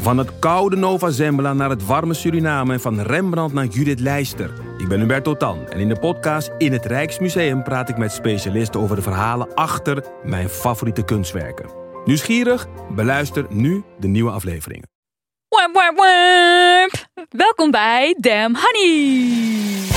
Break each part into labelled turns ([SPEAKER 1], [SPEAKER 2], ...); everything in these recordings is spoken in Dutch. [SPEAKER 1] Van het koude Nova Zembla naar het warme Suriname en van Rembrandt naar Judith Leister. Ik ben Hubert Totan en in de podcast In het Rijksmuseum praat ik met specialisten over de verhalen achter mijn favoriete kunstwerken. Nieuwsgierig? Beluister nu de nieuwe afleveringen.
[SPEAKER 2] Wamp, wamp, wamp. Welkom bij Damn Honey.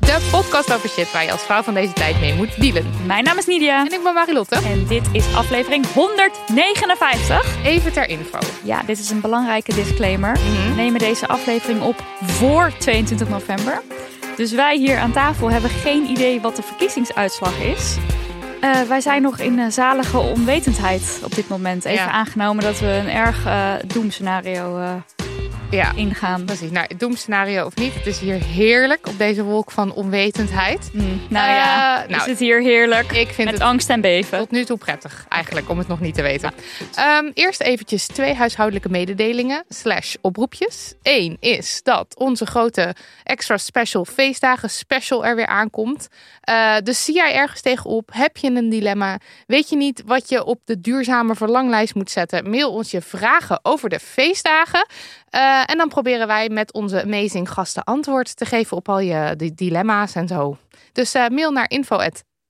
[SPEAKER 3] De podcast over shit waar je als vrouw van deze tijd mee moet dealen.
[SPEAKER 2] Mijn naam is Nidia.
[SPEAKER 3] En ik ben Marilotte.
[SPEAKER 2] En dit is aflevering 159.
[SPEAKER 3] Even ter info.
[SPEAKER 2] Ja, dit is een belangrijke disclaimer.
[SPEAKER 3] Mhm.
[SPEAKER 2] We nemen deze aflevering op voor 22 november. Dus wij hier aan tafel hebben geen idee wat de verkiezingsuitslag is. Eh, wij zijn nog in eh, zalige onwetendheid op dit moment. Even
[SPEAKER 3] Ja.
[SPEAKER 2] aangenomen dat we een erg eh doemscenario eh,
[SPEAKER 3] Ja,
[SPEAKER 2] ingaan.
[SPEAKER 3] precies. Nou, het doemscenario of niet, het is hier heerlijk op deze wolk van onwetendheid.
[SPEAKER 2] Nou ja,
[SPEAKER 3] Eh, nou,
[SPEAKER 2] is het hier heerlijk.
[SPEAKER 3] Ik vind
[SPEAKER 2] Met
[SPEAKER 3] het
[SPEAKER 2] angst en beven.
[SPEAKER 3] tot nu toe prettig, eigenlijk, om het nog niet te weten. Ehm, eerst eventjes twee huishoudelijke mededelingen slash oproepjes. Eén is dat onze grote extra special feestdagen special er weer aankomt. Eh, dus zie jij ergens tegenop? Heb je een dilemma? Weet je niet wat je op de duurzame verlanglijst moet zetten? Mail ons je vragen over de feestdagen. Eh, en dan proberen wij met onze amazing gasten antwoord te geven op al je di- dilemma's en zo. Dus eh, mail naar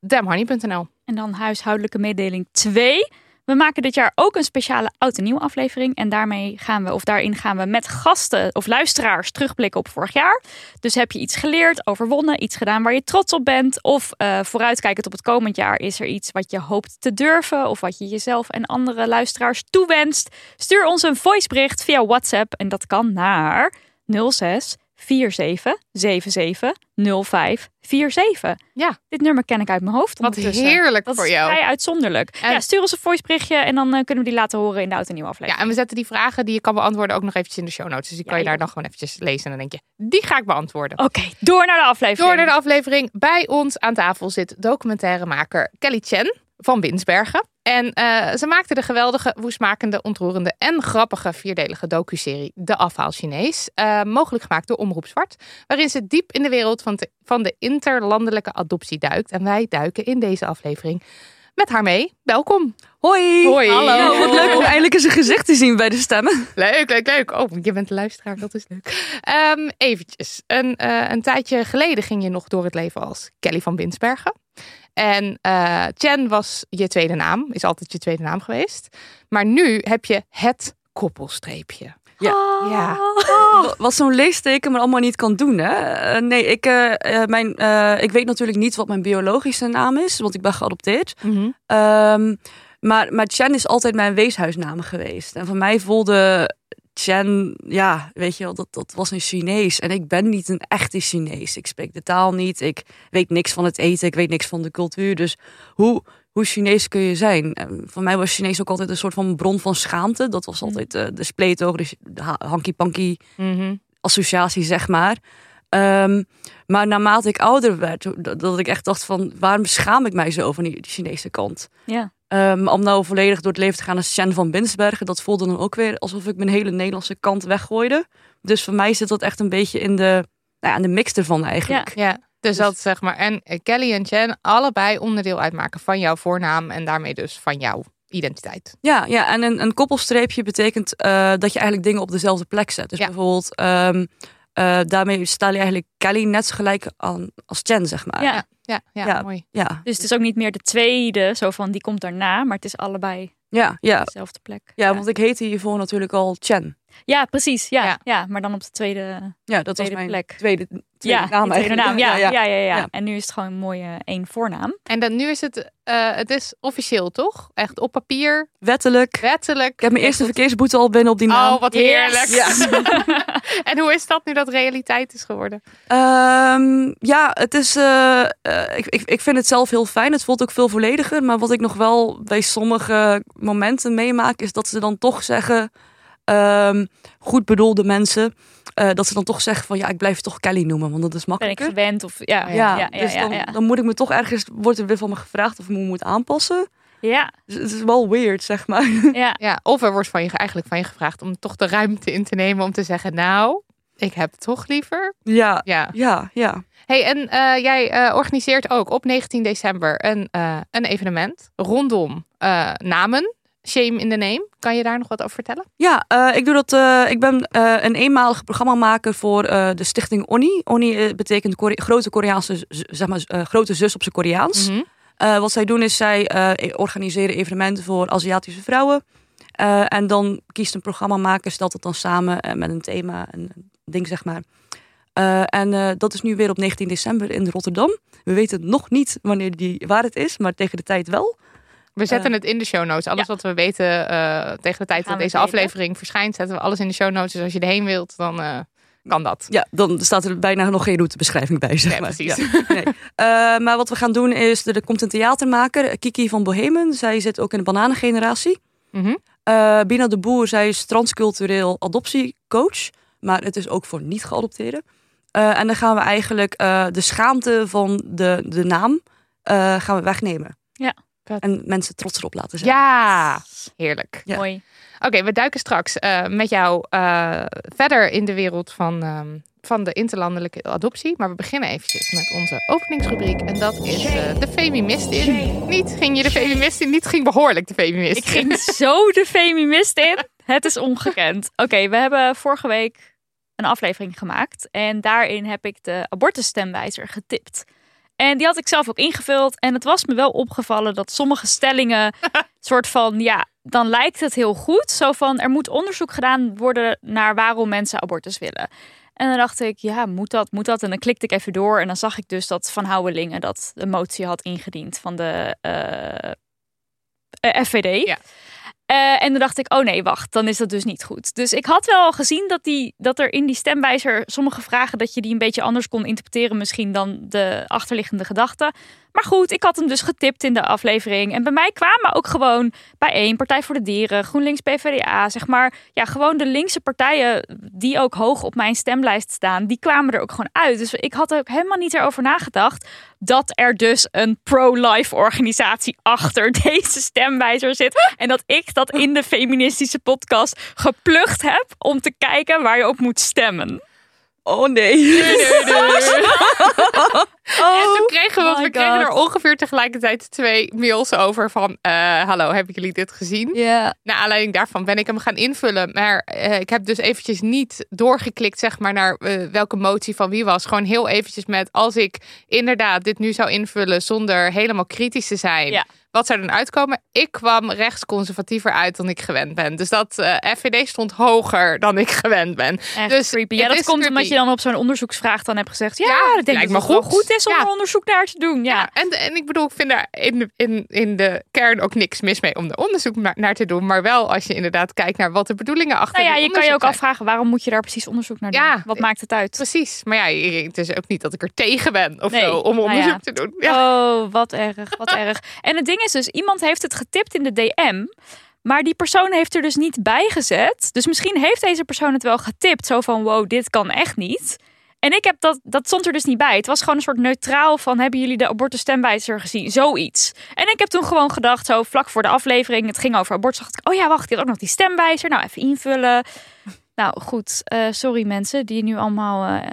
[SPEAKER 3] info@damhoney.nl.
[SPEAKER 2] En dan huishoudelijke mededeling 2. We maken dit jaar ook een speciale oud en nieuw aflevering. En daarmee gaan we, of daarin gaan we met gasten of luisteraars terugblikken op vorig jaar. Dus heb je iets geleerd, overwonnen, iets gedaan waar je trots op bent. Of eh, vooruitkijkend op het komend jaar is er iets wat je hoopt te durven. Of wat je jezelf en andere luisteraars toewenst. Stuur ons een voicebericht via WhatsApp. En dat kan naar 06 47 77 05 47.
[SPEAKER 3] Ja.
[SPEAKER 2] Dit nummer ken ik uit mijn hoofd
[SPEAKER 3] Wat
[SPEAKER 2] ondertussen.
[SPEAKER 3] heerlijk
[SPEAKER 2] Dat
[SPEAKER 3] voor
[SPEAKER 2] is
[SPEAKER 3] jou.
[SPEAKER 2] vrij uitzonderlijk.
[SPEAKER 3] En-
[SPEAKER 2] Ja, stuur ons een voiceberichtje en dan eh, kunnen we die laten horen in de oud en nieuwe
[SPEAKER 3] Ja,
[SPEAKER 2] aflevering.
[SPEAKER 3] en we zetten die vragen die je kan beantwoorden ook nog eventjes in de show notes. Dus die
[SPEAKER 2] Ja, Oh,
[SPEAKER 3] kan je daar
[SPEAKER 2] joh.
[SPEAKER 3] dan gewoon eventjes lezen. En dan denk je, die ga ik beantwoorden.
[SPEAKER 2] Oké, door naar de aflevering.
[SPEAKER 3] Door naar de aflevering. Bij ons aan tafel zit documentairemaker Kelly Chen van Winsbergen. En eh, ze maakte de geweldige, woestmakende, ontroerende en grappige vierdelige docuserie De Afhaal Chinees. eh, mogelijk gemaakt door Omroep Zwart. Waarin ze diep in de wereld van, te- van de interlandelijke adoptie duikt. En wij duiken in deze aflevering met haar mee. Welkom.
[SPEAKER 4] Hoi.
[SPEAKER 3] Hoi. Hallo.
[SPEAKER 4] Nou, wat leuk om eindelijk eens een gezicht te zien bij de stemmen.
[SPEAKER 3] Leuk, leuk, leuk. Oh, je bent de luisteraar, dat is leuk. Ehm eventjes, een, eh, een tijdje geleden ging je nog door het leven als Kelly van Winsbergen. En eh Chen was je tweede naam, is altijd je tweede naam geweest. Maar nu heb je het koppelstreepje. Ja.
[SPEAKER 4] Wat Oh. zo'n leesteken maar allemaal niet kan doen, hè? Eh, nee, ik, eh, eh, mijn, eh, ik weet natuurlijk niet wat mijn biologische naam is, want ik ben geadopteerd. Ehm, maar, maar Chen is altijd mijn weeshuisnaam geweest. En voor mij voelde Chen, ja, weet je wel, dat, dat was een Chinees. En ik ben niet een echte Chinees. Ik spreek de taal niet, ik weet niks van het eten, ik weet niks van de cultuur. Dus hoe, hoe Chinees kun je zijn? En voor mij was Chinees ook altijd een soort van bron van schaamte. Dat was altijd eh, de spleetoog, de, ch- de ha- hanky-panky
[SPEAKER 3] Mhm.
[SPEAKER 4] associatie, zeg maar. Ehm, maar naarmate ik ouder werd, dat, dat ik echt dacht van... waarom schaam ik mij zo van die Chinese kant?
[SPEAKER 2] Ja.
[SPEAKER 4] Ehm, om nou volledig door het leven te gaan als Chen van Binsbergen... dat voelde dan ook weer alsof ik mijn hele Nederlandse kant weggooide. Dus voor mij zit dat echt een beetje in de, nou ja, in de mix ervan eigenlijk.
[SPEAKER 3] Ja, dus,
[SPEAKER 4] Dus-
[SPEAKER 3] dat zeg maar. En eh, Kelly en Chen allebei onderdeel uitmaken van jouw voornaam en daarmee dus van jouw identiteit.
[SPEAKER 4] Ja, ja en een, een koppelstreepje betekent eh, dat je eigenlijk dingen op dezelfde plek zet. Dus
[SPEAKER 3] Ja.
[SPEAKER 4] bijvoorbeeld, ehm, eh, daarmee stel je eigenlijk Kelly net gelijk aan als Chen, zeg maar.
[SPEAKER 2] Ja.
[SPEAKER 3] Ja, ja,
[SPEAKER 4] Ah, Ja.
[SPEAKER 3] mooi.
[SPEAKER 4] ja.
[SPEAKER 2] Dus het is ook niet meer de tweede, zo van die komt daarna, maar het is allebei
[SPEAKER 4] Ja, ja.
[SPEAKER 2] Dezelfde plek.
[SPEAKER 4] Ja, want ik heette hiervoor natuurlijk al Chen.
[SPEAKER 2] Ja, precies. Ja,
[SPEAKER 3] Ja.
[SPEAKER 2] ja. maar dan op de tweede,
[SPEAKER 4] Ja, dat was
[SPEAKER 2] tweede
[SPEAKER 4] mijn
[SPEAKER 2] plek.
[SPEAKER 4] tweede, tweede
[SPEAKER 2] ja,
[SPEAKER 4] naam
[SPEAKER 2] je tweede
[SPEAKER 4] eigenlijk.
[SPEAKER 2] naam. Ja, ja, ja, ja,
[SPEAKER 4] Ja.
[SPEAKER 2] En nu is het gewoon een mooie één voornaam.
[SPEAKER 3] En dan, nu is het, eh, het is officieel, toch? Echt op papier,
[SPEAKER 4] Wettelijk.
[SPEAKER 3] wettelijk.
[SPEAKER 4] Ik heb mijn eerste verkeersboete al binnen op die naam.
[SPEAKER 3] Oh, wat heerlijk.
[SPEAKER 2] Yes.
[SPEAKER 3] En hoe is dat nu dat realiteit is geworden?
[SPEAKER 4] Ehm, ja, het is. eh, eh, ik, ik, ik vind het zelf heel fijn. Het voelt ook veel vollediger. Maar wat ik nog wel bij sommige momenten meemaak, is dat ze dan toch zeggen. ehm, goed bedoelde mensen. eh, dat ze dan toch zeggen van ja, ik blijf je toch Kelly noemen, want dat is
[SPEAKER 2] Ben ik
[SPEAKER 4] makkelijker.
[SPEAKER 2] gewend of ja,
[SPEAKER 4] ja,
[SPEAKER 2] ja, ja, ja,
[SPEAKER 4] dus dan,
[SPEAKER 2] ja.
[SPEAKER 4] dan moet ik me toch ergens, wordt er weer van me gevraagd of ik me moet aanpassen.
[SPEAKER 2] Ja,
[SPEAKER 4] Dus het is wel weird, zeg maar.
[SPEAKER 2] ja.
[SPEAKER 3] Ja, of er wordt van je, eigenlijk van je gevraagd om toch de ruimte in te nemen om te zeggen, nou, ik heb het toch liever.
[SPEAKER 4] ja,
[SPEAKER 3] Ja.
[SPEAKER 4] ja, ja.
[SPEAKER 3] Hey, en eh, jij eh, organiseert ook op 19 december een, eh, een evenement rondom eh, namen. Shame in the name. Kan je daar nog wat over vertellen?
[SPEAKER 4] Ja, eh, ik, doe dat, eh, ik ben eh, een eenmalig programmamaker voor eh, de stichting Onni. Onni eh, betekent Kore- grote Koreaanse, z- zeg maar, eh, grote zus op zijn Koreaans.
[SPEAKER 3] Mhm.
[SPEAKER 4] Eh, wat zij doen is, zij eh, organiseren evenementen voor Aziatische vrouwen. Eh, en dan kiest een programmamaker, stelt het dan samen eh, met een thema, een een ding zeg maar. Eh, en eh, dat is nu weer op 19 december in Rotterdam. We weten nog niet wanneer die, waar het is, maar tegen de tijd wel.
[SPEAKER 3] We zetten het in de show notes. Alles wat we weten eh, tegen de
[SPEAKER 2] Gaan
[SPEAKER 3] tijd dat
[SPEAKER 2] we
[SPEAKER 3] deze
[SPEAKER 2] delen.
[SPEAKER 3] aflevering verschijnt, zetten we alles in de show notes. Dus als je erheen wilt, dan eh, kan dat.
[SPEAKER 4] Ja, dan staat er bijna nog geen routebeschrijving bij, zeg
[SPEAKER 3] Nee,
[SPEAKER 4] maar.
[SPEAKER 3] precies.
[SPEAKER 4] Ja. Nee. Eh, maar wat we gaan doen is, er komt een theatermaker, eh, Kiki van Bohemen. Zij zit ook in de bananengeneratie.
[SPEAKER 3] Mhm.
[SPEAKER 4] Eh, Bina de Boer, zij is transcultureel adoptiecoach. Maar het is ook voor niet-geadopteerden. Eh, en dan gaan we eigenlijk eh, de schaamte van de, de naam eh, gaan we wegnemen.
[SPEAKER 2] Ja.
[SPEAKER 3] Vet.
[SPEAKER 4] En mensen trots erop laten zijn.
[SPEAKER 3] Ja, heerlijk.
[SPEAKER 4] Ah, Ja.
[SPEAKER 2] Mooi.
[SPEAKER 3] Oké, we duiken straks eh, met jou eh, verder in de wereld van, ehm, van de interlandelijke adoptie. Maar we beginnen eventjes met onze openingsrubriek. En dat is eh, de feminist in. Niet ging je de feminist in, niet ging behoorlijk de feminist
[SPEAKER 2] Ik
[SPEAKER 3] in. Oh,
[SPEAKER 2] ging zo de feminist in. Het is ongekend. Oké, we hebben vorige week een aflevering gemaakt. En daarin heb ik de abortusstemwijzer getipt. En die had ik zelf ook ingevuld. En het was me wel opgevallen dat sommige stellingen, soort van ja, dan lijkt het heel goed. Zo van er moet onderzoek gedaan worden naar waarom mensen abortus willen. En dan dacht ik, ja, moet dat, moet dat? En dan klikte ik even door en dan zag ik dus dat Van Houwelingen dat de motie had ingediend van de eh, eh, FVD.
[SPEAKER 3] Ja.
[SPEAKER 2] Eh, en dan dacht ik, oh nee, wacht, dan is dat dus niet goed. Dus ik had wel al gezien dat, die, dat er in die stemwijzer sommige vragen... dat je die een beetje anders kon interpreteren misschien dan de achterliggende gedachten. Maar goed, ik had hem dus getipt in de aflevering. En bij mij kwamen ook gewoon bij één Partij voor de Dieren, GroenLinks, PvdA... zeg maar, ja, gewoon de linkse partijen die ook hoog op mijn stemlijst staan... die kwamen er ook gewoon uit. Dus ik had ook helemaal niet erover nagedacht... dat er dus een pro-life organisatie achter deze stemwijzer zit... en dat ik dat in de feministische podcast geplucht heb... om te kijken waar je op moet stemmen.
[SPEAKER 4] Oh nee.
[SPEAKER 3] En toen kregen we,
[SPEAKER 2] Oh
[SPEAKER 3] want
[SPEAKER 2] my
[SPEAKER 3] we kregen er
[SPEAKER 2] God.
[SPEAKER 3] ongeveer tegelijkertijd twee mails over van... eh, hallo, hebben jullie dit gezien?
[SPEAKER 2] Ja,
[SPEAKER 3] Naar aanleiding daarvan ben ik hem gaan invullen. Maar eh, ik heb dus eventjes niet doorgeklikt zeg maar, naar eh, welke motie van wie was. Gewoon heel eventjes met als ik inderdaad dit nu zou invullen zonder helemaal kritisch te zijn.
[SPEAKER 2] Ja.
[SPEAKER 3] Wat zou er dan uitkomen? Ik kwam rechtsconservatiever uit dan ik gewend ben. Dus dat eh, FVD stond hoger dan ik gewend ben.
[SPEAKER 2] Echt
[SPEAKER 3] Dus
[SPEAKER 2] creepy.
[SPEAKER 3] het
[SPEAKER 2] Ja, dat
[SPEAKER 3] is
[SPEAKER 2] komt omdat
[SPEAKER 3] creepy.
[SPEAKER 2] je dan op zo'n onderzoeksvraag dan hebt gezegd... Ja,
[SPEAKER 3] Ja,
[SPEAKER 2] ik denk dat
[SPEAKER 3] lijkt me
[SPEAKER 2] het wel
[SPEAKER 3] goed.
[SPEAKER 2] goed is om
[SPEAKER 3] Ja.
[SPEAKER 2] er onderzoek naar te doen. Ja,
[SPEAKER 3] Ja, en, en ik bedoel, ik vind daar in de, in, in de kern ook niks mis mee om er onderzoek na- naar te doen. Maar wel als je inderdaad kijkt naar wat de bedoelingen achter
[SPEAKER 2] Nou ja,
[SPEAKER 3] die
[SPEAKER 2] je kan je
[SPEAKER 3] onderzoek
[SPEAKER 2] ook
[SPEAKER 3] zijn.
[SPEAKER 2] afvragen waarom moet je daar precies onderzoek naar doen?
[SPEAKER 3] Ja.
[SPEAKER 2] Wat maakt het uit?
[SPEAKER 3] Precies. Maar ja, het is ook niet dat ik er tegen ben of
[SPEAKER 2] Nee,
[SPEAKER 3] zo om
[SPEAKER 2] nou
[SPEAKER 3] onderzoek
[SPEAKER 2] ja.
[SPEAKER 3] te doen. Ja.
[SPEAKER 2] Oh, wat erg, wat erg. En het ding is dus, iemand heeft het getipt in de DM. Maar die persoon heeft er dus niet bij gezet. Dus misschien heeft deze persoon het wel getipt. Zo van, wow, dit kan echt niet. En ik heb dat, dat stond er dus niet bij. Het was gewoon een soort neutraal van, hebben jullie de abortusstemwijzer gezien? Zoiets. En ik heb toen gewoon gedacht, zo vlak voor de aflevering, het ging over abortus. dacht ik, oh ja, wacht, je had ook nog die stemwijzer. Nou, even invullen. Nou, goed. eh, sorry mensen die nu allemaal... eh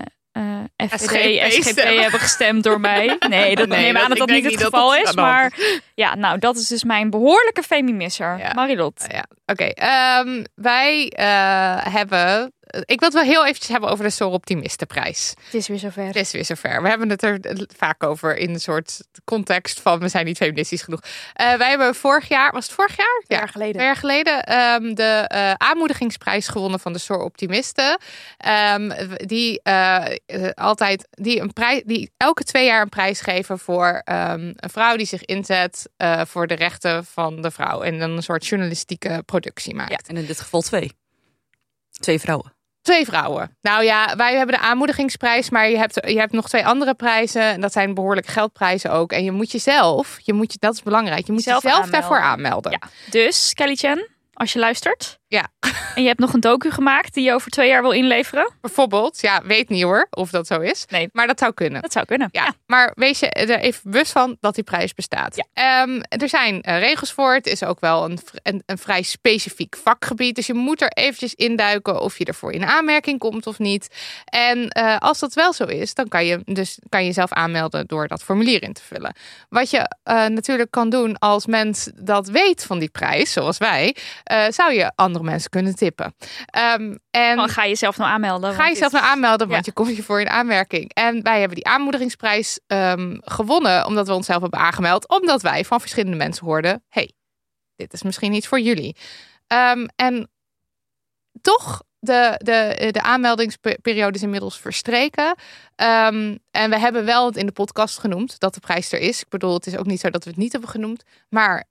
[SPEAKER 2] eh
[SPEAKER 3] SGP
[SPEAKER 2] FVD, SGP
[SPEAKER 3] stemmen.
[SPEAKER 2] hebben gestemd door mij. Nee, dat
[SPEAKER 3] Nee,
[SPEAKER 2] neem
[SPEAKER 3] dat-
[SPEAKER 2] aan dat
[SPEAKER 3] ik
[SPEAKER 2] dat
[SPEAKER 3] denk
[SPEAKER 2] niet het
[SPEAKER 3] niet dat
[SPEAKER 2] geval
[SPEAKER 3] dat aan
[SPEAKER 2] is.
[SPEAKER 3] de hand
[SPEAKER 2] Maar ja, nou, dat is dus mijn behoorlijke feminisser.
[SPEAKER 3] Nou Ja.
[SPEAKER 2] Marilot.
[SPEAKER 3] Ja, oké. Ehm, wij eh, hebben Ik wil het wel heel eventjes hebben over de Soar Optimistenprijs.
[SPEAKER 2] Het is weer zover.
[SPEAKER 3] Het is weer zover. We hebben het er eh, vaak over in een soort context van we zijn niet feministisch genoeg. Eh, wij hebben vorig jaar, was het vorig jaar?
[SPEAKER 2] Twee jaar geleden.
[SPEAKER 3] Twee jaar geleden ehm, de eh, aanmoedigingsprijs gewonnen van de Soar Optimisten. Ehm, w- die eh, eh, altijd, die, een prij, die elke twee jaar een prijs geven voor ehm, een vrouw die zich inzet eh, voor de rechten van de vrouw. En dan een soort journalistieke productie maakt.
[SPEAKER 4] Ja, en in dit geval twee. Twee vrouwen.
[SPEAKER 3] Twee vrouwen. Nou ja, wij hebben de aanmoedigingsprijs, maar je hebt, je hebt nog twee andere prijzen. En dat zijn behoorlijke geldprijzen ook. En je moet jezelf, je moet je, dat is belangrijk, je moet
[SPEAKER 2] Zelf
[SPEAKER 3] jezelf
[SPEAKER 2] aanmelden.
[SPEAKER 3] daarvoor aanmelden.
[SPEAKER 2] Ja. Dus, Kelly Chen, als je luistert.
[SPEAKER 3] Ja.
[SPEAKER 2] En je hebt nog een docu gemaakt die je over twee jaar wil inleveren.
[SPEAKER 3] Bijvoorbeeld, ja, weet niet hoor of dat zo is.
[SPEAKER 2] Nee.
[SPEAKER 3] Maar dat zou kunnen.
[SPEAKER 2] Dat zou kunnen.
[SPEAKER 3] Ja, maar wees je er even bewust van dat die prijs bestaat. Ehm, er zijn eh, regels voor. Het is ook wel een, vr- een, een vrij specifiek vakgebied. Dus je moet er eventjes induiken of je ervoor in aanmerking komt of niet. En eh, als dat wel zo is, dan kan je, dus, kan je jezelf aanmelden door dat formulier in te vullen. Wat je eh, natuurlijk kan doen als mens dat weet van die prijs, zoals wij, eh, zou je andere mensen kunnen tippen. Ehm, en
[SPEAKER 2] Dan ga je jezelf nou aanmelden.
[SPEAKER 3] Ga
[SPEAKER 2] want
[SPEAKER 3] jezelf
[SPEAKER 2] dit-
[SPEAKER 3] nou aanmelden,
[SPEAKER 2] Ja.
[SPEAKER 3] want je komt hiervoor in aanmerking. En wij hebben die aanmoedigingsprijs ehm, gewonnen, omdat we onszelf hebben aangemeld. Omdat wij van verschillende mensen hoorden, hey, dit is misschien iets voor jullie. Ehm, en toch, de, de, de aanmeldingsperiode is inmiddels verstreken. Ehm, en we hebben wel het in de podcast genoemd, dat de prijs er is. Ik bedoel, het is ook niet zo dat we het niet hebben genoemd. Maar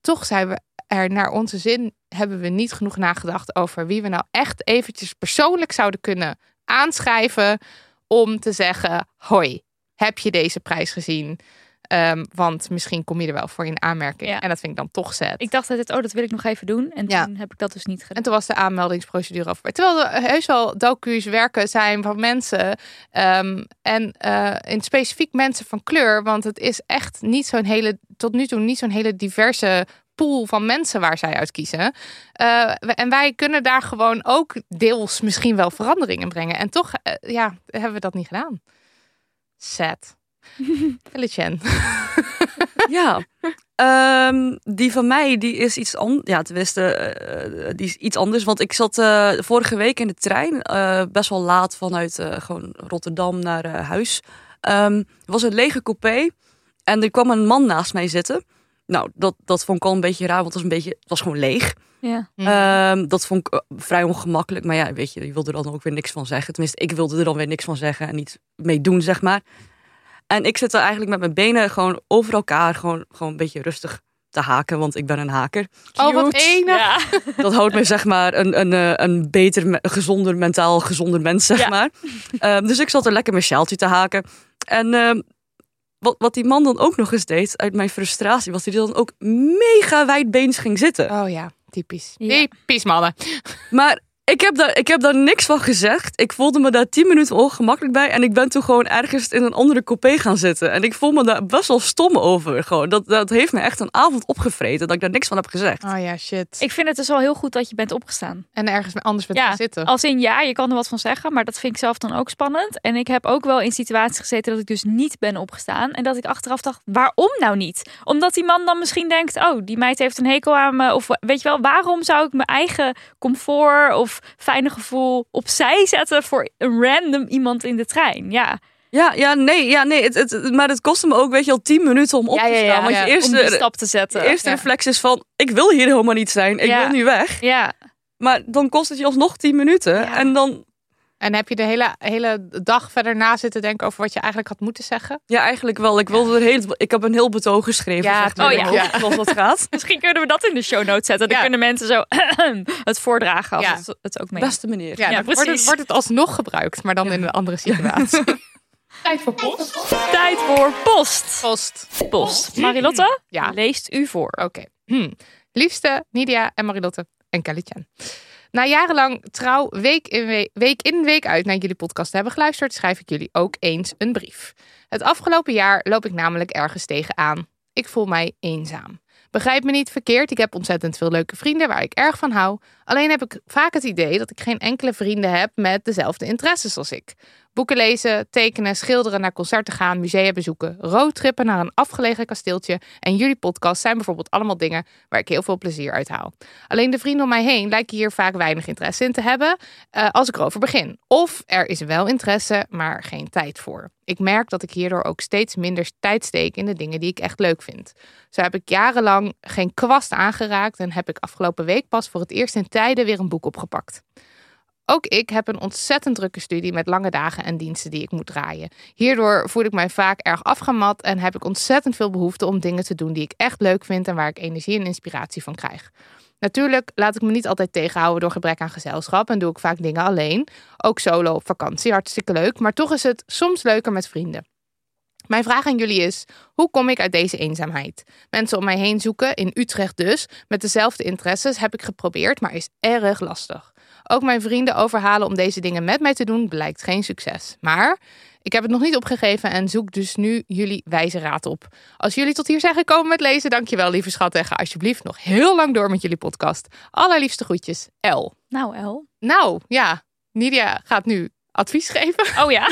[SPEAKER 3] toch zijn we er naar onze zin hebben we niet genoeg nagedacht over wie we nou echt eventjes persoonlijk zouden kunnen aanschrijven om te zeggen: hoi, heb je deze prijs gezien? Ehm, want misschien kom je er wel voor in aanmerking.
[SPEAKER 2] Ja.
[SPEAKER 3] En dat vind ik dan toch zet.
[SPEAKER 2] Ik dacht altijd, oh, dat wil ik nog even doen. En
[SPEAKER 3] Ja.
[SPEAKER 2] toen heb ik dat dus niet
[SPEAKER 3] En
[SPEAKER 2] gedaan.
[SPEAKER 3] toen was de aanmeldingsprocedure af. Terwijl er heus wel docu's werken zijn van mensen. ehm, en eh, in het specifiek mensen van kleur. Want het is echt niet zo'n hele, tot nu toe niet zo'n hele diverse pool van mensen waar zij uit kiezen. Eh, we- en wij kunnen daar gewoon ook deels misschien wel verandering in brengen. En toch eh, ja, hebben we dat niet gedaan. Sad. Kelly Chen.
[SPEAKER 4] ja. Ehm, die van mij, die is iets anders. Ja, tenminste, eh, die is iets anders. Want ik zat eh, vorige week in de trein, eh, best wel laat vanuit eh, gewoon Rotterdam naar eh, huis. Ehm, er was een lege coupé en er kwam een man naast mij zitten. Nou, dat, dat vond ik al een beetje raar, want het was, een beetje, het was gewoon leeg.
[SPEAKER 2] Ja.
[SPEAKER 3] Mhm.
[SPEAKER 4] Ehm, dat vond ik eh, vrij ongemakkelijk. Maar ja, weet je, je wilde er dan ook weer niks van zeggen. Tenminste, ik wilde er dan weer niks van zeggen en niet mee doen, zeg maar. En ik zit er eigenlijk met mijn benen gewoon over elkaar, gewoon, gewoon een beetje rustig te haken, want ik ben een haker.
[SPEAKER 3] Oh, wat
[SPEAKER 2] Cute.
[SPEAKER 3] enig.
[SPEAKER 2] Ja.
[SPEAKER 4] Dat houdt me zeg maar een, een, eh, een beter, me- gezonder, mentaal gezonder mens, zeg
[SPEAKER 2] Ja.
[SPEAKER 4] maar. Ehm, dus ik zat er lekker mijn sjaaltje te haken. En ehm, wat, wat die man dan ook nog eens deed, uit mijn frustratie, was dat hij dan ook mega wijdbeens ging zitten.
[SPEAKER 3] Oh ja, typisch.
[SPEAKER 2] Ja.
[SPEAKER 3] Typisch mannen.
[SPEAKER 4] Maar ik heb, daar, ik heb daar niks van gezegd. Ik voelde me daar tien minuten ongemakkelijk bij. En ik ben toen gewoon ergens in een andere coupé gaan zitten. En ik voel me daar best wel stom over. Gewoon. Dat, dat heeft me echt een avond opgevreten dat ik daar niks van heb gezegd.
[SPEAKER 2] Ah.
[SPEAKER 3] Oh ja, shit.
[SPEAKER 2] Ik vind het dus wel heel goed dat je bent opgestaan.
[SPEAKER 3] En ergens anders bent
[SPEAKER 2] Ja.
[SPEAKER 3] gaan zitten.
[SPEAKER 2] Als in ja, je kan er wat van zeggen, maar dat vind ik zelf dan ook spannend. En ik heb ook wel in situaties gezeten dat ik dus niet ben opgestaan. En dat ik achteraf dacht, waarom nou niet? Omdat die man dan misschien denkt, oh, die meid heeft een hekel aan me. Of weet je wel, waarom zou ik mijn eigen comfort of fijne gevoel opzij zetten voor een random iemand in de trein? Ja,
[SPEAKER 4] Ja, ja, nee. Ja, nee het, het- het- maar het kostte me ook weet je, al tien minuten om op
[SPEAKER 2] Ja,
[SPEAKER 4] te
[SPEAKER 2] ja,
[SPEAKER 4] staan.
[SPEAKER 2] ja.
[SPEAKER 4] Want
[SPEAKER 3] Ja.
[SPEAKER 4] je
[SPEAKER 2] om die
[SPEAKER 4] eerste,
[SPEAKER 2] stap te
[SPEAKER 4] je
[SPEAKER 2] zetten.
[SPEAKER 4] eerste
[SPEAKER 3] Ja.
[SPEAKER 4] reflex is van... Ik wil hier helemaal niet zijn. Ik
[SPEAKER 2] Ja.
[SPEAKER 4] wil nu weg.
[SPEAKER 2] Ja,
[SPEAKER 4] Maar dan kost het je alsnog tien minuten.
[SPEAKER 2] Ja.
[SPEAKER 4] En dan...
[SPEAKER 3] En heb je de hele, hele dag verder na zitten denken over wat je eigenlijk had moeten zeggen?
[SPEAKER 4] Ja, eigenlijk wel. Ik, wilde er heel, ik heb een heel betoog geschreven.
[SPEAKER 3] Ja,
[SPEAKER 4] zeg maar,
[SPEAKER 2] oh ja.
[SPEAKER 4] over Zoals dat gaat.
[SPEAKER 2] misschien kunnen we dat in de show notes zetten. Dan
[SPEAKER 3] Ja.
[SPEAKER 2] kunnen mensen zo het voordragen als
[SPEAKER 3] Ja.
[SPEAKER 2] het, het ook mee.
[SPEAKER 4] Beste manier.
[SPEAKER 3] Ja, dan Wordt het,
[SPEAKER 2] precies.
[SPEAKER 3] wordt het alsnog gebruikt, maar dan in een andere situatie. Tijd voor post.
[SPEAKER 2] Tijd voor post.
[SPEAKER 3] Post.
[SPEAKER 2] Post. Marilotte,
[SPEAKER 3] Ja.
[SPEAKER 2] leest u voor.
[SPEAKER 3] Oké. Hm. Liefste Nidia en Marilotte en Kelly-chan. Na jarenlang trouw week in week, week in week uit naar jullie podcast te hebben geluisterd, schrijf ik jullie ook eens een brief. Het afgelopen jaar loop ik namelijk ergens tegenaan. Ik voel mij eenzaam. Begrijp me niet verkeerd, ik heb ontzettend veel leuke vrienden waar ik erg van hou. Alleen heb ik vaak het idee dat ik geen enkele vrienden heb met dezelfde interesses als ik. Boeken lezen, tekenen, schilderen, naar concerten gaan, musea bezoeken, roadtrippen naar een afgelegen kasteeltje. En jullie podcast zijn bijvoorbeeld allemaal dingen waar ik heel veel plezier uit haal. Alleen de vrienden om mij heen lijken hier vaak weinig interesse in te hebben eh, als ik erover begin. Of er is wel interesse, maar geen tijd voor. Ik merk dat ik hierdoor ook steeds minder tijd steek in de dingen die ik echt leuk vind. Zo heb ik jarenlang geen kwast aangeraakt en heb ik afgelopen week pas voor het eerst in tijden weer een boek opgepakt. Ook ik heb een ontzettend drukke studie met lange dagen en diensten die ik moet draaien. Hierdoor voel ik mij vaak erg afgemat en heb ik ontzettend veel behoefte om dingen te doen die ik echt leuk vind en waar ik energie en inspiratie van krijg. Natuurlijk laat ik me niet altijd tegenhouden door gebrek aan gezelschap en doe ik vaak dingen alleen. Ook solo op vakantie, hartstikke leuk, maar toch is het soms leuker met vrienden. Mijn vraag aan jullie is: hoe kom ik uit deze eenzaamheid? Mensen om mij heen zoeken, in Utrecht dus, met dezelfde interesses heb ik geprobeerd, maar is erg lastig. Ook mijn vrienden overhalen om deze dingen met mij te doen blijkt geen succes. Maar ik heb het nog niet opgegeven en zoek dus nu jullie wijze raad op. Als jullie tot hier zijn gekomen met lezen, dankjewel lieve schat. En ga alsjeblieft nog heel lang door met jullie podcast. Allerliefste groetjes, L.
[SPEAKER 2] Nou, El.
[SPEAKER 3] Nou ja, Nidia gaat nu advies geven.
[SPEAKER 2] Oh ja.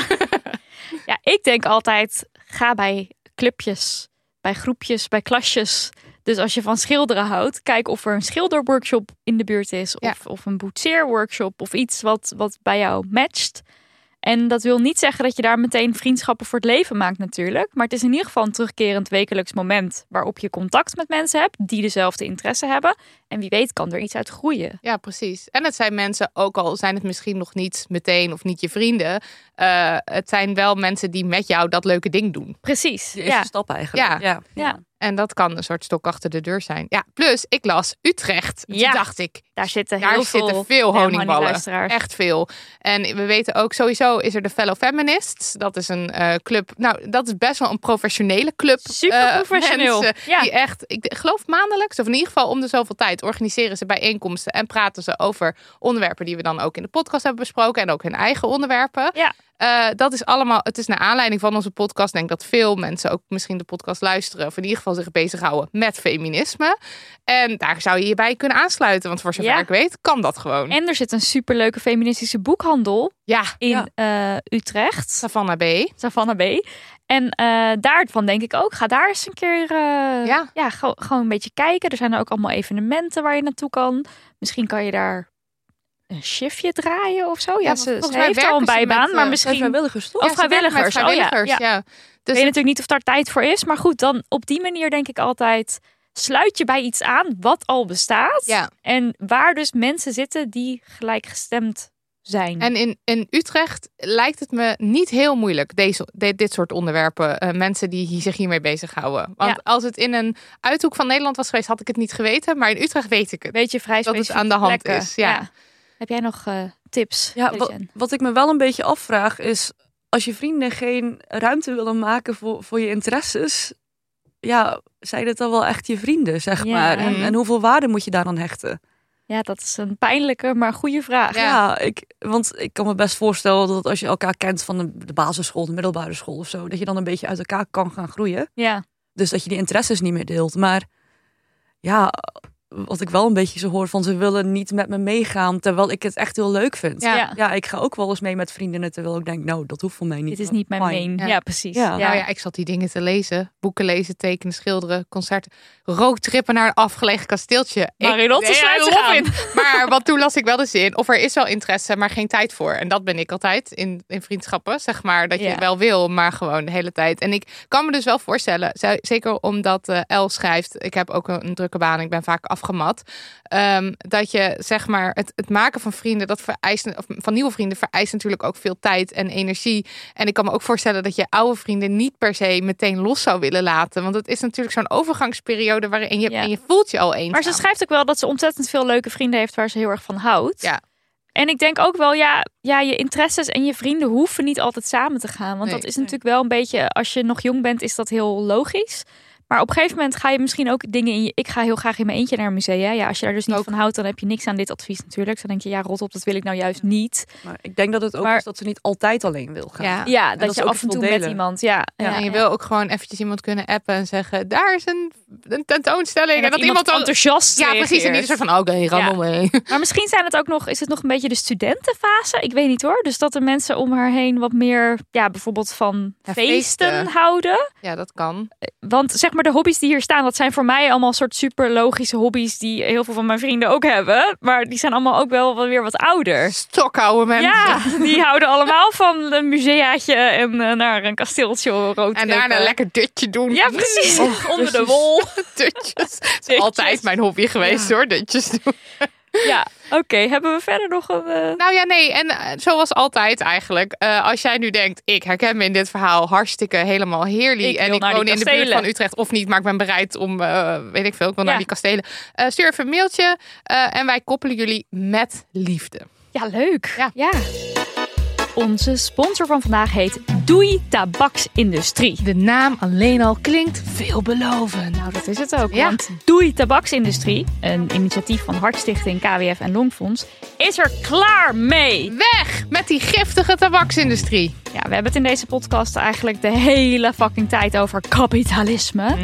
[SPEAKER 2] ja, ik denk altijd, ga bij clubjes, bij groepjes, bij klasjes. Dus als je van schilderen houdt, kijk of er een schilderworkshop in de buurt is.
[SPEAKER 3] Ja.
[SPEAKER 2] Of, of een boetseerworkshop of iets wat, wat bij jou matcht. En dat wil niet zeggen dat je daar meteen vriendschappen voor het leven maakt natuurlijk. Maar het is in ieder geval een terugkerend wekelijks moment waarop je contact met mensen hebt die dezelfde interesse hebben. En wie weet kan er iets uit groeien.
[SPEAKER 3] Ja, precies. En het zijn mensen, ook al zijn het misschien nog niet meteen of niet je vrienden, eh, het zijn wel mensen die met jou dat leuke ding doen.
[SPEAKER 2] Precies.
[SPEAKER 4] Die eerste
[SPEAKER 2] Ja.
[SPEAKER 4] stap eigenlijk.
[SPEAKER 3] Ja.
[SPEAKER 4] ja.
[SPEAKER 2] Ja.
[SPEAKER 3] En dat kan een soort stok achter de deur zijn. Ja, plus ik las Utrecht. En
[SPEAKER 2] Ja.
[SPEAKER 3] Toen dacht ik,
[SPEAKER 2] Daar zitten heel
[SPEAKER 3] daar
[SPEAKER 2] veel,
[SPEAKER 3] zitten veel honingballen.
[SPEAKER 2] luisteraars.
[SPEAKER 3] Echt veel. En we weten ook sowieso is er de Fellow Feminists. Dat is een eh, club. Nou, dat is best wel een professionele club.
[SPEAKER 2] Super professioneel.
[SPEAKER 3] Eh, mensen
[SPEAKER 2] Ja.
[SPEAKER 3] Die echt, ik geloof maandelijks, of in ieder geval om de zoveel tijd, organiseren ze bijeenkomsten en praten ze over onderwerpen die we dan ook in de podcast hebben besproken. En ook hun eigen onderwerpen.
[SPEAKER 2] Ja.
[SPEAKER 3] Eh, dat is allemaal, het is naar aanleiding van onze podcast. Ik denk dat veel mensen ook misschien de podcast luisteren. Of in ieder geval zich bezighouden met feminisme. En daar zou je je bij kunnen aansluiten. Want voor zover
[SPEAKER 2] Ja.
[SPEAKER 3] ik weet, kan dat gewoon.
[SPEAKER 2] En er zit een superleuke feministische boekhandel
[SPEAKER 3] Ja,
[SPEAKER 2] in eh, Utrecht,
[SPEAKER 3] Savannah B.
[SPEAKER 2] Savannah B. En eh, daarvan denk ik ook, ga daar eens een keer eh,
[SPEAKER 3] Ja.
[SPEAKER 2] ja, go- gewoon een beetje kijken. Er zijn er ook allemaal evenementen waar je naartoe kan. Misschien kan je daar een shiftje draaien of zo. Ja,
[SPEAKER 3] want
[SPEAKER 2] ze,
[SPEAKER 3] volgens
[SPEAKER 2] ze
[SPEAKER 3] mij
[SPEAKER 2] heeft al
[SPEAKER 3] werken
[SPEAKER 2] een
[SPEAKER 3] ze met,
[SPEAKER 2] bijbaan,
[SPEAKER 3] eh,
[SPEAKER 2] maar
[SPEAKER 4] Zijn
[SPEAKER 2] misschien...
[SPEAKER 4] vrijwilligers toch?
[SPEAKER 2] Of
[SPEAKER 3] Ja, ze werken met
[SPEAKER 2] vrijwilligers, oh ja,
[SPEAKER 3] vrijwilligers,
[SPEAKER 2] ja.
[SPEAKER 3] ja. Dus
[SPEAKER 2] Ik weet natuurlijk niet of daar tijd voor is. Maar goed, dan op die manier denk ik altijd... sluit je bij iets aan wat al bestaat.
[SPEAKER 3] Ja.
[SPEAKER 2] En waar dus mensen zitten die gelijkgestemd zijn.
[SPEAKER 3] En in, in Utrecht lijkt het me niet heel moeilijk, deze, de- dit soort onderwerpen. eh, mensen die hier- zich hiermee bezighouden. Want
[SPEAKER 2] Ja.
[SPEAKER 3] als het in een uithoek van Nederland was geweest, had ik het niet geweten. Maar in Utrecht weet ik het.
[SPEAKER 2] beetje vrij
[SPEAKER 3] Dat het
[SPEAKER 2] specifieke
[SPEAKER 3] aan de hand
[SPEAKER 2] plekken.
[SPEAKER 3] is, ja.
[SPEAKER 2] Heb jij nog eh, tips?
[SPEAKER 4] Ja, wa-
[SPEAKER 2] Lucien?
[SPEAKER 4] wat ik me wel een beetje afvraag is... als je vrienden geen ruimte willen maken voor, voor je interesses... ja, zijn het dan wel echt je vrienden, zeg
[SPEAKER 2] Ja.
[SPEAKER 4] maar? En,
[SPEAKER 3] Mhm.
[SPEAKER 4] en hoeveel waarde moet je daar dan hechten?
[SPEAKER 2] ja, dat is een pijnlijke, maar goede vraag.
[SPEAKER 3] Ja.
[SPEAKER 4] Ja, ik, want ik kan me best voorstellen dat als je elkaar kent van de, de basisschool... de middelbare school of zo... dat je dan een beetje uit elkaar kan gaan groeien.
[SPEAKER 2] Ja,
[SPEAKER 4] Dus dat je die interesses niet meer deelt. Maar ja, wat ik wel een beetje zo hoor van... ze willen niet met me meegaan, terwijl ik het echt heel leuk vind.
[SPEAKER 2] ja.
[SPEAKER 3] Ja.
[SPEAKER 4] Ja, ik ga ook wel eens mee met vriendinnen, terwijl ik denk, nou, dat hoeft voor mij niet.
[SPEAKER 2] dit is niet mijn
[SPEAKER 4] Fine.
[SPEAKER 2] main. Ja,
[SPEAKER 3] Ja.
[SPEAKER 2] precies. Ja.
[SPEAKER 4] Ja.
[SPEAKER 3] Nou ja, ik zat die dingen te lezen. Boeken lezen, tekenen, schilderen, concerten. Rooktrippen naar een afgelegen kasteeltje. Ik-
[SPEAKER 2] Marilotte
[SPEAKER 3] Nee,
[SPEAKER 2] sluit
[SPEAKER 3] I
[SPEAKER 2] zich
[SPEAKER 3] love
[SPEAKER 2] aan.
[SPEAKER 3] it. Maar wat toen las ik wel de zin. Of er is wel interesse, maar geen tijd voor. En dat ben ik altijd in, in vriendschappen. Zeg maar dat je
[SPEAKER 2] Ja.
[SPEAKER 3] het wel wil, maar gewoon de hele tijd. En ik kan me dus wel voorstellen. ze- Zeker omdat eh, El schrijft. Ik heb ook een, een drukke baan. Ik ben vaak afgemat. ehm, dat je zeg maar het, het maken van vrienden. Dat vereist, of van nieuwe vrienden vereist natuurlijk ook veel tijd en energie. En ik kan me ook voorstellen dat je oude vrienden niet per se meteen los zou willen laten. Want het is natuurlijk zo'n overgangsperiode waarin je,
[SPEAKER 2] Ja.
[SPEAKER 3] en je voelt je al eens.
[SPEAKER 2] Maar ze schrijft ook wel dat ze ontzettend veel leuke vrienden heeft waar ze heel erg van houdt.
[SPEAKER 3] Ja.
[SPEAKER 2] En ik denk ook wel, ja, ja, je interesses en je vrienden hoeven niet altijd samen te gaan. Want
[SPEAKER 3] Nee.
[SPEAKER 2] dat is natuurlijk wel een beetje, als je nog jong bent, is dat heel logisch. Maar op een gegeven moment ga je misschien ook dingen in je... Ik ga heel graag in mijn eentje naar een museum. Ja, als je daar dus niet
[SPEAKER 3] Ook.
[SPEAKER 2] van houdt, dan heb je niks aan dit advies natuurlijk. Dan denk je, ja, rot op, dat wil ik nou juist niet.
[SPEAKER 4] Maar ik denk dat het ook
[SPEAKER 2] Maar-
[SPEAKER 4] is dat ze niet altijd alleen wil gaan.
[SPEAKER 3] Ja.
[SPEAKER 2] Ja, dat,
[SPEAKER 4] dat ze
[SPEAKER 2] je
[SPEAKER 4] ook
[SPEAKER 2] af en
[SPEAKER 4] iets
[SPEAKER 2] toe
[SPEAKER 4] wil
[SPEAKER 2] met
[SPEAKER 4] delen.
[SPEAKER 2] iemand... Ja, ja,
[SPEAKER 3] en je
[SPEAKER 2] ja.
[SPEAKER 3] wil ook gewoon eventjes iemand kunnen appen en zeggen: daar is een, een tentoonstelling.
[SPEAKER 2] En dat, iemand
[SPEAKER 3] dan-
[SPEAKER 2] enthousiast
[SPEAKER 3] Ja, precies. En
[SPEAKER 2] reageert.
[SPEAKER 3] niet zo van: oké, rammel mee.
[SPEAKER 2] Maar misschien zijn het ook nog, is het nog een beetje de studentenfase? Ik weet niet hoor. Dus dat de mensen om haar heen wat meer, ja, bijvoorbeeld van
[SPEAKER 3] Ja,
[SPEAKER 2] feesten,
[SPEAKER 3] feesten.
[SPEAKER 2] houden.
[SPEAKER 3] Ja, dat kan.
[SPEAKER 2] Want zeg maar, de hobby's die hier staan, dat zijn voor mij allemaal soort super logische hobby's die heel veel van mijn vrienden ook hebben. Maar die zijn allemaal ook wel wel weer wat ouder.
[SPEAKER 3] Stokhouden mensen.
[SPEAKER 2] Ja, die houden allemaal van een museaatje en eh, naar een Eh, kasteeltje rood.
[SPEAKER 3] En daarna lekker dutje doen. Oh,
[SPEAKER 2] Ja, precies. Onder de
[SPEAKER 4] precies.
[SPEAKER 2] wol.
[SPEAKER 3] Dutjes. Dat is altijd mijn hobby geweest hoor, dutjes doen.
[SPEAKER 2] Ja, oké. Hebben we verder nog een... eh,
[SPEAKER 3] Nou ja, nee. En eh, zoals altijd eigenlijk. eh, als jij nu denkt, ik herken me in dit verhaal hartstikke helemaal heerlijk.
[SPEAKER 2] Ik
[SPEAKER 3] en
[SPEAKER 2] wil
[SPEAKER 3] ik
[SPEAKER 2] naar die
[SPEAKER 3] woon in de buurt
[SPEAKER 2] kastelen.
[SPEAKER 3] van Utrecht of niet. Maar ik ben bereid om, eh, weet ik veel, ik wil naar
[SPEAKER 2] Ja.
[SPEAKER 3] die kastelen. Eh, stuur even een mailtje. eh, en wij koppelen jullie met liefde.
[SPEAKER 2] Ja, leuk.
[SPEAKER 3] Ja.
[SPEAKER 2] Onze sponsor van vandaag heet Doei Tabaksindustrie.
[SPEAKER 3] De naam alleen al klinkt veelbelovend.
[SPEAKER 2] Nou, dat is het ook.
[SPEAKER 3] Ja.
[SPEAKER 2] Want Doei Tabaksindustrie, een initiatief van Hartstichting, KWF en Longfonds, is er klaar mee.
[SPEAKER 3] Weg met die giftige tabaksindustrie.
[SPEAKER 2] Ja, we hebben het in deze podcast eigenlijk de hele fucking tijd over kapitalisme.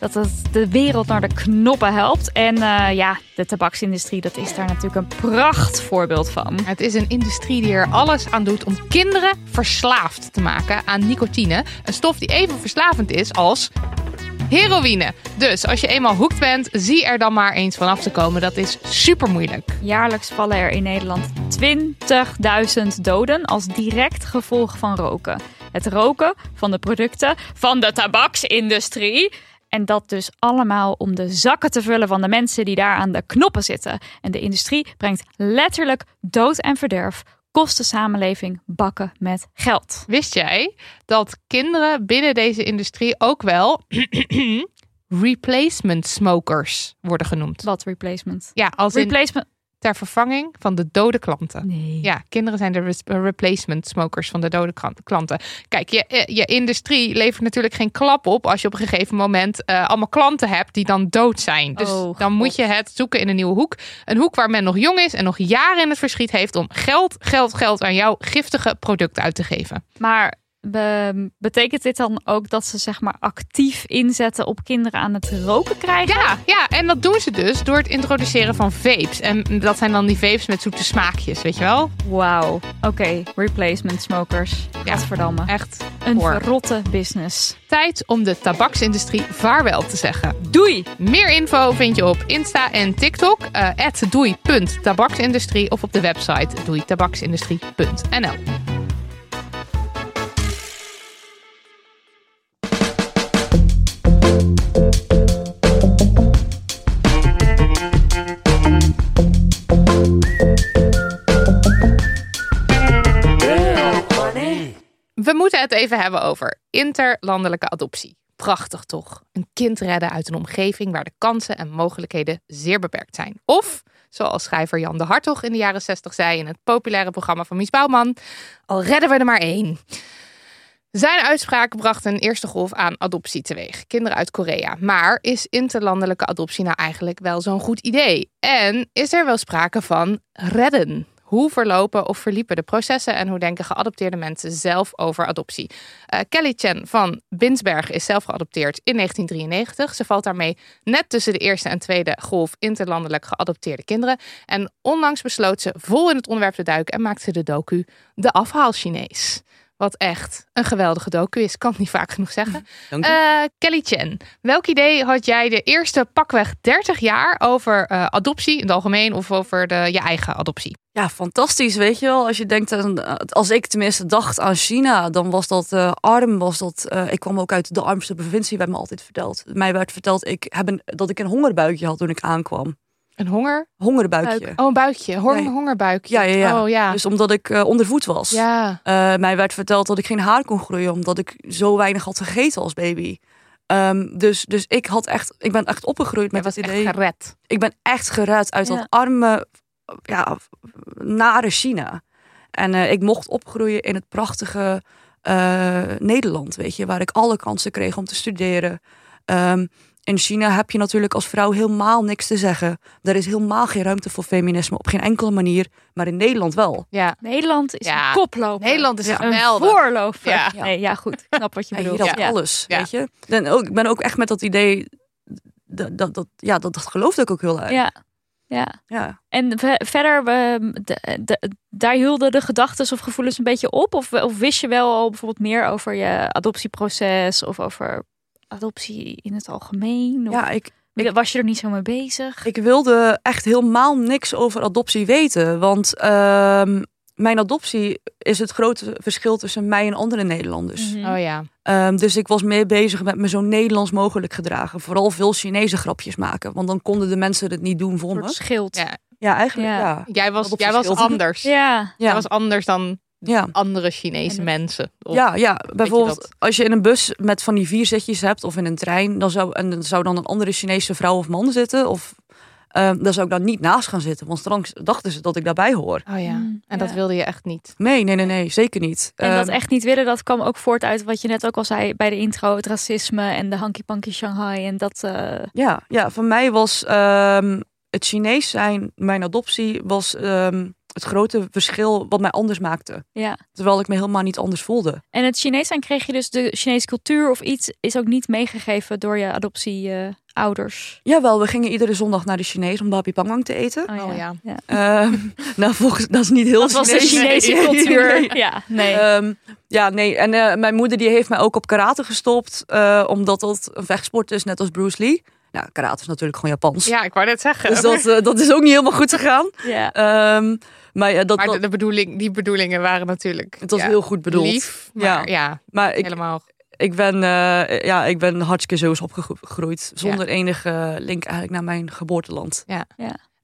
[SPEAKER 2] Dat het de wereld naar de knoppen helpt. En eh, ja, de tabaksindustrie, dat is daar natuurlijk een prachtvoorbeeld van.
[SPEAKER 3] Het is een industrie die er alles aan doet om kinderen verslaafd te maken aan nicotine. Een stof die even verslavend is als heroïne. Dus als je eenmaal hoekt bent, zie er dan maar eens vanaf te komen. Dat is super moeilijk.
[SPEAKER 2] Jaarlijks vallen er in Nederland 20.000 doden als direct gevolg van roken. Het roken van de producten van de tabaksindustrie. En dat dus allemaal om de zakken te vullen van de mensen die daar aan de knoppen zitten. En de industrie brengt letterlijk dood en verderf. Kost de samenleving bakken met geld.
[SPEAKER 3] Wist jij dat kinderen binnen deze industrie ook wel replacement smokers worden genoemd?
[SPEAKER 2] Wat replacement?
[SPEAKER 3] Ja, als in
[SPEAKER 2] Replacement?
[SPEAKER 3] ter vervanging van de dode klanten.
[SPEAKER 2] Nee.
[SPEAKER 3] Ja, kinderen zijn de res- eh, replacement smokers van de dode kran- klanten. Kijk, je, eh, je industrie levert natuurlijk geen klap op als je op een gegeven moment eh, allemaal klanten hebt die dan dood zijn. Dus
[SPEAKER 2] Oh,
[SPEAKER 3] dan moet
[SPEAKER 2] God.
[SPEAKER 3] je het zoeken in een nieuwe hoek. Een hoek waar men nog jong is en nog jaren in het verschiet heeft om geld, geld, geld aan jouw giftige product uit te geven.
[SPEAKER 2] Maar be- betekent dit dan ook dat ze zeg maar actief inzetten op kinderen aan het roken krijgen?
[SPEAKER 3] Ja, ja, en dat doen ze dus door het introduceren van vapes. En dat zijn dan die vapes met zoete smaakjes, weet je wel?
[SPEAKER 2] Wauw. Oké, replacement smokers.
[SPEAKER 3] Ja.
[SPEAKER 2] Gadverdamme.
[SPEAKER 3] Echt
[SPEAKER 2] Een
[SPEAKER 3] hoor.
[SPEAKER 2] verrotte business.
[SPEAKER 3] Tijd om de tabaksindustrie vaarwel te zeggen.
[SPEAKER 2] Doei!
[SPEAKER 3] Meer info vind je op Insta en TikTok, eh, at doei.tabaksindustrie of op de website doeitabaksindustrie.nl. We moeten het even hebben over interlandelijke adoptie. Prachtig toch? Een kind redden uit een omgeving waar de kansen en mogelijkheden zeer beperkt zijn. Of, zoals schrijver Jan de Hartog in de jaren 60 zei in het populaire programma van Mies Bouwman, al redden we er maar één. Zijn uitspraken brachten een eerste golf aan adoptie teweeg. Kinderen uit Korea. Maar is interlandelijke adoptie nou eigenlijk wel zo'n goed idee? En is er wel sprake van redden? Hoe verlopen of verliepen de processen en hoe denken geadopteerde mensen zelf over adoptie? Eh, Kelly Chen van Binsberg is zelf geadopteerd in 1993. Ze valt daarmee net tussen de eerste en tweede golf interlandelijk geadopteerde kinderen. En onlangs besloot ze vol in het onderwerp te duiken en maakte de docu De Afhaal Chinees. Wat echt een geweldige docu is, kan ik niet vaak genoeg zeggen.
[SPEAKER 4] Dank je.
[SPEAKER 3] Eh, Kelly Chen, welk idee had jij de eerste pakweg 30 jaar over eh, adoptie in het algemeen of over de, je eigen adoptie?
[SPEAKER 4] Ja, fantastisch, weet je wel. Als je denkt, aan, eh, als ik tenminste dacht aan China, dan was dat eh, arm, was dat... eh, ik kwam ook uit de armste provincie, werd me altijd verteld. Mij werd verteld ik heb een, dat ik een hongerbuikje had toen ik aankwam.
[SPEAKER 3] Een honger?
[SPEAKER 4] Hongerbuikje.
[SPEAKER 3] Oh, een buikje. Honger,
[SPEAKER 4] Nee.
[SPEAKER 3] Hongerbuikje.
[SPEAKER 4] Ja, ja, ja.
[SPEAKER 3] Oh ja.
[SPEAKER 4] Dus omdat ik eh, ondervoed was.
[SPEAKER 3] ja.
[SPEAKER 4] Eh, mij werd verteld dat ik geen haar kon groeien omdat ik zo weinig had gegeten als baby. Ehm, dus, dus ik had echt, ik ben echt opgegroeid met
[SPEAKER 3] Jij was
[SPEAKER 4] het
[SPEAKER 3] echt
[SPEAKER 4] idee.
[SPEAKER 3] gered.
[SPEAKER 4] ik ben echt gered uit
[SPEAKER 2] Ja.
[SPEAKER 4] dat arme, ja, nare China. En eh, ik mocht opgroeien in het prachtige eh, Nederland, weet je, waar ik alle kansen kreeg om te studeren. Ehm, in China heb je natuurlijk als vrouw helemaal niks te zeggen. Er is helemaal geen ruimte voor feminisme op geen enkele manier, maar in Nederland wel.
[SPEAKER 3] Ja.
[SPEAKER 2] Nederland is
[SPEAKER 3] Ja.
[SPEAKER 2] een koploper.
[SPEAKER 3] Nederland is
[SPEAKER 4] Ja.
[SPEAKER 2] een
[SPEAKER 3] geweldig.
[SPEAKER 2] voorloper.
[SPEAKER 3] Ja.
[SPEAKER 2] Nee, ja, goed. Ik Snap wat je
[SPEAKER 4] Ja, hier
[SPEAKER 2] bedoelt.
[SPEAKER 4] had
[SPEAKER 2] Ja.
[SPEAKER 4] alles,
[SPEAKER 3] Ja.
[SPEAKER 4] weet je. En ook, ik ben ook echt met dat idee, dat, dat, dat, ja, dat, dat geloofde ik ook heel erg.
[SPEAKER 2] Ja. ja.
[SPEAKER 4] Ja.
[SPEAKER 2] En ve- verder, we- de- de- daar hielden de gedachten of gevoelens een beetje op? Of, of wist je wel al bijvoorbeeld meer over je adoptieproces of over adoptie in het algemeen? Of
[SPEAKER 4] Ja, ik,
[SPEAKER 2] was je er niet zo mee bezig?
[SPEAKER 4] Ik wilde echt helemaal niks over adoptie weten. Want ehm, mijn adoptie is het grote verschil tussen mij en andere Nederlanders.
[SPEAKER 2] Mhm.
[SPEAKER 3] Oh ja.
[SPEAKER 4] Ehm, dus ik was meer bezig met me zo Nederlands mogelijk gedragen. Vooral veel Chinese grapjes maken. Want dan konden de mensen het niet doen voor
[SPEAKER 2] Een soort
[SPEAKER 4] me.
[SPEAKER 2] schild.
[SPEAKER 3] Oh Ja.
[SPEAKER 2] Ja.
[SPEAKER 4] Ja, eigenlijk
[SPEAKER 2] Ja.
[SPEAKER 4] ja.
[SPEAKER 3] Jij was,
[SPEAKER 4] Wat op
[SPEAKER 3] jij was
[SPEAKER 4] verschil.
[SPEAKER 3] anders.
[SPEAKER 2] Ja.
[SPEAKER 4] Ja,
[SPEAKER 3] Jij was anders dan
[SPEAKER 4] ja.
[SPEAKER 3] andere Chinese
[SPEAKER 2] En-
[SPEAKER 3] mensen. Of-
[SPEAKER 4] Ja, ja, bijvoorbeeld
[SPEAKER 3] dat?
[SPEAKER 4] als je in een bus met van die vier zitjes hebt of in een trein, dan zou, en dan zou dan een andere Chinese vrouw of man zitten. Of ehm daar zou ik dan niet naast gaan zitten, want straks dachten ze dat ik daarbij hoor.
[SPEAKER 3] Oh ja.
[SPEAKER 2] Mm,
[SPEAKER 3] En dat
[SPEAKER 2] ja.
[SPEAKER 3] wilde je echt niet.
[SPEAKER 4] Nee, nee, nee, nee, zeker niet.
[SPEAKER 2] En dat
[SPEAKER 4] Ehm,
[SPEAKER 2] echt niet willen, dat kwam ook voort uit wat je net ook al zei bij de intro. Het racisme en de hanky-panky Shanghai en dat... eh,
[SPEAKER 4] Ja, ja voor mij was ehm, het Chinees zijn, mijn adoptie, was ehm, het grote verschil wat mij anders maakte.
[SPEAKER 2] ja.
[SPEAKER 4] Terwijl ik me helemaal niet anders voelde.
[SPEAKER 2] En het Chinees zijn kreeg je dus de Chinese cultuur of iets is ook niet meegegeven door je eh, adoptieouders.
[SPEAKER 4] Jawel, we gingen iedere zondag naar de Chinees om babi pangwang te eten.
[SPEAKER 2] oh,
[SPEAKER 3] Oh ja.
[SPEAKER 2] ja.
[SPEAKER 4] Ehm, nou, volgens dat is niet heel
[SPEAKER 2] Dat was de
[SPEAKER 4] Chinees.
[SPEAKER 2] Chinese cultuur. Ja, nee.
[SPEAKER 4] Ehm, ja, nee. En eh, mijn moeder die heeft mij ook op karate gestopt. eh, omdat dat een vechtsport is, net als Bruce Lee. Nou, karate is natuurlijk gewoon Japans.
[SPEAKER 3] Ja, ik wou net zeggen.
[SPEAKER 4] Dus dat, eh, dat is ook niet helemaal goed gegaan.
[SPEAKER 2] Ja.
[SPEAKER 4] Ehm, maar ja, dat,
[SPEAKER 3] maar
[SPEAKER 4] dat-
[SPEAKER 3] de, de bedoeling, die bedoelingen waren natuurlijk...
[SPEAKER 4] het was
[SPEAKER 3] ja,
[SPEAKER 4] heel goed bedoeld.
[SPEAKER 3] Lief, maar ja,
[SPEAKER 4] Maar ik,
[SPEAKER 3] helemaal.
[SPEAKER 4] ik, ben, eh, ja, ik ben hartstikke zo is opgegroeid. Zonder enige link eigenlijk naar mijn geboorteland.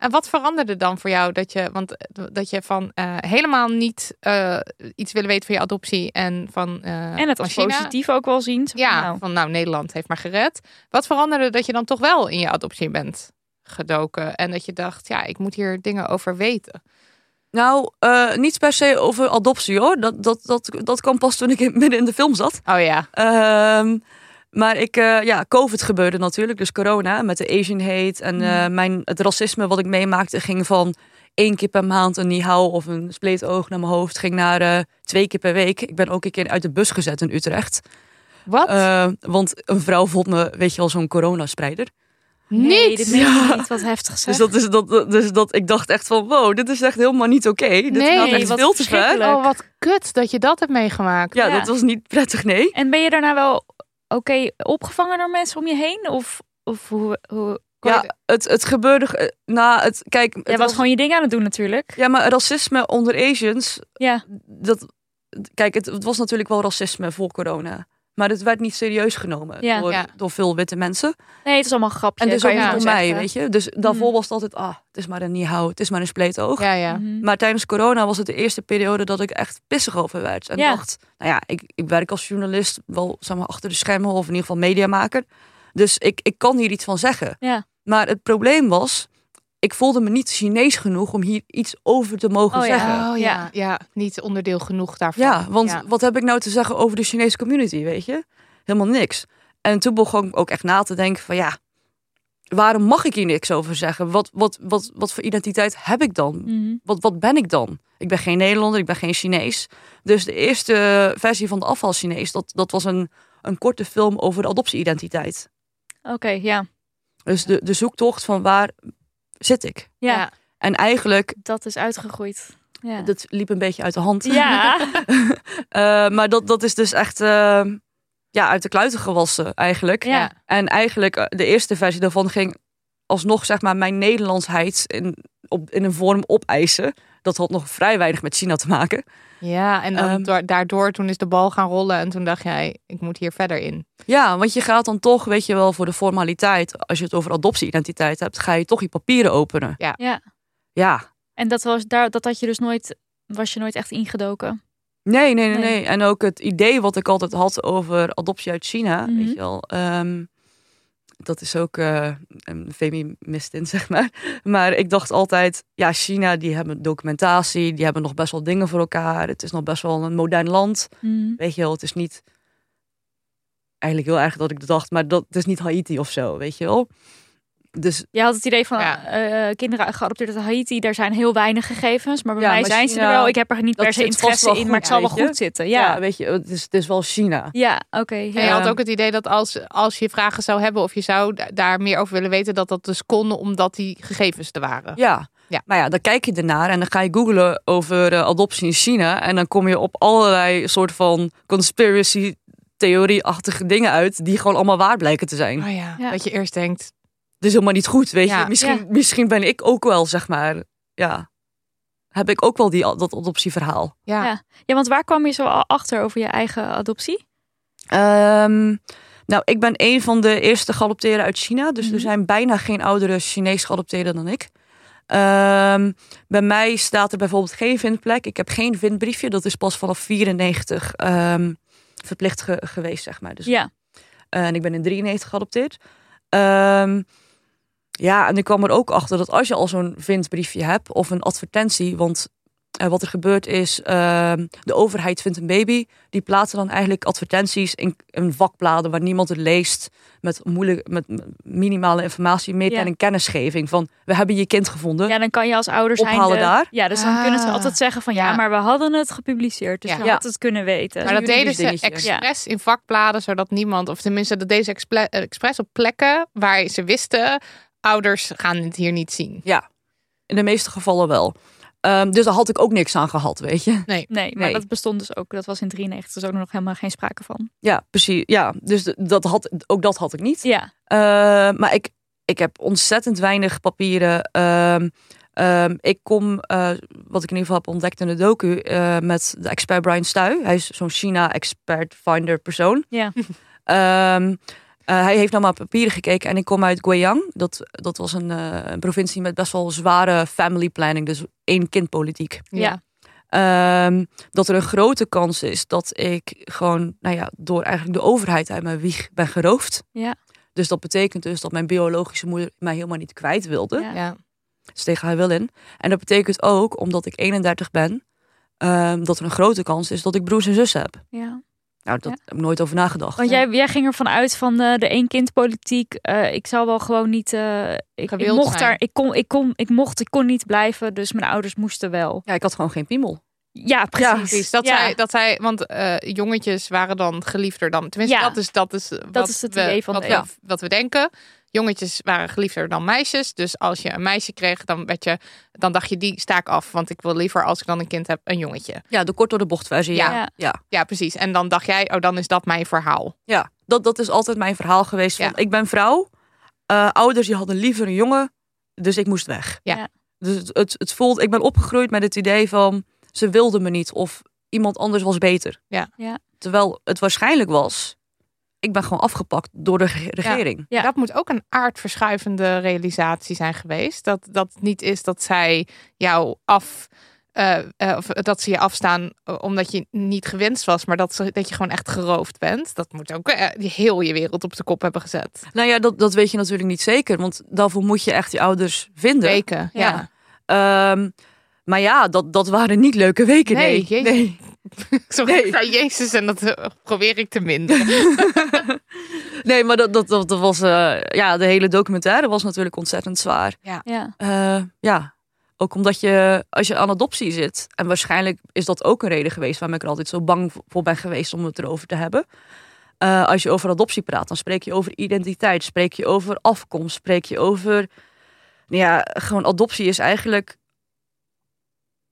[SPEAKER 3] En wat veranderde dan voor jou dat je, want eh, dat je van eh, helemaal niet eh, iets willen weten van je adoptie en van eh,
[SPEAKER 2] En het
[SPEAKER 3] van
[SPEAKER 2] als
[SPEAKER 3] China?
[SPEAKER 2] positief ook wel zien. Zo van,
[SPEAKER 3] Ja,
[SPEAKER 2] nou,
[SPEAKER 3] van nou Nederland heeft maar gered. Wat veranderde dat je dan toch wel in je adoptie bent gedoken en dat je dacht, ja, ik moet hier dingen over weten.
[SPEAKER 4] Nou, eh, niet per se over adoptie hoor. Dat, dat, dat, dat kwam pas toen ik in- midden in de film zat.
[SPEAKER 3] Oh ja,
[SPEAKER 4] Ehm, maar ik, eh, ja, COVID gebeurde natuurlijk, dus corona met de Asian hate
[SPEAKER 2] Mm.
[SPEAKER 4] en eh, mijn, het racisme wat ik meemaakte ging van één keer per maand een nihau of een spleetoog naar mijn hoofd, ging naar eh, twee keer per week. Ik ben ook een keer uit de bus gezet in Utrecht,
[SPEAKER 3] wat?
[SPEAKER 4] Eh, want een vrouw vond me, weet je wel, zo'n coronaspreader.
[SPEAKER 2] nee,
[SPEAKER 3] niet.
[SPEAKER 2] dit meen ik niet wat heftig zeg.
[SPEAKER 4] Dus dat is dat, dat- dus dat ik dacht echt van, wow, dit is echt helemaal niet oké. Dit
[SPEAKER 3] Nee,
[SPEAKER 4] gaat echt
[SPEAKER 2] wat
[SPEAKER 4] veel te ver.
[SPEAKER 2] verschrikkelijk.
[SPEAKER 3] Oh, wat kut dat je dat hebt meegemaakt.
[SPEAKER 4] Ja,
[SPEAKER 2] Ja.
[SPEAKER 4] dat was niet prettig, nee.
[SPEAKER 2] En ben je daarna wel oké opgevangen door mensen om je heen? Of, of hoe, hoe...
[SPEAKER 4] Ja, het, het gebeurde, eh, na het, kijk, het
[SPEAKER 2] Jij was gewoon je ding aan het doen natuurlijk.
[SPEAKER 4] Ja, maar racisme onder Asians,
[SPEAKER 2] Ja.
[SPEAKER 4] dat, kijk, het, het was natuurlijk wel racisme voor corona. Maar het werd niet serieus genomen
[SPEAKER 2] Ja.
[SPEAKER 4] door,
[SPEAKER 3] Ja.
[SPEAKER 4] door veel witte mensen.
[SPEAKER 2] Nee, het is allemaal grapje.
[SPEAKER 4] en dus
[SPEAKER 2] kan
[SPEAKER 4] ook
[SPEAKER 2] je
[SPEAKER 4] niet
[SPEAKER 3] wel
[SPEAKER 4] voor
[SPEAKER 2] gewoon
[SPEAKER 4] mij,
[SPEAKER 2] zeggen.
[SPEAKER 4] weet je. Dus
[SPEAKER 2] Mhm.
[SPEAKER 4] daarvoor was het altijd, ah, het is maar een nihau, het is maar een spleetoog.
[SPEAKER 3] ja, ja.
[SPEAKER 2] Mhm.
[SPEAKER 4] Maar tijdens corona was het de eerste periode dat ik echt pissig over werd. En
[SPEAKER 2] Ja.
[SPEAKER 4] dacht, nou ja, ik, ik werk als journalist, wel zeg maar, achter de schermen of in ieder geval mediamaker. Dus ik, ik kan hier iets van zeggen.
[SPEAKER 2] Ja.
[SPEAKER 4] Maar het probleem was, ik voelde me niet Chinees genoeg om hier iets over te mogen
[SPEAKER 2] Oh ja.
[SPEAKER 4] zeggen.
[SPEAKER 3] Oh ja. ja,
[SPEAKER 2] Ja.
[SPEAKER 3] niet onderdeel genoeg daarvan.
[SPEAKER 4] Ja, want
[SPEAKER 3] Ja.
[SPEAKER 4] wat heb ik nou te zeggen over de Chinese community, weet je? Helemaal niks. En toen begon ik ook echt na te denken van ja, waarom mag ik hier niks over zeggen? Wat, wat, wat, wat voor identiteit heb ik dan?
[SPEAKER 2] Mhm.
[SPEAKER 4] Wat, wat ben ik dan? Ik ben geen Nederlander, ik ben geen Chinees. Dus de eerste versie van de afval Chinees, dat, dat was een, een korte film over de adoptieidentiteit.
[SPEAKER 2] Oké, ja.
[SPEAKER 4] Dus de, de zoektocht van waar zit ik?
[SPEAKER 2] ja.
[SPEAKER 3] Ja.
[SPEAKER 4] En eigenlijk,
[SPEAKER 2] dat is uitgegroeid. Ja.
[SPEAKER 4] dat liep een beetje uit de hand.
[SPEAKER 2] ja.
[SPEAKER 4] Eh, maar dat, dat is dus echt eh, ja, uit de kluiten gewassen eigenlijk.
[SPEAKER 2] Ja.
[SPEAKER 4] En eigenlijk eh, de eerste versie daarvan ging alsnog zeg maar mijn Nederlandsheid in, op, in een vorm opeisen. Dat had nog vrij weinig met China te maken.
[SPEAKER 3] Ja, en dan
[SPEAKER 4] Ehm.
[SPEAKER 3] door- daardoor toen is de bal gaan rollen en toen dacht jij, ik moet hier verder in.
[SPEAKER 4] Ja, want je gaat dan toch, weet je wel, voor de formaliteit. Als je het over adoptieidentiteit hebt, ga je toch je papieren openen.
[SPEAKER 2] ja.
[SPEAKER 4] Ja.
[SPEAKER 2] En dat, was, daar, dat had je dus nooit, was je nooit echt ingedoken.
[SPEAKER 4] Nee, nee, nee,
[SPEAKER 2] Nee.
[SPEAKER 4] nee. En ook het idee wat ik altijd had over adoptie uit China,
[SPEAKER 2] Mhm.
[SPEAKER 4] weet je wel. ehm, dat is ook eh, een feminist in, zeg maar. Maar ik dacht altijd, ja, China, die hebben documentatie, die hebben nog best wel dingen voor elkaar. Het is nog best wel een modern land.
[SPEAKER 2] Mhm.
[SPEAKER 4] Weet je wel, het is niet eigenlijk heel erg dat ik dacht, maar dat het is niet Haiti of zo, weet je wel. Dus
[SPEAKER 2] Je had het idee van
[SPEAKER 3] Ja.
[SPEAKER 2] eh, kinderen geadopteerd uit Haiti, daar zijn heel weinig gegevens. Maar bij
[SPEAKER 4] Ja,
[SPEAKER 2] mij
[SPEAKER 4] maar
[SPEAKER 2] zijn ze er
[SPEAKER 4] ja,
[SPEAKER 2] wel. Ik heb er niet
[SPEAKER 4] dat
[SPEAKER 2] per se
[SPEAKER 4] zit vast
[SPEAKER 2] interesse
[SPEAKER 4] wel
[SPEAKER 2] in,
[SPEAKER 4] goed,
[SPEAKER 2] maar het zal wel
[SPEAKER 4] weet je.
[SPEAKER 2] goed zitten.
[SPEAKER 4] ja,
[SPEAKER 2] Ja,
[SPEAKER 4] weet je, het is, het is wel China.
[SPEAKER 2] ja oké.
[SPEAKER 3] En je
[SPEAKER 2] ja.
[SPEAKER 3] had ook het idee dat als, als je vragen zou hebben of je zou da- daar meer over willen weten, dat dat dus kon omdat die gegevens er waren.
[SPEAKER 4] Ja.
[SPEAKER 3] Ja.
[SPEAKER 4] Maar ja, dan kijk je ernaar en dan ga je googlen over eh, adoptie in China. En dan kom je op allerlei soort van conspiracy theorie-achtige dingen uit die gewoon allemaal waar blijken te zijn.
[SPEAKER 3] Oh ja,
[SPEAKER 2] Ja.
[SPEAKER 3] dat je eerst denkt.
[SPEAKER 4] Dus helemaal niet goed, weet
[SPEAKER 3] Ja.
[SPEAKER 4] je. Misschien,
[SPEAKER 2] Ja.
[SPEAKER 4] misschien ben ik ook wel, zeg maar, ja, heb ik ook wel die, dat adoptieverhaal.
[SPEAKER 3] Ja,
[SPEAKER 2] Ja. Ja, want waar kwam je zo al achter over je eigen adoptie?
[SPEAKER 4] Ehm, nou, ik ben een van de eerste geadopteerden uit China. Dus
[SPEAKER 2] Mhm.
[SPEAKER 4] er zijn bijna geen oudere Chinees geadopteerden dan ik. Ehm, bij mij staat er bijvoorbeeld geen vindplek. Ik heb geen vindbriefje. Dat is pas vanaf 94 ehm, verplicht ge- geweest, zeg maar. Dus,
[SPEAKER 2] Ja,
[SPEAKER 4] eh, en ik ben in 93 geadopteerd. Ehm, ja, en ik kwam er ook achter dat als je al zo'n vindbriefje hebt of een advertentie, want eh, wat er gebeurt is, ehm, de overheid vindt een baby, die plaatsen dan eigenlijk advertenties in, in vakbladen waar niemand het leest, met, moeilijk, met m- minimale informatie, meer
[SPEAKER 2] Ja.
[SPEAKER 4] dan een kennisgeving van we hebben je kind gevonden.
[SPEAKER 2] ja dan kan je als ouder zijn.
[SPEAKER 4] Ophalen daar?
[SPEAKER 2] Ja, dus dan kunnen ze
[SPEAKER 3] Ah.
[SPEAKER 2] altijd zeggen van ja,
[SPEAKER 3] Ja.
[SPEAKER 2] maar we hadden het gepubliceerd. Dus
[SPEAKER 3] Ja.
[SPEAKER 2] we
[SPEAKER 4] Ja.
[SPEAKER 2] hadden het kunnen weten. dus-
[SPEAKER 3] maar dat deden
[SPEAKER 4] juridisch
[SPEAKER 3] ze
[SPEAKER 4] dingetje.
[SPEAKER 3] expres in vakbladen, zodat niemand, of tenminste dat deze exple- eh, expres op plekken waar ze wisten, ouders gaan het hier niet zien.
[SPEAKER 4] In de meeste gevallen wel. Ehm, dus daar had ik ook niks aan gehad, weet je.
[SPEAKER 2] Nee, maar
[SPEAKER 4] Nee.
[SPEAKER 2] dat bestond dus ook. Dat was in 93 dus ook nog helemaal geen sprake van.
[SPEAKER 4] Ja, precies. Ja, dus d- dat had, ook dat had ik niet.
[SPEAKER 2] Ja,
[SPEAKER 4] Eh, maar ik, ik heb ontzettend weinig papieren. Ehm, ehm, ik kom, eh, wat ik in ieder geval heb ontdekt in de docu, eh, met de expert Brian Stuy. Hij is zo'n China-expert finder persoon.
[SPEAKER 2] Ja.
[SPEAKER 4] Ehm, eh, hij heeft naar mijn papieren gekeken en ik kom uit Guiyang. Dat, dat was een, eh, een provincie met best wel zware family planning, dus één kindpolitiek.
[SPEAKER 2] ja,
[SPEAKER 4] Ehm, dat er een grote kans is dat ik gewoon, nou ja, door eigenlijk de overheid uit mijn wieg ben geroofd.
[SPEAKER 2] Ja.
[SPEAKER 4] Dus dat betekent dus dat mijn biologische moeder mij helemaal niet kwijt wilde.
[SPEAKER 2] ja.
[SPEAKER 3] ja.
[SPEAKER 4] Dus tegen haar wil in. En dat betekent ook, omdat ik 31 ben, ehm, dat er een grote kans is dat ik broers en zussen heb.
[SPEAKER 2] ja.
[SPEAKER 4] Nou, dat
[SPEAKER 2] Ja.
[SPEAKER 4] heb ik nooit over nagedacht.
[SPEAKER 2] Want jij, jij ging ervan uit van eh, de één-kind-politiek. eh, ik zal wel gewoon niet. eh, ik, ik
[SPEAKER 3] Gewild
[SPEAKER 2] mocht
[SPEAKER 3] zijn.
[SPEAKER 2] daar. Ik kon, ik kon, ik mocht, ik kon niet blijven. Dus mijn ouders moesten wel.
[SPEAKER 4] Ja, ik had gewoon geen piemel.
[SPEAKER 2] Ja, precies.
[SPEAKER 3] Precies, dat,
[SPEAKER 2] Ja,
[SPEAKER 3] zij, dat zij, want eh, jongetjes waren dan geliefder dan, tenminste
[SPEAKER 2] Ja.
[SPEAKER 3] dat is, dat is, wat,
[SPEAKER 2] is het
[SPEAKER 3] we,
[SPEAKER 2] idee van
[SPEAKER 3] wat,
[SPEAKER 2] de
[SPEAKER 3] we,
[SPEAKER 2] eeuw.
[SPEAKER 3] wat we denken. Jongetjes waren geliefder dan meisjes, dus als je een meisje kreeg, dan, werd je, dan dacht je die staak af, want ik wil liever als ik dan een kind heb, een jongetje.
[SPEAKER 4] Ja, de kort door de bocht versie.
[SPEAKER 3] Ja.
[SPEAKER 2] Ja.
[SPEAKER 4] ja. ja.
[SPEAKER 3] Ja, precies. En dan dacht jij, oh dan is dat mijn verhaal.
[SPEAKER 4] Ja, dat, dat is altijd mijn verhaal geweest. Van,
[SPEAKER 3] Ja.
[SPEAKER 4] Ik ben vrouw. eh, ouders die hadden liever een jongen. Dus ik moest weg.
[SPEAKER 3] Ja.
[SPEAKER 2] Ja.
[SPEAKER 4] Dus het, het, het voelt, ik ben opgegroeid met het idee van ze wilden me niet. Of iemand anders was beter.
[SPEAKER 3] Ja.
[SPEAKER 2] Ja.
[SPEAKER 4] Terwijl het waarschijnlijk was, ik ben gewoon afgepakt door de reg- regering.
[SPEAKER 2] Ja.
[SPEAKER 3] Dat moet ook een aardverschuivende realisatie zijn geweest. Dat dat niet is dat zij jou af. eh, eh, of dat ze je afstaan eh, omdat je niet gewenst was, maar dat, ze, dat je gewoon echt geroofd bent. Dat moet ook eh, die heel je wereld op de kop hebben gezet.
[SPEAKER 4] Nou ja, dat, dat weet je natuurlijk niet zeker. Want daarvoor moet je echt je ouders vinden.
[SPEAKER 3] Weken, ja.
[SPEAKER 2] Ja.
[SPEAKER 4] Ehm, maar ja, dat, dat waren niet leuke weken.
[SPEAKER 3] Nee,
[SPEAKER 4] Nee,
[SPEAKER 3] jezus. Sorry, ik zei Jezus en dat eh, probeer ik te minderen.
[SPEAKER 4] Nee, maar dat, dat, dat, dat was. eh, ja, de hele documentaire was natuurlijk ontzettend zwaar.
[SPEAKER 2] ja.
[SPEAKER 4] Eh, ja, ook omdat je, als je aan adoptie zit, en waarschijnlijk is dat ook een reden geweest waarom ik er altijd zo bang voor ben geweest om het erover te hebben. Eh, als je over adoptie praat, dan spreek je over identiteit, spreek je over afkomst, spreek je over. Nou ja, gewoon adoptie is eigenlijk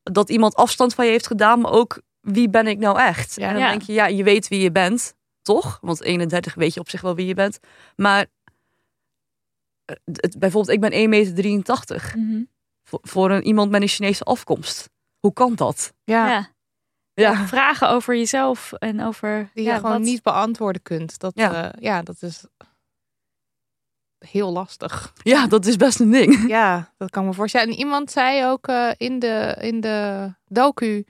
[SPEAKER 4] dat iemand afstand van je heeft gedaan, maar ook wie ben ik nou echt?
[SPEAKER 3] Ja.
[SPEAKER 4] En dan
[SPEAKER 2] Ja.
[SPEAKER 4] denk je, ja, je weet wie je bent, toch? Want 31 weet je op zich wel wie je bent. Maar eh, het, bijvoorbeeld, ik ben 1,83 meter
[SPEAKER 2] Mhm.
[SPEAKER 4] voor, voor een, iemand met een Chinese afkomst. Hoe kan dat?
[SPEAKER 2] ja.
[SPEAKER 4] Ja,
[SPEAKER 2] Vragen over jezelf en over.
[SPEAKER 3] Die
[SPEAKER 2] ja,
[SPEAKER 3] je gewoon
[SPEAKER 2] wat-
[SPEAKER 3] niet beantwoorden kunt. Dat, ja.
[SPEAKER 4] Ja.
[SPEAKER 3] ja, dat is heel lastig.
[SPEAKER 4] ja dat is best een ding.
[SPEAKER 3] Ja, dat kan ik me voorstellen. En iemand zei ook eh, in, de, in de docu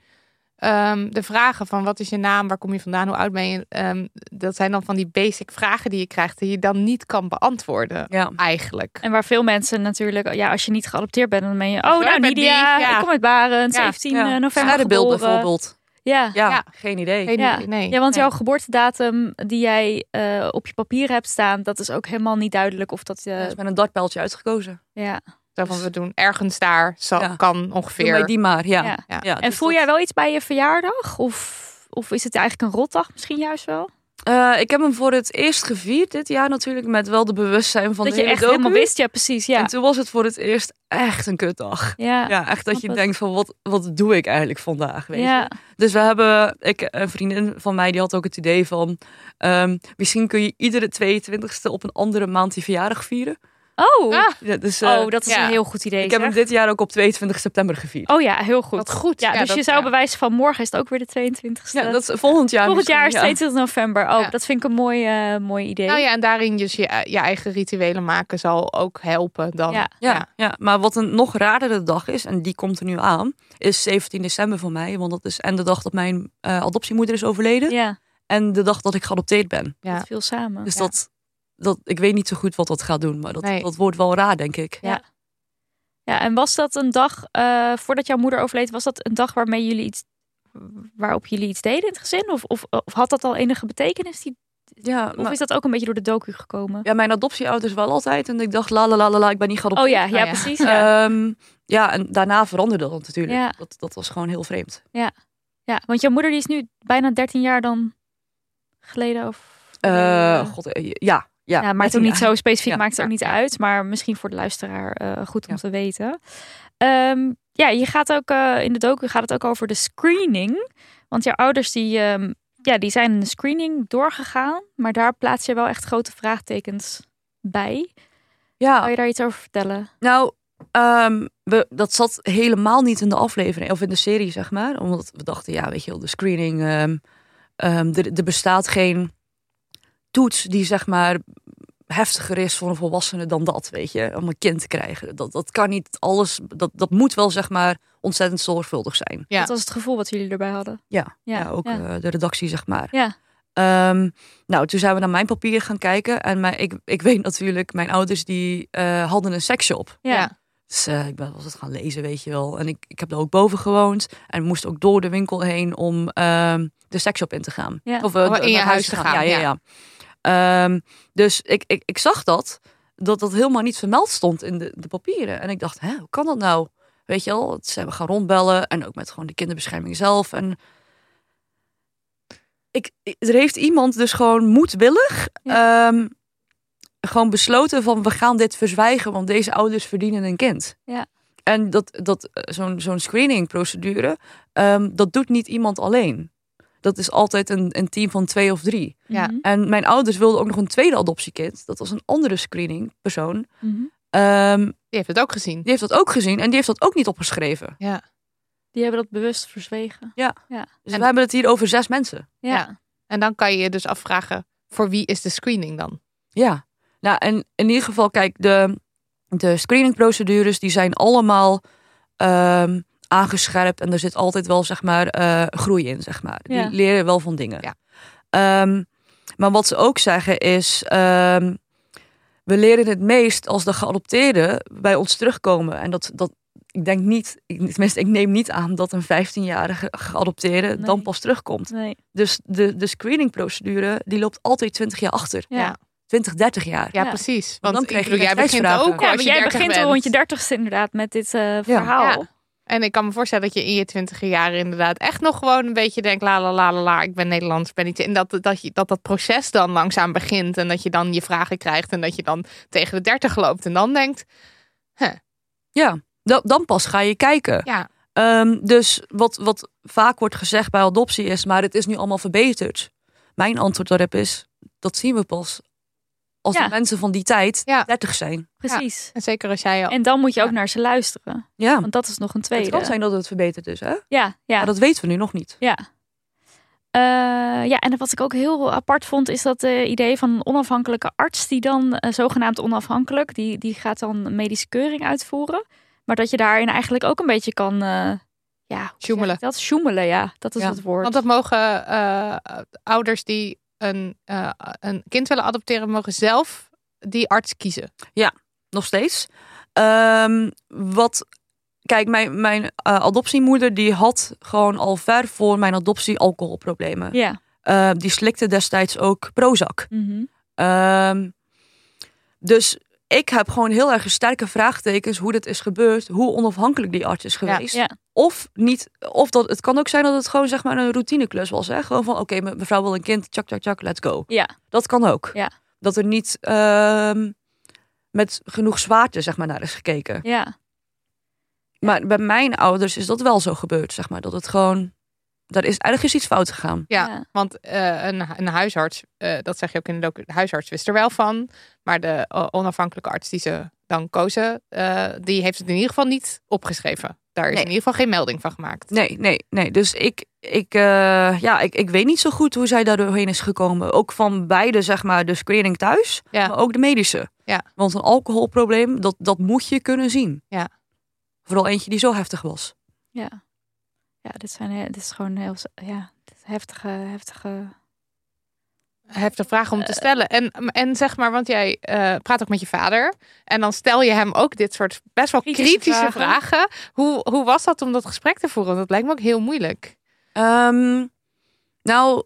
[SPEAKER 3] ehm, de vragen van wat is je naam, waar kom je vandaan, hoe oud ben je? Ehm, dat zijn dan van die basic vragen die je krijgt die je dan niet kan beantwoorden
[SPEAKER 4] Ja.
[SPEAKER 3] eigenlijk.
[SPEAKER 2] En waar veel mensen natuurlijk, ja, als je niet geadopteerd bent, dan ben je, oh,
[SPEAKER 3] ik
[SPEAKER 2] nou,
[SPEAKER 3] ben
[SPEAKER 2] Nidia,
[SPEAKER 3] die, ja.
[SPEAKER 2] ik kom uit Barend,
[SPEAKER 3] Ja,
[SPEAKER 2] 17
[SPEAKER 4] ja.
[SPEAKER 2] november
[SPEAKER 4] Sterrenbeeld
[SPEAKER 2] geboren.
[SPEAKER 4] bijvoorbeeld.
[SPEAKER 2] eh, Ja.
[SPEAKER 4] Ja,
[SPEAKER 3] Ja.
[SPEAKER 4] geen idee.
[SPEAKER 3] Geen
[SPEAKER 2] Ja.
[SPEAKER 3] idee, nee.
[SPEAKER 2] Ja, want
[SPEAKER 3] nee.
[SPEAKER 2] jouw geboortedatum die jij eh, op je papier hebt staan, dat is ook helemaal niet duidelijk of dat
[SPEAKER 4] Ja,
[SPEAKER 2] je.
[SPEAKER 4] is met een dartpijltje uitgekozen.
[SPEAKER 2] Ja.
[SPEAKER 3] Zo van, we doen ergens daar, zo,
[SPEAKER 4] Ja.
[SPEAKER 3] kan
[SPEAKER 4] Doe mij
[SPEAKER 3] ongeveer.
[SPEAKER 4] die maar, ja.
[SPEAKER 2] Ja.
[SPEAKER 4] Ja.
[SPEAKER 2] En
[SPEAKER 4] dus
[SPEAKER 2] voel
[SPEAKER 4] dat-
[SPEAKER 2] jij wel iets bij je verjaardag? Of, of is het eigenlijk een rotdag misschien juist wel?
[SPEAKER 4] Eh, ik heb hem voor het eerst gevierd dit jaar natuurlijk. Met wel de bewustzijn
[SPEAKER 2] dat
[SPEAKER 4] van de
[SPEAKER 2] je
[SPEAKER 4] hele
[SPEAKER 2] echt
[SPEAKER 4] docu.
[SPEAKER 2] helemaal wist, ja, precies. Ja.
[SPEAKER 4] En toen was het voor het eerst echt een kutdag.
[SPEAKER 2] Ja.
[SPEAKER 4] Ja, echt dat
[SPEAKER 2] snap
[SPEAKER 4] je
[SPEAKER 2] het.
[SPEAKER 4] denkt van wat, wat doe ik eigenlijk vandaag? Weet je?
[SPEAKER 2] Ja.
[SPEAKER 4] Dus we hebben, ik, een vriendin van mij die had ook het idee van... ehm, misschien kun je iedere 22e op een andere maand die verjaardag vieren.
[SPEAKER 2] Oh.
[SPEAKER 3] Ah,
[SPEAKER 4] Ja, dus, eh,
[SPEAKER 2] oh, dat is
[SPEAKER 3] ja.
[SPEAKER 2] een heel goed idee.
[SPEAKER 4] ik heb hem
[SPEAKER 2] zeg.
[SPEAKER 4] dit jaar ook op 22 september gevierd.
[SPEAKER 2] Oh ja, heel goed.
[SPEAKER 3] Wat goed.
[SPEAKER 2] Ja,
[SPEAKER 3] Ja,
[SPEAKER 2] dus
[SPEAKER 3] dat-
[SPEAKER 2] je zou
[SPEAKER 3] ja.
[SPEAKER 2] bewijzen van morgen is het ook weer de 22e.
[SPEAKER 4] Ja, dat is volgend jaar
[SPEAKER 2] Volgend jaar is
[SPEAKER 4] misschien, ja.
[SPEAKER 2] 22 november. Oh,
[SPEAKER 3] Ja.
[SPEAKER 2] dat vind ik een mooi, eh, mooi idee.
[SPEAKER 3] Nou ja, en daarin dus je, je eigen rituelen maken zal ook helpen dan.
[SPEAKER 2] Ja.
[SPEAKER 4] Ja, ja. maar wat een nog raardere dag is, en die komt er nu aan, is 17 december voor mij. Want dat is en de dag dat mijn eh, adoptiemoeder is overleden.
[SPEAKER 2] Ja,
[SPEAKER 4] En de dag dat ik geadopteerd ben.
[SPEAKER 3] Ja.
[SPEAKER 2] dat viel samen.
[SPEAKER 4] Dus
[SPEAKER 3] Ja.
[SPEAKER 4] dat, dat, ik weet niet zo goed wat dat gaat doen. Maar dat,
[SPEAKER 3] Nee.
[SPEAKER 4] dat wordt wel raar, denk ik.
[SPEAKER 2] Ja. Ja, en was dat een dag eh, voordat jouw moeder overleed? Was dat een dag waarmee jullie iets, waarop jullie iets deden in het gezin? Of, of, of had dat al enige betekenis? Die,
[SPEAKER 4] Ja,
[SPEAKER 2] of
[SPEAKER 4] maar-
[SPEAKER 2] is dat ook een beetje door de docu gekomen?
[SPEAKER 4] Nou- ja, mijn adoptieouders wel altijd. En ik dacht, la la la la, la, ik ben niet geadopteerd.
[SPEAKER 2] oh ja, ja,
[SPEAKER 3] ja.
[SPEAKER 2] precies.
[SPEAKER 4] Ehm,
[SPEAKER 2] Ja.
[SPEAKER 4] ja. en daarna veranderde dat natuurlijk.
[SPEAKER 2] Ja.
[SPEAKER 4] Dat, dat was gewoon heel vreemd.
[SPEAKER 2] Ja, want jouw moeder die is nu bijna 13 jaar dan geleden. Of,
[SPEAKER 4] Eh, God, eh, ja, ja.
[SPEAKER 2] ja, maakt ook
[SPEAKER 4] toen
[SPEAKER 2] niet zo specifiek,
[SPEAKER 4] Ja,
[SPEAKER 2] maakt het ook
[SPEAKER 4] ja,
[SPEAKER 2] niet
[SPEAKER 4] ja.
[SPEAKER 2] uit. Maar misschien voor de luisteraar eh, goed om
[SPEAKER 4] Ja.
[SPEAKER 2] te weten. Ehm, ja, je gaat ook eh, in de docu gaat het ook over de screening. Want jouw ouders die, ehm, ja, die zijn een screening doorgegaan. Maar daar plaats je wel echt grote vraagtekens bij.
[SPEAKER 4] Ja,
[SPEAKER 2] Kan je daar iets over vertellen?
[SPEAKER 4] Nou, ehm, we, dat zat helemaal niet in de aflevering of in de serie, zeg maar. Omdat we dachten, ja, weet je wel, de screening. ehm, ehm, er, er bestaat geen toets die, zeg maar, heftiger is voor een volwassene dan dat, weet je. Om een kind te krijgen. Dat, dat kan niet alles. Dat, dat moet wel, zeg maar, ontzettend zorgvuldig zijn.
[SPEAKER 3] Ja.
[SPEAKER 2] Dat was het gevoel wat jullie erbij hadden.
[SPEAKER 4] Ja,
[SPEAKER 2] Ja,
[SPEAKER 4] ja, ook
[SPEAKER 2] ja.
[SPEAKER 4] eh, de redactie, zeg maar.
[SPEAKER 2] Ja.
[SPEAKER 4] Ehm, nou, toen zijn we naar mijn papier gaan kijken. En mijn, ik, ik weet natuurlijk, mijn ouders die eh, hadden een seksshop.
[SPEAKER 2] Ja, ja.
[SPEAKER 3] Ja.
[SPEAKER 4] Dus eh, ik ben was het gaan lezen, weet je wel. En ik, ik heb daar ook boven gewoond. En moest ook door de winkel heen om ehm, de seksshop in te gaan.
[SPEAKER 2] Ja.
[SPEAKER 4] Of eh,
[SPEAKER 3] Oh, in
[SPEAKER 4] naar
[SPEAKER 3] je huis te gaan,
[SPEAKER 4] Ja, ja, ja. Ehm, dus ik, ik, ik zag dat, dat dat helemaal niet vermeld stond in de, de papieren. En ik dacht, hè, hoe kan dat nou? Weet je wel, ze hebben gaan rondbellen. En ook met gewoon de kinderbescherming zelf. En ik, ik- er heeft iemand dus gewoon moedwillig... ehm, gewoon besloten van we gaan dit verzwijgen, want deze ouders verdienen een kind.
[SPEAKER 2] Ja.
[SPEAKER 4] En dat, dat, eh, zo'n zo'n screeningprocedure, ehm, dat doet niet iemand alleen. Dat is altijd een, een team van twee of drie.
[SPEAKER 3] Ja.
[SPEAKER 2] Mhm,
[SPEAKER 4] En mijn ouders wilden ook nog een tweede adoptiekind. Dat was een andere screeningpersoon.
[SPEAKER 2] mhm.
[SPEAKER 4] Ehm,
[SPEAKER 3] Die heeft het ook gezien.
[SPEAKER 4] die heeft dat ook gezien en die heeft dat ook niet opgeschreven.
[SPEAKER 3] Ja.
[SPEAKER 2] Die hebben dat bewust verzwegen.
[SPEAKER 4] Dus
[SPEAKER 3] En-
[SPEAKER 4] we hebben het hier over zes mensen.
[SPEAKER 2] Ja.
[SPEAKER 3] Ja. En dan kan je je dus afvragen, voor wie is de screening dan?
[SPEAKER 4] Ja. Nou, en in ieder geval, kijk, de, de screeningprocedures die zijn allemaal ehm, aangescherpt. En er zit altijd wel, zeg maar, eh, groei in, zeg maar.
[SPEAKER 2] Ja.
[SPEAKER 4] Die leren wel van dingen.
[SPEAKER 3] Ja.
[SPEAKER 4] Ehm, maar wat ze ook zeggen is, ehm, we leren het meest als de geadopteerden bij ons terugkomen. En dat, dat ik denk niet, ik, tenminste, ik neem niet aan dat een 15-jarige geadopteerde
[SPEAKER 2] Nee.
[SPEAKER 4] dan pas terugkomt.
[SPEAKER 2] Nee.
[SPEAKER 4] Dus de, de screeningprocedure, die loopt altijd 20 jaar achter.
[SPEAKER 2] Ja.
[SPEAKER 3] Ja.
[SPEAKER 4] 20, 30 jaar.
[SPEAKER 3] Ja,
[SPEAKER 2] Ja.
[SPEAKER 3] precies.
[SPEAKER 4] dan
[SPEAKER 3] Want ik
[SPEAKER 4] krijg je
[SPEAKER 3] bedoel, jij begint
[SPEAKER 4] kwaliteitsvragen.
[SPEAKER 3] ook
[SPEAKER 2] Ja,
[SPEAKER 3] als
[SPEAKER 2] maar
[SPEAKER 3] je
[SPEAKER 2] jij
[SPEAKER 3] 30
[SPEAKER 2] begint
[SPEAKER 3] bent.
[SPEAKER 2] rond je dertigste inderdaad met dit eh, verhaal.
[SPEAKER 3] Ja. En ik kan me voorstellen dat je in je twintiger jaren inderdaad echt nog gewoon een beetje denkt, la la la la la, ik ben Nederlands, ik ben niet. En dat dat, je, dat dat proces dan langzaam begint en dat je dan je vragen krijgt en dat je dan tegen de 30 loopt en dan denkt,
[SPEAKER 4] Ja, da- dan pas ga je kijken.
[SPEAKER 3] ja,
[SPEAKER 4] Ehm, dus wat, wat vaak wordt gezegd bij adoptie is, maar het is nu allemaal verbeterd. Mijn antwoord daarop is, dat zien we pas als
[SPEAKER 2] Ja.
[SPEAKER 4] de mensen van die tijd
[SPEAKER 3] Ja.
[SPEAKER 4] 30 zijn.
[SPEAKER 2] Precies.
[SPEAKER 3] en zeker als jij al.
[SPEAKER 2] En dan moet je ook
[SPEAKER 3] Ja.
[SPEAKER 2] naar ze luisteren.
[SPEAKER 4] Ja,
[SPEAKER 2] Want dat is nog een tweede.
[SPEAKER 4] het kan zijn dat het verbeterd is, hè?
[SPEAKER 2] Ja, ja.
[SPEAKER 4] Maar dat weten we nu nog niet.
[SPEAKER 2] ja. Eh, ja, en wat ik ook heel apart vond, is dat eh, idee van een onafhankelijke arts, die dan eh, zogenaamd onafhankelijk, die, die gaat dan een medische keuring uitvoeren. Maar dat je daarin eigenlijk ook een beetje kan. eh ja, hoe zeg
[SPEAKER 3] Sjoemelen.
[SPEAKER 2] ik Dat sjoemelen, ja, dat is
[SPEAKER 4] Ja,
[SPEAKER 2] het woord.
[SPEAKER 3] Want dat mogen eh, ouders die een, eh, een kind willen adopteren, mogen zelf die arts kiezen.
[SPEAKER 4] Nog steeds. Ehm, wat kijk, mijn, mijn eh, adoptiemoeder die had gewoon al ver voor mijn adoptie alcoholproblemen.
[SPEAKER 2] Ja.
[SPEAKER 4] Eh, die slikte destijds ook Prozac.
[SPEAKER 2] Mhm.
[SPEAKER 4] Ehm, dus ik heb gewoon heel erg sterke vraagtekens hoe dit is gebeurd, hoe onafhankelijk die arts is geweest.
[SPEAKER 2] Ja.
[SPEAKER 4] Of niet, of dat het kan ook zijn dat het gewoon zeg maar een routineklus was. Hè? Gewoon van oké, me- mevrouw wil een kind, tjak, tjak, tjak, let's go.
[SPEAKER 2] Ja.
[SPEAKER 4] Dat kan ook.
[SPEAKER 2] Ja.
[SPEAKER 4] Dat er niet ehm, met genoeg zwaarte zeg maar naar is gekeken.
[SPEAKER 2] Ja.
[SPEAKER 4] Maar bij mijn ouders is dat wel zo gebeurd, zeg maar. Dat het gewoon, daar is ergens iets fout gegaan.
[SPEAKER 3] Ja,
[SPEAKER 2] Ja.
[SPEAKER 3] want eh, een, een huisarts, eh, dat zeg je ook in de docu, de huisarts wist er wel van. Maar de eh, onafhankelijke arts die ze dan kozen, eh, die heeft het in ieder geval niet opgeschreven. Daar is
[SPEAKER 4] Nee.
[SPEAKER 3] in ieder geval geen melding van gemaakt.
[SPEAKER 4] Nee, nee, nee. Dus ik, ik, eh, ja, ik, ik weet niet zo goed hoe zij daar doorheen is gekomen. Ook van beide, zeg maar, de screening thuis,
[SPEAKER 3] Ja.
[SPEAKER 4] maar ook de medische.
[SPEAKER 3] Ja.
[SPEAKER 4] Want een alcoholprobleem, dat, dat moet je kunnen zien.
[SPEAKER 3] Ja.
[SPEAKER 4] Vooral eentje die zo heftig was.
[SPEAKER 2] Ja. Ja, dit, zijn, he- dit is gewoon heel ja, dit is heftige, heftige...
[SPEAKER 3] Heftige vraag om te stellen. En, en zeg maar, want jij eh, praat ook met je vader. En dan stel je hem ook dit soort best wel
[SPEAKER 2] Kritische
[SPEAKER 3] kritische,
[SPEAKER 2] vragen.
[SPEAKER 3] vragen. Hoe, hoe was dat om dat gesprek te voeren? Want dat lijkt me ook heel moeilijk.
[SPEAKER 4] Ehm, nou,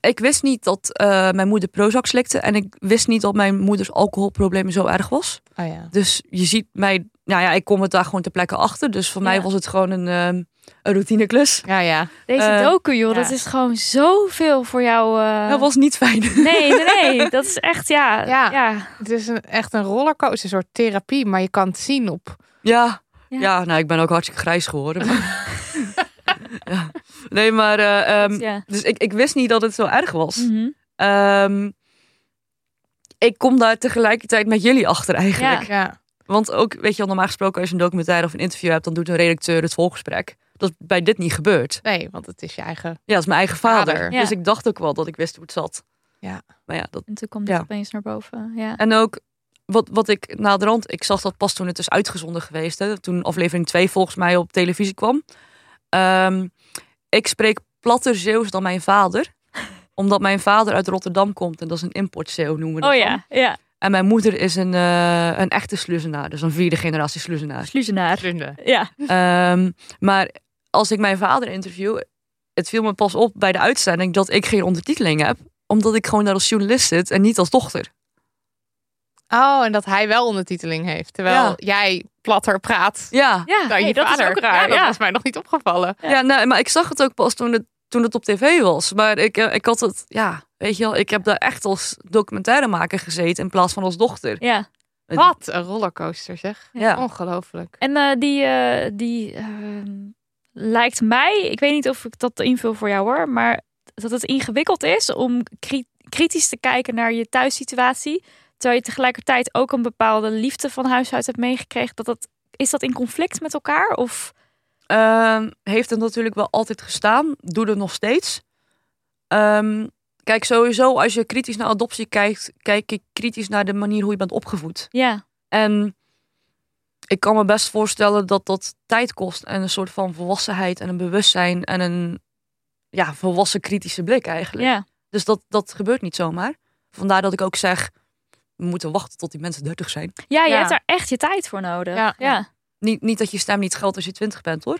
[SPEAKER 4] ik wist niet dat eh, mijn moeder Prozac slikte. En ik wist niet dat mijn moeders alcoholprobleem zo erg was.
[SPEAKER 3] Oh ja.
[SPEAKER 4] Dus je ziet mij, nou ja, ik kom het daar gewoon ter plekke achter. Dus voor
[SPEAKER 2] Ja.
[SPEAKER 4] mij was het gewoon een, ehm, een routineklus.
[SPEAKER 3] Ja, ja.
[SPEAKER 2] Deze
[SPEAKER 4] Eh,
[SPEAKER 2] docu, joh,
[SPEAKER 3] ja.
[SPEAKER 2] dat is gewoon zoveel voor jou. eh,
[SPEAKER 4] Dat was niet fijn.
[SPEAKER 2] Nee, nee, nee. Dat is echt, ja. Ja.
[SPEAKER 3] Ja.
[SPEAKER 2] ja.
[SPEAKER 3] Het is een, echt een rollercoaster, een soort therapie. Maar je kan het zien op.
[SPEAKER 4] Ja.
[SPEAKER 2] Ja.
[SPEAKER 4] Ja. nou, ik ben ook hartstikke grijs geworden. maar- ja. Nee, maar... eh, ehm, dus ik, ik wist niet dat het zo erg was.
[SPEAKER 2] Mhm.
[SPEAKER 4] Ehm, ik kom daar tegelijkertijd met jullie achter eigenlijk.
[SPEAKER 2] Ja.
[SPEAKER 3] Ja.
[SPEAKER 4] Want ook, weet je wel, normaal gesproken als je een documentaire of een interview hebt... dan doet een redacteur het volgesprek. Dat is bij dit niet gebeurt.
[SPEAKER 3] Nee, want het is je eigen.
[SPEAKER 4] Ja, dat is mijn eigen vader.
[SPEAKER 3] Vader.
[SPEAKER 2] Ja.
[SPEAKER 4] Dus ik dacht ook wel dat ik wist hoe het zat.
[SPEAKER 3] Ja.
[SPEAKER 4] Maar ja, dat...
[SPEAKER 2] En toen kwam dit
[SPEAKER 4] Ja.
[SPEAKER 2] opeens naar boven. Ja.
[SPEAKER 4] En ook wat, wat ik naderhand, ik zag dat pas toen het is uitgezonden geweest. Hè, toen aflevering 2 volgens mij op televisie kwam. Ehm, ik spreek platter Zeeuws dan mijn vader. Omdat mijn vader uit Rotterdam komt en dat is een importzeeuw noemen we dat
[SPEAKER 2] Oh
[SPEAKER 4] dan.
[SPEAKER 2] ja, ja.
[SPEAKER 4] En mijn moeder is een, eh, een echte sluizenaar, dus een vierde generatie sluizenaar.
[SPEAKER 2] Sluizenaar.
[SPEAKER 3] Vrienden.
[SPEAKER 2] Ja.
[SPEAKER 4] Ehm, maar als ik mijn vader interview, het viel me pas op bij de uitzending dat ik geen ondertiteling heb. Omdat ik gewoon daar als journalist zit en niet als dochter.
[SPEAKER 3] Oh, en dat hij wel ondertiteling heeft. Terwijl
[SPEAKER 4] Ja.
[SPEAKER 3] jij platter praat
[SPEAKER 4] Ja.
[SPEAKER 2] Ja,
[SPEAKER 3] dan je
[SPEAKER 2] hey, dat
[SPEAKER 3] vader.
[SPEAKER 2] is ook raar.
[SPEAKER 3] Ja, dat
[SPEAKER 2] Ja,
[SPEAKER 3] was mij nog niet opgevallen.
[SPEAKER 2] Ja.
[SPEAKER 4] Ja, nee, maar ik zag het ook pas toen het, toen het op tv was. Maar ik, eh, ik had het, ja, weet je wel, ik heb daar echt als documentairemaker gezeten in plaats van als dochter.
[SPEAKER 2] ja.
[SPEAKER 4] Het-
[SPEAKER 3] Wat een rollercoaster zeg.
[SPEAKER 4] Ja.
[SPEAKER 3] Ongelooflijk.
[SPEAKER 2] En eh, die, eh, die ehm, lijkt mij, ik weet niet of ik dat invul voor jou hoor, maar dat het ingewikkeld is om kri- kritisch te kijken naar je thuissituatie, terwijl je tegelijkertijd ook een bepaalde liefde van huis uit hebt meegekregen. Dat dat, is dat in conflict met elkaar? Of
[SPEAKER 4] Ehm, heeft het natuurlijk wel altijd gestaan, doet het nog steeds. Ehm, kijk, sowieso als je kritisch naar adoptie kijkt, kijk ik kritisch naar de manier hoe je bent opgevoed.
[SPEAKER 2] ja,
[SPEAKER 4] En ik kan me best voorstellen dat dat tijd kost en een soort van volwassenheid en een bewustzijn en een ja, volwassen kritische blik eigenlijk.
[SPEAKER 2] ja,
[SPEAKER 4] Dus dat, dat gebeurt niet zomaar. Vandaar dat ik ook zeg, we moeten wachten tot die mensen 30 zijn.
[SPEAKER 2] ja, je
[SPEAKER 3] Ja.
[SPEAKER 2] hebt daar echt je tijd voor nodig. Ja,
[SPEAKER 3] Ja.
[SPEAKER 2] ja,
[SPEAKER 4] Niet, niet dat je stem niet geldt als je 20 bent hoor.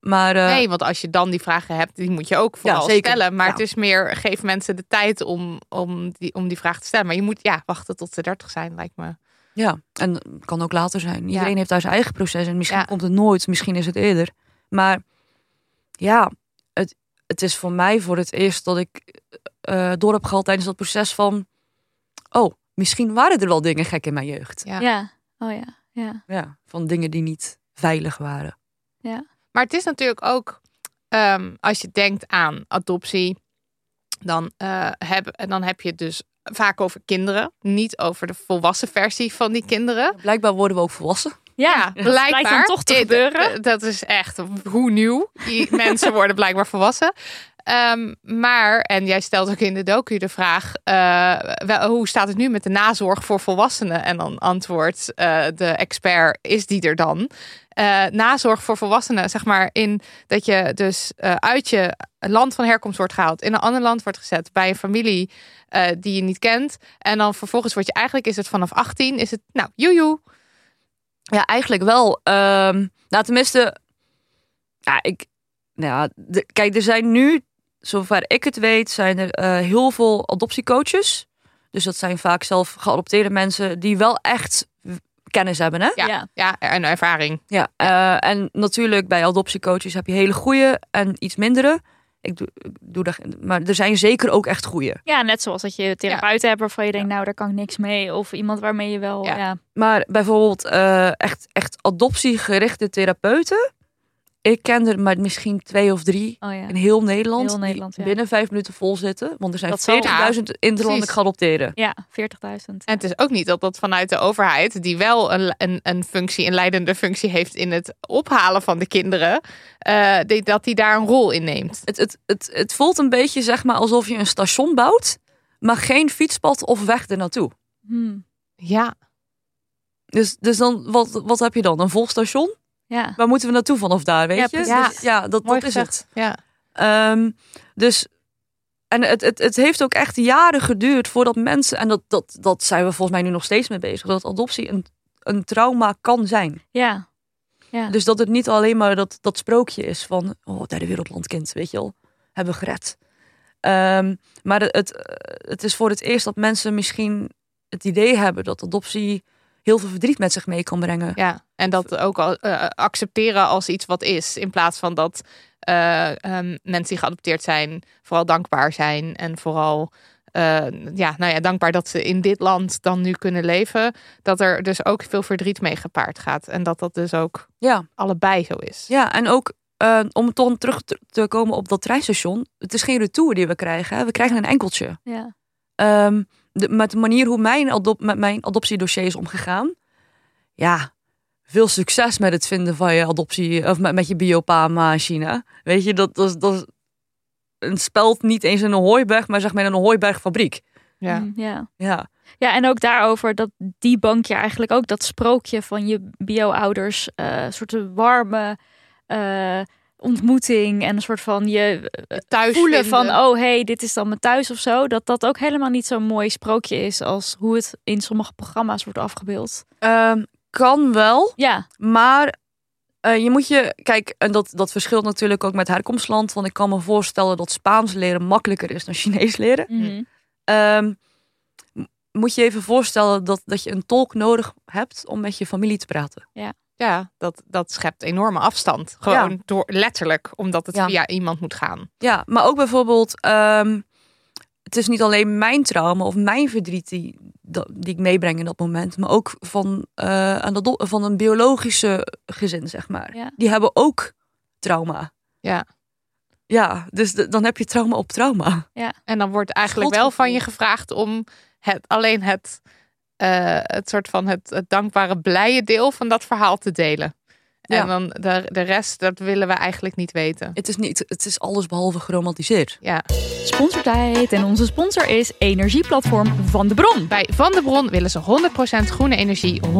[SPEAKER 4] Maar eh,
[SPEAKER 3] Nee, want als je dan die vragen hebt, die moet je ook vooral
[SPEAKER 4] zeker.
[SPEAKER 3] stellen. Maar
[SPEAKER 4] Ja.
[SPEAKER 3] het is meer, geef mensen de tijd om, om, die, om die vraag te stellen. Maar je moet ja, wachten tot ze 30 zijn, lijkt me.
[SPEAKER 4] ja, en het kan ook later zijn. Iedereen
[SPEAKER 3] Ja.
[SPEAKER 4] heeft daar zijn eigen proces en misschien
[SPEAKER 3] Ja.
[SPEAKER 4] komt het nooit, misschien is het eerder. Maar ja, het, het is voor mij voor het eerst dat ik eh door heb gehad tijdens dat proces van, oh, misschien waren er wel dingen gek in mijn jeugd.
[SPEAKER 3] Ja.
[SPEAKER 2] oh ja, ja,
[SPEAKER 4] Ja, van dingen die niet veilig waren.
[SPEAKER 3] Maar het is natuurlijk ook, ehm, als je denkt aan adoptie, dan, eh, heb, en dan heb je het dus vaak over kinderen. Niet over de volwassen versie van die kinderen.
[SPEAKER 4] Blijkbaar worden we ook volwassen.
[SPEAKER 2] ja,
[SPEAKER 3] Ja, blijkbaar.
[SPEAKER 2] blijkt dan toch te
[SPEAKER 3] Eh,
[SPEAKER 2] gebeuren.
[SPEAKER 3] eh, Dat is echt hoe nieuw. Die Mensen worden blijkbaar volwassen. Ehm, maar, en jij stelt ook in de docu de vraag... eh, wel, hoe staat het nu met de nazorg voor volwassenen? En dan antwoordt eh, de expert, is die er dan? Eh, nazorg voor volwassenen, zeg maar, in dat je dus eh, uit je land van herkomst wordt gehaald, in een ander land wordt gezet, bij een familie eh, die je niet kent. En dan vervolgens word je eigenlijk, is het vanaf 18, is het, nou, joejoe,
[SPEAKER 4] Ja, eigenlijk wel. Ehm, nou, tenminste, ja, ik, nou ja, de- kijk, er zijn nu, zover ik het weet, zijn er eh, heel veel adoptiecoaches. Dus dat zijn vaak zelf geadopteerde mensen die wel echt w- kennis hebben, hè?
[SPEAKER 3] Ja. Ja, en ervaring.
[SPEAKER 4] Ja, eh, en natuurlijk bij adoptiecoaches heb je hele goede en iets mindere. Ik doe, ik doe dat, maar er zijn zeker ook echt goede.
[SPEAKER 2] Ja, net zoals dat je therapeuten hebt waarvan je denkt, nou, daar kan ik niks mee. Of iemand waarmee je wel...
[SPEAKER 3] Ja.
[SPEAKER 2] Ja.
[SPEAKER 4] Maar bijvoorbeeld eh, echt, echt adoptiegerichte therapeuten. Ik ken er maar misschien twee of drie
[SPEAKER 2] Oh ja.
[SPEAKER 4] in heel Nederland.
[SPEAKER 2] Heel Nederland,
[SPEAKER 4] die
[SPEAKER 2] ja.
[SPEAKER 4] binnen vijf minuten vol zitten. Want er zijn
[SPEAKER 2] Dat zal-
[SPEAKER 4] 40.000
[SPEAKER 3] precies.
[SPEAKER 4] interlanden geadopteerden.
[SPEAKER 2] Ja, 40.000.
[SPEAKER 3] En het is ook niet dat dat vanuit de overheid, die wel een, een, een functie, een leidende functie heeft in het ophalen van de kinderen, eh, die- dat die daar een rol in neemt.
[SPEAKER 4] Het, het, het, het voelt een beetje zeg maar, alsof je een station bouwt. Maar geen fietspad of weg ernaartoe.
[SPEAKER 2] Hm,
[SPEAKER 3] Ja,
[SPEAKER 4] Dus, dus dan, wat, wat heb je dan? Een vol station?
[SPEAKER 2] ja.
[SPEAKER 4] Waar moeten we naartoe vanaf daar, weet
[SPEAKER 2] Ja,
[SPEAKER 4] je?
[SPEAKER 2] precies.
[SPEAKER 4] Dus ja dat,
[SPEAKER 3] mooi
[SPEAKER 4] dat is
[SPEAKER 3] gezegd.
[SPEAKER 4] het.
[SPEAKER 3] Ja.
[SPEAKER 4] Ehm, dus. En het, het, het heeft ook echt jaren geduurd voordat mensen. En dat, dat, dat zijn we volgens mij nu nog steeds mee bezig. Dat adoptie een, een trauma kan zijn.
[SPEAKER 2] Ja. Ja.
[SPEAKER 4] Dus dat het niet alleen maar dat, dat sprookje is van. Oh, derde wereldlandkind, weet je wel. Hebben we gered. Ehm, maar het, het, eh, het is voor het eerst dat mensen misschien het idee hebben dat adoptie heel veel verdriet met zich mee kan brengen.
[SPEAKER 3] Ja, en dat ook al, eh, accepteren als iets wat is. In plaats van dat eh, ehm, mensen die geadopteerd zijn, vooral dankbaar zijn. En vooral eh, ja, nou ja, dankbaar dat ze in dit land dan nu kunnen leven. Dat er dus ook veel verdriet mee gepaard gaat. En dat dat dus ook
[SPEAKER 4] ja.
[SPEAKER 3] allebei zo is.
[SPEAKER 4] Ja, en ook eh, om toch terug te- te komen op dat treinstation. Het is geen retour die we krijgen. Hè? We krijgen een enkeltje.
[SPEAKER 2] Ja.
[SPEAKER 4] Ehm, de, met de manier hoe mijn adop, met mijn adoptiedossier is omgegaan. Ja, veel succes met het vinden van je adoptie. Of met, met je biopama-machine. Weet je, dat, dat, is- dat is een speld niet eens in een hooiberg, maar zeg maar in een hooibergfabriek.
[SPEAKER 3] Ja.
[SPEAKER 2] Hm, ja.
[SPEAKER 4] Ja,
[SPEAKER 2] Ja, en ook daarover dat die bank je eigenlijk ook dat sprookje van je bio-ouders, eh soorten warme eh, ontmoeting en een soort van je
[SPEAKER 3] Thuis
[SPEAKER 2] voelen
[SPEAKER 3] vinden.
[SPEAKER 2] van, oh hey, dit is dan mijn thuis of zo, dat dat ook helemaal niet zo'n mooi sprookje is als hoe het in sommige programma's wordt afgebeeld.
[SPEAKER 4] Ehm, kan wel.
[SPEAKER 2] Ja,
[SPEAKER 4] Maar eh, je moet je, kijk, en dat, dat verschilt natuurlijk ook met herkomstland. Want ik kan me voorstellen dat Spaans leren makkelijker is dan Chinees leren.
[SPEAKER 3] Mm.
[SPEAKER 2] Mhm.
[SPEAKER 4] Ehm, m- moet je even voorstellen dat, dat je een tolk nodig hebt om met je familie te praten.
[SPEAKER 3] Ja, dat, dat schept enorme afstand. Gewoon door, letterlijk, omdat het
[SPEAKER 4] Ja.
[SPEAKER 3] via iemand moet gaan.
[SPEAKER 4] Ja, maar ook bijvoorbeeld, ehm, het is niet alleen mijn trauma of mijn verdriet die, dat- die ik meebreng in dat moment. Maar ook van, eh, een, ado- van een biologische gezin, zeg maar.
[SPEAKER 2] Ja.
[SPEAKER 4] Die hebben ook trauma.
[SPEAKER 3] Ja.
[SPEAKER 4] Ja, dus d- dan heb je trauma op trauma.
[SPEAKER 3] En dan wordt eigenlijk wel
[SPEAKER 4] Schuldgevoel.
[SPEAKER 3] van je gevraagd om het, alleen het, eh, het soort van het, het dankbare, blije deel van dat verhaal te delen.
[SPEAKER 4] Ja.
[SPEAKER 3] En dan de, de rest, dat willen we eigenlijk niet weten.
[SPEAKER 4] Het is, niet, het is alles behalve geromantiseerd.
[SPEAKER 3] Ja.
[SPEAKER 2] Sponsortijd. En onze sponsor is Energieplatform van de Bron.
[SPEAKER 3] Bij Van de Bron willen ze 100% groene energie 100%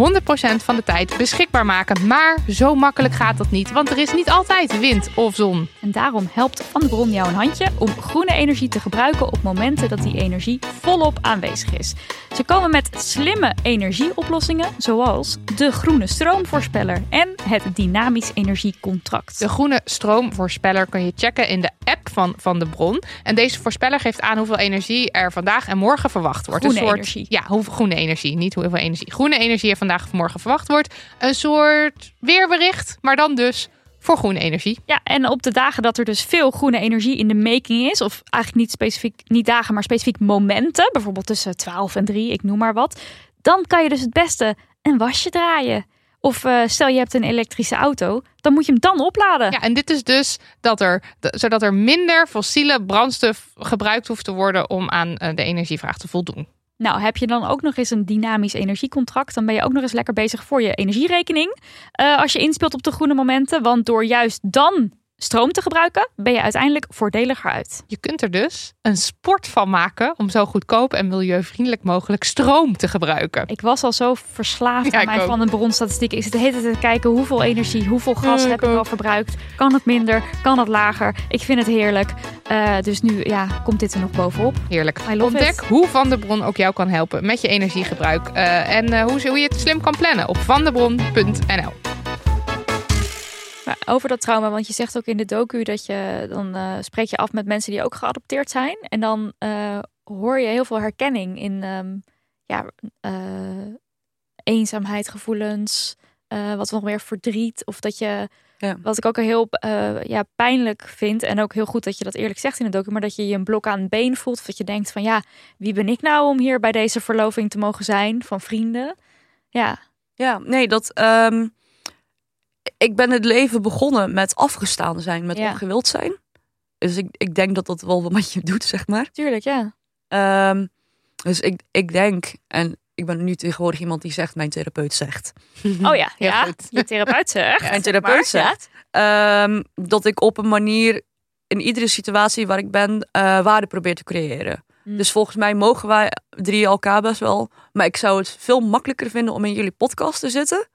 [SPEAKER 3] van de tijd beschikbaar maken. Maar zo makkelijk gaat dat niet, want er is niet altijd wind of zon.
[SPEAKER 2] En daarom helpt Van de Bron jou een handje om groene energie te gebruiken op momenten dat die energie volop aanwezig is. Ze komen met slimme energieoplossingen, zoals de groene stroomvoorspeller en het dynamisch energiecontract.
[SPEAKER 3] De groene stroomvoorspeller kun je checken in de app van Van de Bron. En deze voorspeller geeft aan hoeveel energie er vandaag en morgen verwacht wordt.
[SPEAKER 2] Groene
[SPEAKER 3] een soort,
[SPEAKER 2] energie.
[SPEAKER 3] Ja, hoeveel groene energie, niet hoeveel energie. Groene energie er vandaag of morgen verwacht wordt. Een soort weerbericht, maar dan dus voor groene energie.
[SPEAKER 2] Ja, en op de dagen dat er dus veel groene energie in de making is, of eigenlijk niet specifiek, niet dagen, maar specifiek momenten, bijvoorbeeld tussen 12 en 3, ik noem maar wat, dan kan je dus het beste een wasje draaien. Of eh, stel je hebt een elektrische auto, dan moet je hem dan opladen.
[SPEAKER 3] Ja, en dit is dus dat er, d- zodat er minder fossiele brandstof gebruikt hoeft te worden om aan eh, de energievraag te voldoen.
[SPEAKER 2] Nou, heb je dan ook nog eens een dynamisch energiecontract, dan ben je ook nog eens lekker bezig voor je energierekening. eh, als je inspeelt op de groene momenten, want door juist dan stroom te gebruiken, ben je uiteindelijk voordeliger uit.
[SPEAKER 3] Je kunt er dus een sport van maken om zo goedkoop en milieuvriendelijk mogelijk stroom te gebruiken.
[SPEAKER 2] Ik was al zo verslaafd
[SPEAKER 3] Ja,
[SPEAKER 2] aan
[SPEAKER 3] ik
[SPEAKER 2] mijn
[SPEAKER 3] ook.
[SPEAKER 2] van de bronstatistiek. Ik zit de hele tijd te kijken hoeveel energie, hoeveel gas
[SPEAKER 3] Ja, ik
[SPEAKER 2] heb ik wel
[SPEAKER 3] ook.
[SPEAKER 2] verbruikt. Kan het minder? Kan het lager? Ik vind het heerlijk. Eh, dus nu ja, komt dit er nog bovenop.
[SPEAKER 3] Heerlijk.
[SPEAKER 2] I love
[SPEAKER 3] Ontdek
[SPEAKER 2] it.
[SPEAKER 3] hoe Van de Bron ook jou kan helpen met je energiegebruik. eh, en eh, hoe, ze- hoe je het slim kan plannen op vandebron.nl.
[SPEAKER 2] Maar over dat trauma, want je zegt ook in de docu dat je dan eh, spreek je af met mensen die ook geadopteerd zijn. En dan eh, hoor je heel veel herkenning in ehm, ja, eh, eenzaamheid, gevoelens, eh, wat nog meer verdriet. Of dat je,
[SPEAKER 4] Ja.
[SPEAKER 2] wat ik ook heel eh, ja, pijnlijk vind. En ook heel goed dat je dat eerlijk zegt in de docu. Maar dat je je een blok aan het been voelt. Of dat je denkt van ja, wie ben ik nou om hier bij deze verloving te mogen zijn van vrienden? Ja,
[SPEAKER 4] Ja, nee, dat. ehm, ik ben het leven begonnen met afgestaan zijn, met
[SPEAKER 2] Ja.
[SPEAKER 4] ongewild zijn. Dus ik, ik denk dat dat wel wat je doet, zeg maar.
[SPEAKER 2] tuurlijk, ja.
[SPEAKER 4] Ehm, dus ik, ik denk, en ik ben nu tegenwoordig iemand die zegt, mijn therapeut zegt. Hm,
[SPEAKER 2] Oh ja,
[SPEAKER 3] Heel
[SPEAKER 2] ja.
[SPEAKER 3] goed.
[SPEAKER 2] Je therapeut zegt.
[SPEAKER 4] Mijn therapeut
[SPEAKER 2] Maar, ja.
[SPEAKER 4] zegt ehm, dat ik op een manier in iedere situatie waar ik ben eh, waarde probeer te creëren.
[SPEAKER 2] Mm.
[SPEAKER 4] Dus volgens mij mogen wij drie elkaar best wel. Maar ik zou het veel makkelijker vinden om in jullie podcast te zitten.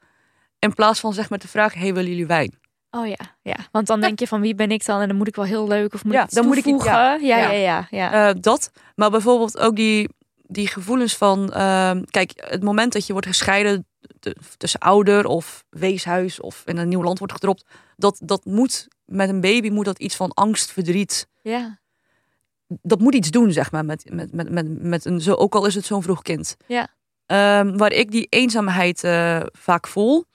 [SPEAKER 4] In plaats van zeg maar te vragen, hey, willen jullie wijn?
[SPEAKER 2] Oh ja, ja. Want dan denk je van wie ben ik dan? En dan moet ik wel heel leuk of moet
[SPEAKER 4] Ja,
[SPEAKER 2] ik iets
[SPEAKER 4] dan moet ik- ja.
[SPEAKER 2] toevoegen? ja. Ja, ja,
[SPEAKER 4] Ja.
[SPEAKER 2] ja,
[SPEAKER 4] Eh, dat. Maar bijvoorbeeld ook die, die gevoelens van. ehm, kijk, het moment dat je wordt gescheiden t- tussen ouder of weeshuis of in een nieuw land wordt gedropt. Dat, dat moet met een baby moet dat iets van angst, verdriet.
[SPEAKER 2] Ja.
[SPEAKER 4] Dat moet iets doen, zeg maar. Met, met, met, met, met een, zo, ook al is het zo'n vroeg kind.
[SPEAKER 2] Ja.
[SPEAKER 4] Ehm, waar ik die eenzaamheid eh, vaak voel,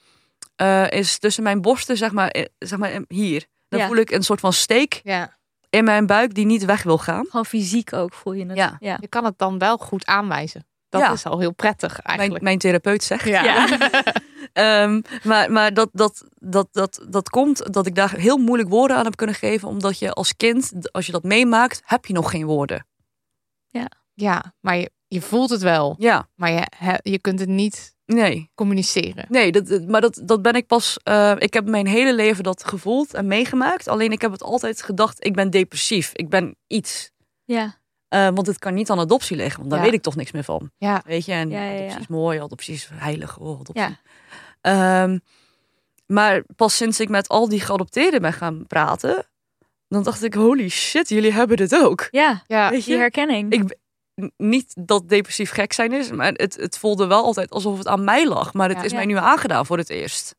[SPEAKER 4] eh, is tussen mijn borsten, zeg maar, eh, zeg maar eh, hier. Dan
[SPEAKER 2] Ja.
[SPEAKER 4] voel ik een soort van steek
[SPEAKER 3] Ja.
[SPEAKER 4] in mijn buik die niet weg wil gaan.
[SPEAKER 2] Gewoon fysiek ook voel je het.
[SPEAKER 4] Ja.
[SPEAKER 2] ja.
[SPEAKER 3] Je kan het dan wel goed aanwijzen. Dat
[SPEAKER 4] Ja.
[SPEAKER 3] is al heel prettig
[SPEAKER 4] Mijn,
[SPEAKER 3] eigenlijk.
[SPEAKER 4] mijn therapeut zegt.
[SPEAKER 2] Ja.
[SPEAKER 4] Ehm, maar maar dat, dat, dat, dat, dat komt dat ik daar heel moeilijk woorden aan heb kunnen geven. Omdat je als kind, als je dat meemaakt, heb je nog geen woorden.
[SPEAKER 3] Ja, maar je, je voelt het wel.
[SPEAKER 4] Ja,
[SPEAKER 3] Maar je, he- je kunt het niet
[SPEAKER 4] nee.
[SPEAKER 3] communiceren.
[SPEAKER 4] Nee, dat- dat, maar dat, dat ben ik pas... eh, ik heb mijn hele leven dat gevoeld en meegemaakt. Alleen ik heb het altijd gedacht, ik ben depressief. Ik ben iets.
[SPEAKER 2] Ja.
[SPEAKER 4] Eh, want het kan niet aan adoptie liggen. Want daar
[SPEAKER 3] Ja.
[SPEAKER 4] weet ik toch niks meer van.
[SPEAKER 3] Ja.
[SPEAKER 4] Weet je, en
[SPEAKER 2] Ja, ja, ja.
[SPEAKER 4] adoptie is mooi, adoptie is heilig. Oh, adoptie.
[SPEAKER 2] Ja.
[SPEAKER 4] Ehm, maar pas sinds ik met al die geadopteerden ben gaan praten, dan dacht ik, holy shit, jullie hebben dit ook.
[SPEAKER 2] Ja.
[SPEAKER 3] Ja.
[SPEAKER 4] Weet
[SPEAKER 2] Die
[SPEAKER 4] je?
[SPEAKER 2] herkenning.
[SPEAKER 4] Ik- N- Niet dat depressief gek zijn is, maar het, het voelde wel altijd alsof het aan mij lag. Maar het
[SPEAKER 3] Ja.
[SPEAKER 4] is
[SPEAKER 2] Ja.
[SPEAKER 4] mij nu aangedaan voor het eerst.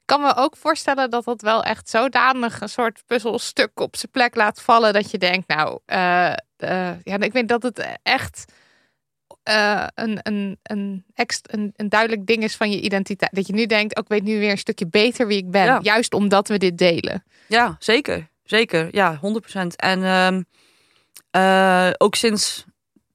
[SPEAKER 3] Ik kan me ook voorstellen dat dat wel echt zodanig een soort puzzelstuk op zijn plek laat vallen. Dat je denkt, nou, eh, eh, ja, ik weet dat het echt eh, een, een, een, ext- een, een duidelijk ding is van je identiteit. Dat je nu denkt, oh, ik weet nu weer een stukje beter wie ik ben.
[SPEAKER 4] Ja.
[SPEAKER 3] Juist omdat we dit delen.
[SPEAKER 4] Ja, zeker. Zeker. Ja, 100%. En ehm, eh, ook sinds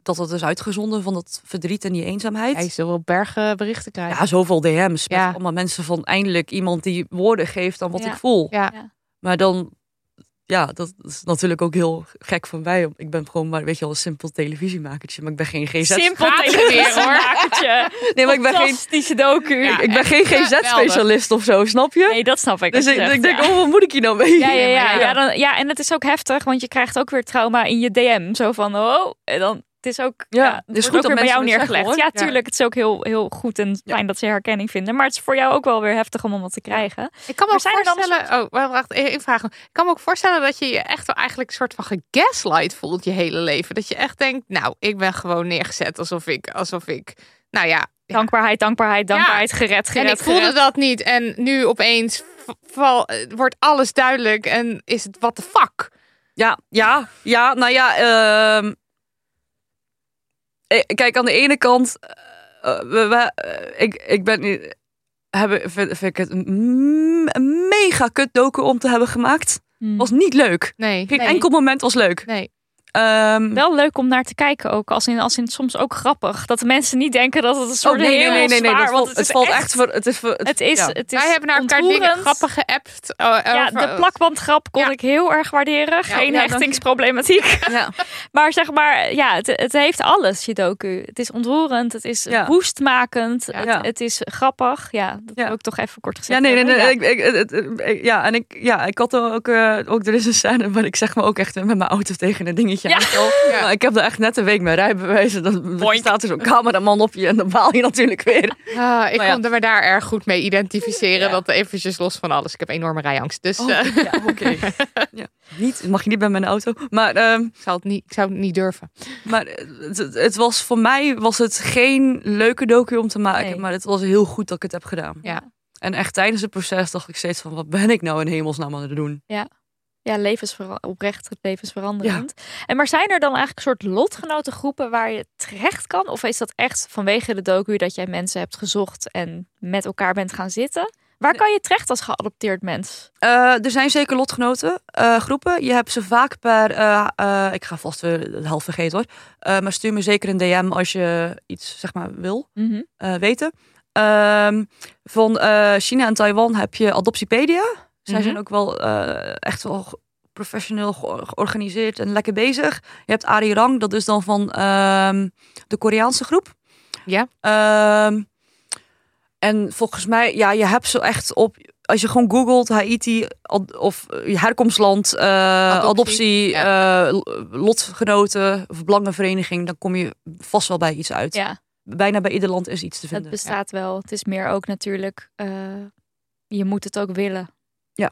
[SPEAKER 4] dat het is uitgezonden van dat verdriet en die eenzaamheid.
[SPEAKER 3] Hij zult wel bergen berichten krijgen.
[SPEAKER 4] Ja, zoveel DM's met
[SPEAKER 3] Ja.
[SPEAKER 4] allemaal mensen van eindelijk iemand die woorden geeft aan wat
[SPEAKER 2] Ja.
[SPEAKER 4] ik voel.
[SPEAKER 3] Ja.
[SPEAKER 2] Ja.
[SPEAKER 4] Maar dan, ja, dat is natuurlijk ook heel gek van mij. Ik ben gewoon maar, weet je wel, een simpel televisiemakertje. Maar ik ben geen GZ.
[SPEAKER 2] Simpel
[SPEAKER 3] gaat het weer, hoor.
[SPEAKER 2] televisieakertje.
[SPEAKER 4] nee, maar ik ben geen,
[SPEAKER 2] Fantastische docu.
[SPEAKER 3] Ja.
[SPEAKER 4] ik ben geen GZ-specialist of zo, snap je?
[SPEAKER 2] Nee, dat snap ik.
[SPEAKER 4] dus
[SPEAKER 2] wat
[SPEAKER 4] ik,
[SPEAKER 2] je zegt,
[SPEAKER 4] ik denk,
[SPEAKER 2] ja.
[SPEAKER 4] oh, wat moet ik hier nou mee?
[SPEAKER 2] Ja, ja, ja.
[SPEAKER 3] ja.
[SPEAKER 2] Ja, dan, ja, en het is ook heftig, want je krijgt ook weer trauma in je DM. Zo van, oh, en dan, het is ook, ja,
[SPEAKER 4] Ja,
[SPEAKER 2] het
[SPEAKER 4] het is
[SPEAKER 2] wordt
[SPEAKER 4] goed
[SPEAKER 2] ook weer
[SPEAKER 4] dat
[SPEAKER 2] bij jou
[SPEAKER 4] mensen het zeggen,
[SPEAKER 2] neergelegd.
[SPEAKER 4] hoor.
[SPEAKER 2] ja,
[SPEAKER 4] Ja.
[SPEAKER 2] tuurlijk, het is ook heel, heel goed en fijn dat ze herkenning vinden. Maar het is voor jou ook wel weer heftig om allemaal te krijgen.
[SPEAKER 3] Ik kan
[SPEAKER 2] Maar
[SPEAKER 3] me ook
[SPEAKER 2] zijn er dan een
[SPEAKER 3] voorstellen. Oh, wa- wacht, één één vraag. nog. Ik kan me ook voorstellen dat je je echt wel eigenlijk een soort van gegaslight voelt je hele leven. Dat je echt denkt, nou, ik ben gewoon neergezet alsof ik, alsof ik, nou ja. ja.
[SPEAKER 2] Dankbaarheid, dankbaarheid, dankbaarheid, gered, gered,
[SPEAKER 3] en ik voelde
[SPEAKER 2] gered.
[SPEAKER 3] dat niet. En nu opeens v- val, eh, wordt alles duidelijk en is het what the fuck.
[SPEAKER 4] Ja, ja, ja, nou ja. ehm, eh, kijk, aan de ene kant, eh, we, we- eh, ik, ik ben nu, hebben, vind, vind ik het een, een mega kut docu om te hebben gemaakt.
[SPEAKER 2] Hmm.
[SPEAKER 4] Was niet leuk.
[SPEAKER 3] Nee.
[SPEAKER 4] Geen
[SPEAKER 3] nee.
[SPEAKER 4] enkel moment was leuk.
[SPEAKER 3] Nee.
[SPEAKER 4] Ehm,
[SPEAKER 2] Wel leuk om naar te kijken ook. Als in, als in soms ook grappig. Dat de mensen niet denken dat het een soort
[SPEAKER 4] oh, nee, nee,
[SPEAKER 2] heel
[SPEAKER 4] nee, nee, nee,
[SPEAKER 2] zwaar,
[SPEAKER 4] dat valt,
[SPEAKER 2] want
[SPEAKER 4] het,
[SPEAKER 2] het, is
[SPEAKER 4] valt echt, voor. Het is, voor,
[SPEAKER 2] Het is,
[SPEAKER 4] ja.
[SPEAKER 2] het is
[SPEAKER 3] Wij hebben naar elkaar dingen
[SPEAKER 2] ontroerend.
[SPEAKER 3] grappig geappt. eh,
[SPEAKER 2] Ja,
[SPEAKER 3] over-
[SPEAKER 2] de plakbandgrap kon
[SPEAKER 3] Ja.
[SPEAKER 2] ik heel erg waarderen.
[SPEAKER 3] Ja,
[SPEAKER 2] Geen
[SPEAKER 3] ja, dank je.
[SPEAKER 2] hechtingsproblematiek.
[SPEAKER 4] Ja.
[SPEAKER 2] Maar zeg maar, ja, het, het heeft alles, je docu. Het is ontroerend, het is
[SPEAKER 4] Ja.
[SPEAKER 2] woestmakend,
[SPEAKER 3] Ja.
[SPEAKER 2] Het,
[SPEAKER 4] Ja.
[SPEAKER 2] het is grappig. Ja, dat
[SPEAKER 4] Ja.
[SPEAKER 2] wil ik toch even kort
[SPEAKER 4] Ja,
[SPEAKER 2] gezegd
[SPEAKER 4] nee, nee,
[SPEAKER 2] hebben. Ja.
[SPEAKER 4] nee. Ik, ik, het- het- ik- ja, en ik, ja, ik had er ook, eh, ook, er is een scène waar ik zeg maar ook echt met mijn auto tegen een dingetje
[SPEAKER 2] Ja.
[SPEAKER 4] aanval.
[SPEAKER 3] Ja.
[SPEAKER 4] Maar ik heb er echt net een week mijn rijbewijs en dan
[SPEAKER 2] Boink.
[SPEAKER 4] staat er zo'n cameraman op je en dan baal je natuurlijk weer.
[SPEAKER 3] Ah, ik
[SPEAKER 4] Maar ja.
[SPEAKER 3] kon me daar erg goed mee identificeren. Dat eventjes los van alles. Ik heb enorme rijangst. Dus
[SPEAKER 4] Oh.
[SPEAKER 3] eh, ik,
[SPEAKER 4] ja, oké. Ja. Niet, mag je niet bij mijn auto. Maar, ehm,
[SPEAKER 3] zou het niet, ik zou het niet durven.
[SPEAKER 4] maar het, het- het was voor mij was het geen leuke docu om te maken,
[SPEAKER 2] Nee.
[SPEAKER 4] maar het was heel goed dat ik het heb gedaan.
[SPEAKER 3] Ja.
[SPEAKER 4] En echt tijdens het proces dacht ik steeds van, wat ben ik nou in hemelsnaam aan het doen?
[SPEAKER 2] Ja, levensvera- oprecht levensveranderend. En maar zijn er dan eigenlijk een soort lotgenotengroepen waar je terecht kan? Of is dat echt vanwege de docu dat jij mensen hebt gezocht en met elkaar bent gaan zitten? Waar kan je terecht als geadopteerd mens?
[SPEAKER 4] Eh, er zijn zeker lotgenoten, eh, groepen. Je hebt ze vaak per. eh, eh, ik ga vast weer het half vergeten hoor. Eh, maar stuur me zeker een DM als je iets zeg maar wil
[SPEAKER 2] Mhm.
[SPEAKER 4] eh, weten. Ehm, van eh, China en Taiwan heb je Adoptiepedia. Zij
[SPEAKER 3] Mhm.
[SPEAKER 4] zijn ook wel eh, echt wel ge- professioneel ge- georganiseerd en lekker bezig. Je hebt Arirang, dat is dan van ehm, de Koreaanse groep.
[SPEAKER 3] Ja.
[SPEAKER 4] Ehm, en volgens mij, ja, je hebt zo echt op. Als je gewoon googelt Haiti ad- of eh, herkomstland, eh, adoptie, eh, l- lotgenoten of belangenvereniging, dan kom je vast wel bij iets uit.
[SPEAKER 2] Ja.
[SPEAKER 4] Bijna bij ieder land is iets te
[SPEAKER 2] Het
[SPEAKER 4] vinden.
[SPEAKER 2] bestaat wel. Het is meer ook natuurlijk, eh, je moet het ook willen.
[SPEAKER 4] Ja,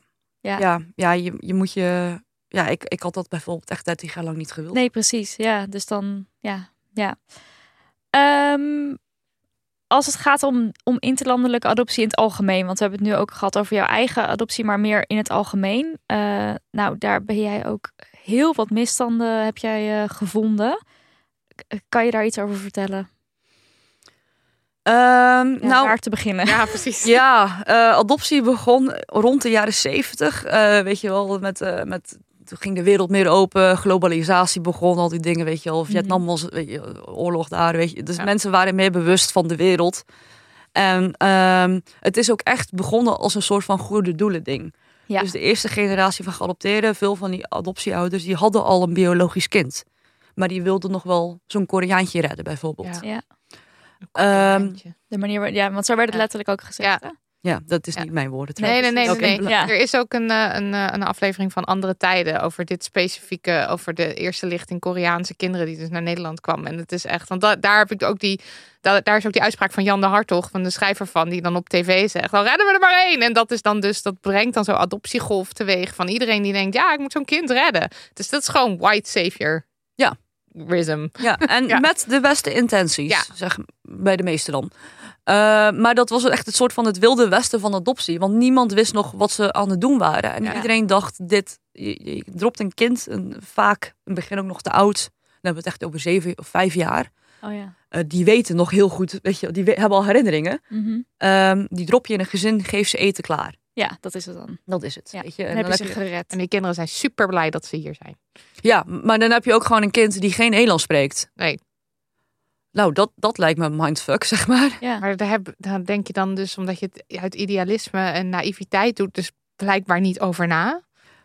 [SPEAKER 2] ja.
[SPEAKER 4] ja, je, je moet je. Ja, ik, ik had dat bijvoorbeeld echt 30 jaar lang niet gewild.
[SPEAKER 2] Nee, precies. Ja, dus dan, ja, ja. Ehm, als het gaat om, om interlandelijke adoptie in het algemeen, want we hebben het nu ook gehad over jouw eigen adoptie, maar meer in het algemeen. Eh, nou, daar ben jij ook heel wat misstanden heb jij eh, gevonden. K- eh, Kan je daar iets over vertellen?
[SPEAKER 4] Ehm,
[SPEAKER 2] Ja,
[SPEAKER 4] nou,
[SPEAKER 2] waar te beginnen?
[SPEAKER 3] Ja, precies.
[SPEAKER 4] Ja, eh, adoptie begon rond de jaren zeventig. weet je wel, met, eh, met, toen ging de wereld meer open, globalisatie begon, al die dingen, weet je wel. Vietnam was weet je, oorlog daar, weet je. Dus
[SPEAKER 3] Mhm. Ja.
[SPEAKER 4] mensen waren meer bewust van de wereld. En ehm, het is ook echt begonnen als een soort van goede doelen ding.
[SPEAKER 2] Ja.
[SPEAKER 4] Dus de eerste generatie van geadopteerden, veel van die adoptieouders, die hadden al een biologisch kind. Maar die wilden nog wel zo'n Koreaantje redden, bijvoorbeeld.
[SPEAKER 3] Ja.
[SPEAKER 2] Ja,
[SPEAKER 4] Ehm,
[SPEAKER 2] de manier waar, ja, want zo werd het
[SPEAKER 3] Ja.
[SPEAKER 2] letterlijk ook gezegd. hè?
[SPEAKER 4] ja, dat is
[SPEAKER 3] Ja.
[SPEAKER 4] niet mijn woorden.
[SPEAKER 3] Nee, nee, nee.
[SPEAKER 4] Oké.
[SPEAKER 3] nee, nee.
[SPEAKER 2] Ja.
[SPEAKER 3] Er is ook een, eh, een, eh, een aflevering van Andere Tijden over dit specifieke, over de eerste lichting Koreaanse kinderen die dus naar Nederland kwam. En het is echt, want da- daar heb ik ook die, da- daar is ook die uitspraak van Jan de Hartog, van de schrijver van, die dan op tv zegt, dan redden we er maar één. En dat is dan dus, dat brengt dan zo'n adoptiegolf teweeg van iedereen die denkt, ja, ik moet zo'n kind redden. Dus dat is gewoon white savior.
[SPEAKER 4] Ja.
[SPEAKER 3] Rism.
[SPEAKER 4] Ja, en
[SPEAKER 3] Ja.
[SPEAKER 4] met de beste intenties,
[SPEAKER 3] Ja.
[SPEAKER 4] zeg bij de meeste dan. Eh, maar dat was echt het soort van het wilde westen van adoptie. Want niemand wist nog wat ze aan het doen waren. En
[SPEAKER 3] Ja.
[SPEAKER 4] iedereen dacht, dit, je, je dropt een kind, een, vaak in het begin ook nog te oud. Dan hebben we het echt over zeven of vijf jaar.
[SPEAKER 2] Oh ja.
[SPEAKER 4] Eh, die weten nog heel goed, weet je, die we- hebben al herinneringen.
[SPEAKER 2] Mhm.
[SPEAKER 4] Ehm, die drop je in een gezin, geef ze eten klaar.
[SPEAKER 2] Ja, dat is het dan.
[SPEAKER 4] Dat is het.
[SPEAKER 2] Ja.
[SPEAKER 4] Weet je? En
[SPEAKER 2] Dan heb je
[SPEAKER 4] heb
[SPEAKER 2] ze
[SPEAKER 4] je-
[SPEAKER 2] gered.
[SPEAKER 3] En die kinderen zijn super blij dat ze hier zijn.
[SPEAKER 4] Ja, maar dan heb je ook gewoon een kind die geen Nederlands spreekt.
[SPEAKER 3] Nee.
[SPEAKER 4] Nou, dat, dat lijkt me mindfuck, zeg maar.
[SPEAKER 2] Ja.
[SPEAKER 3] Maar daar, heb, daar denk je dan dus, omdat je het uit idealisme en naïviteit doet, dus blijkbaar niet over na.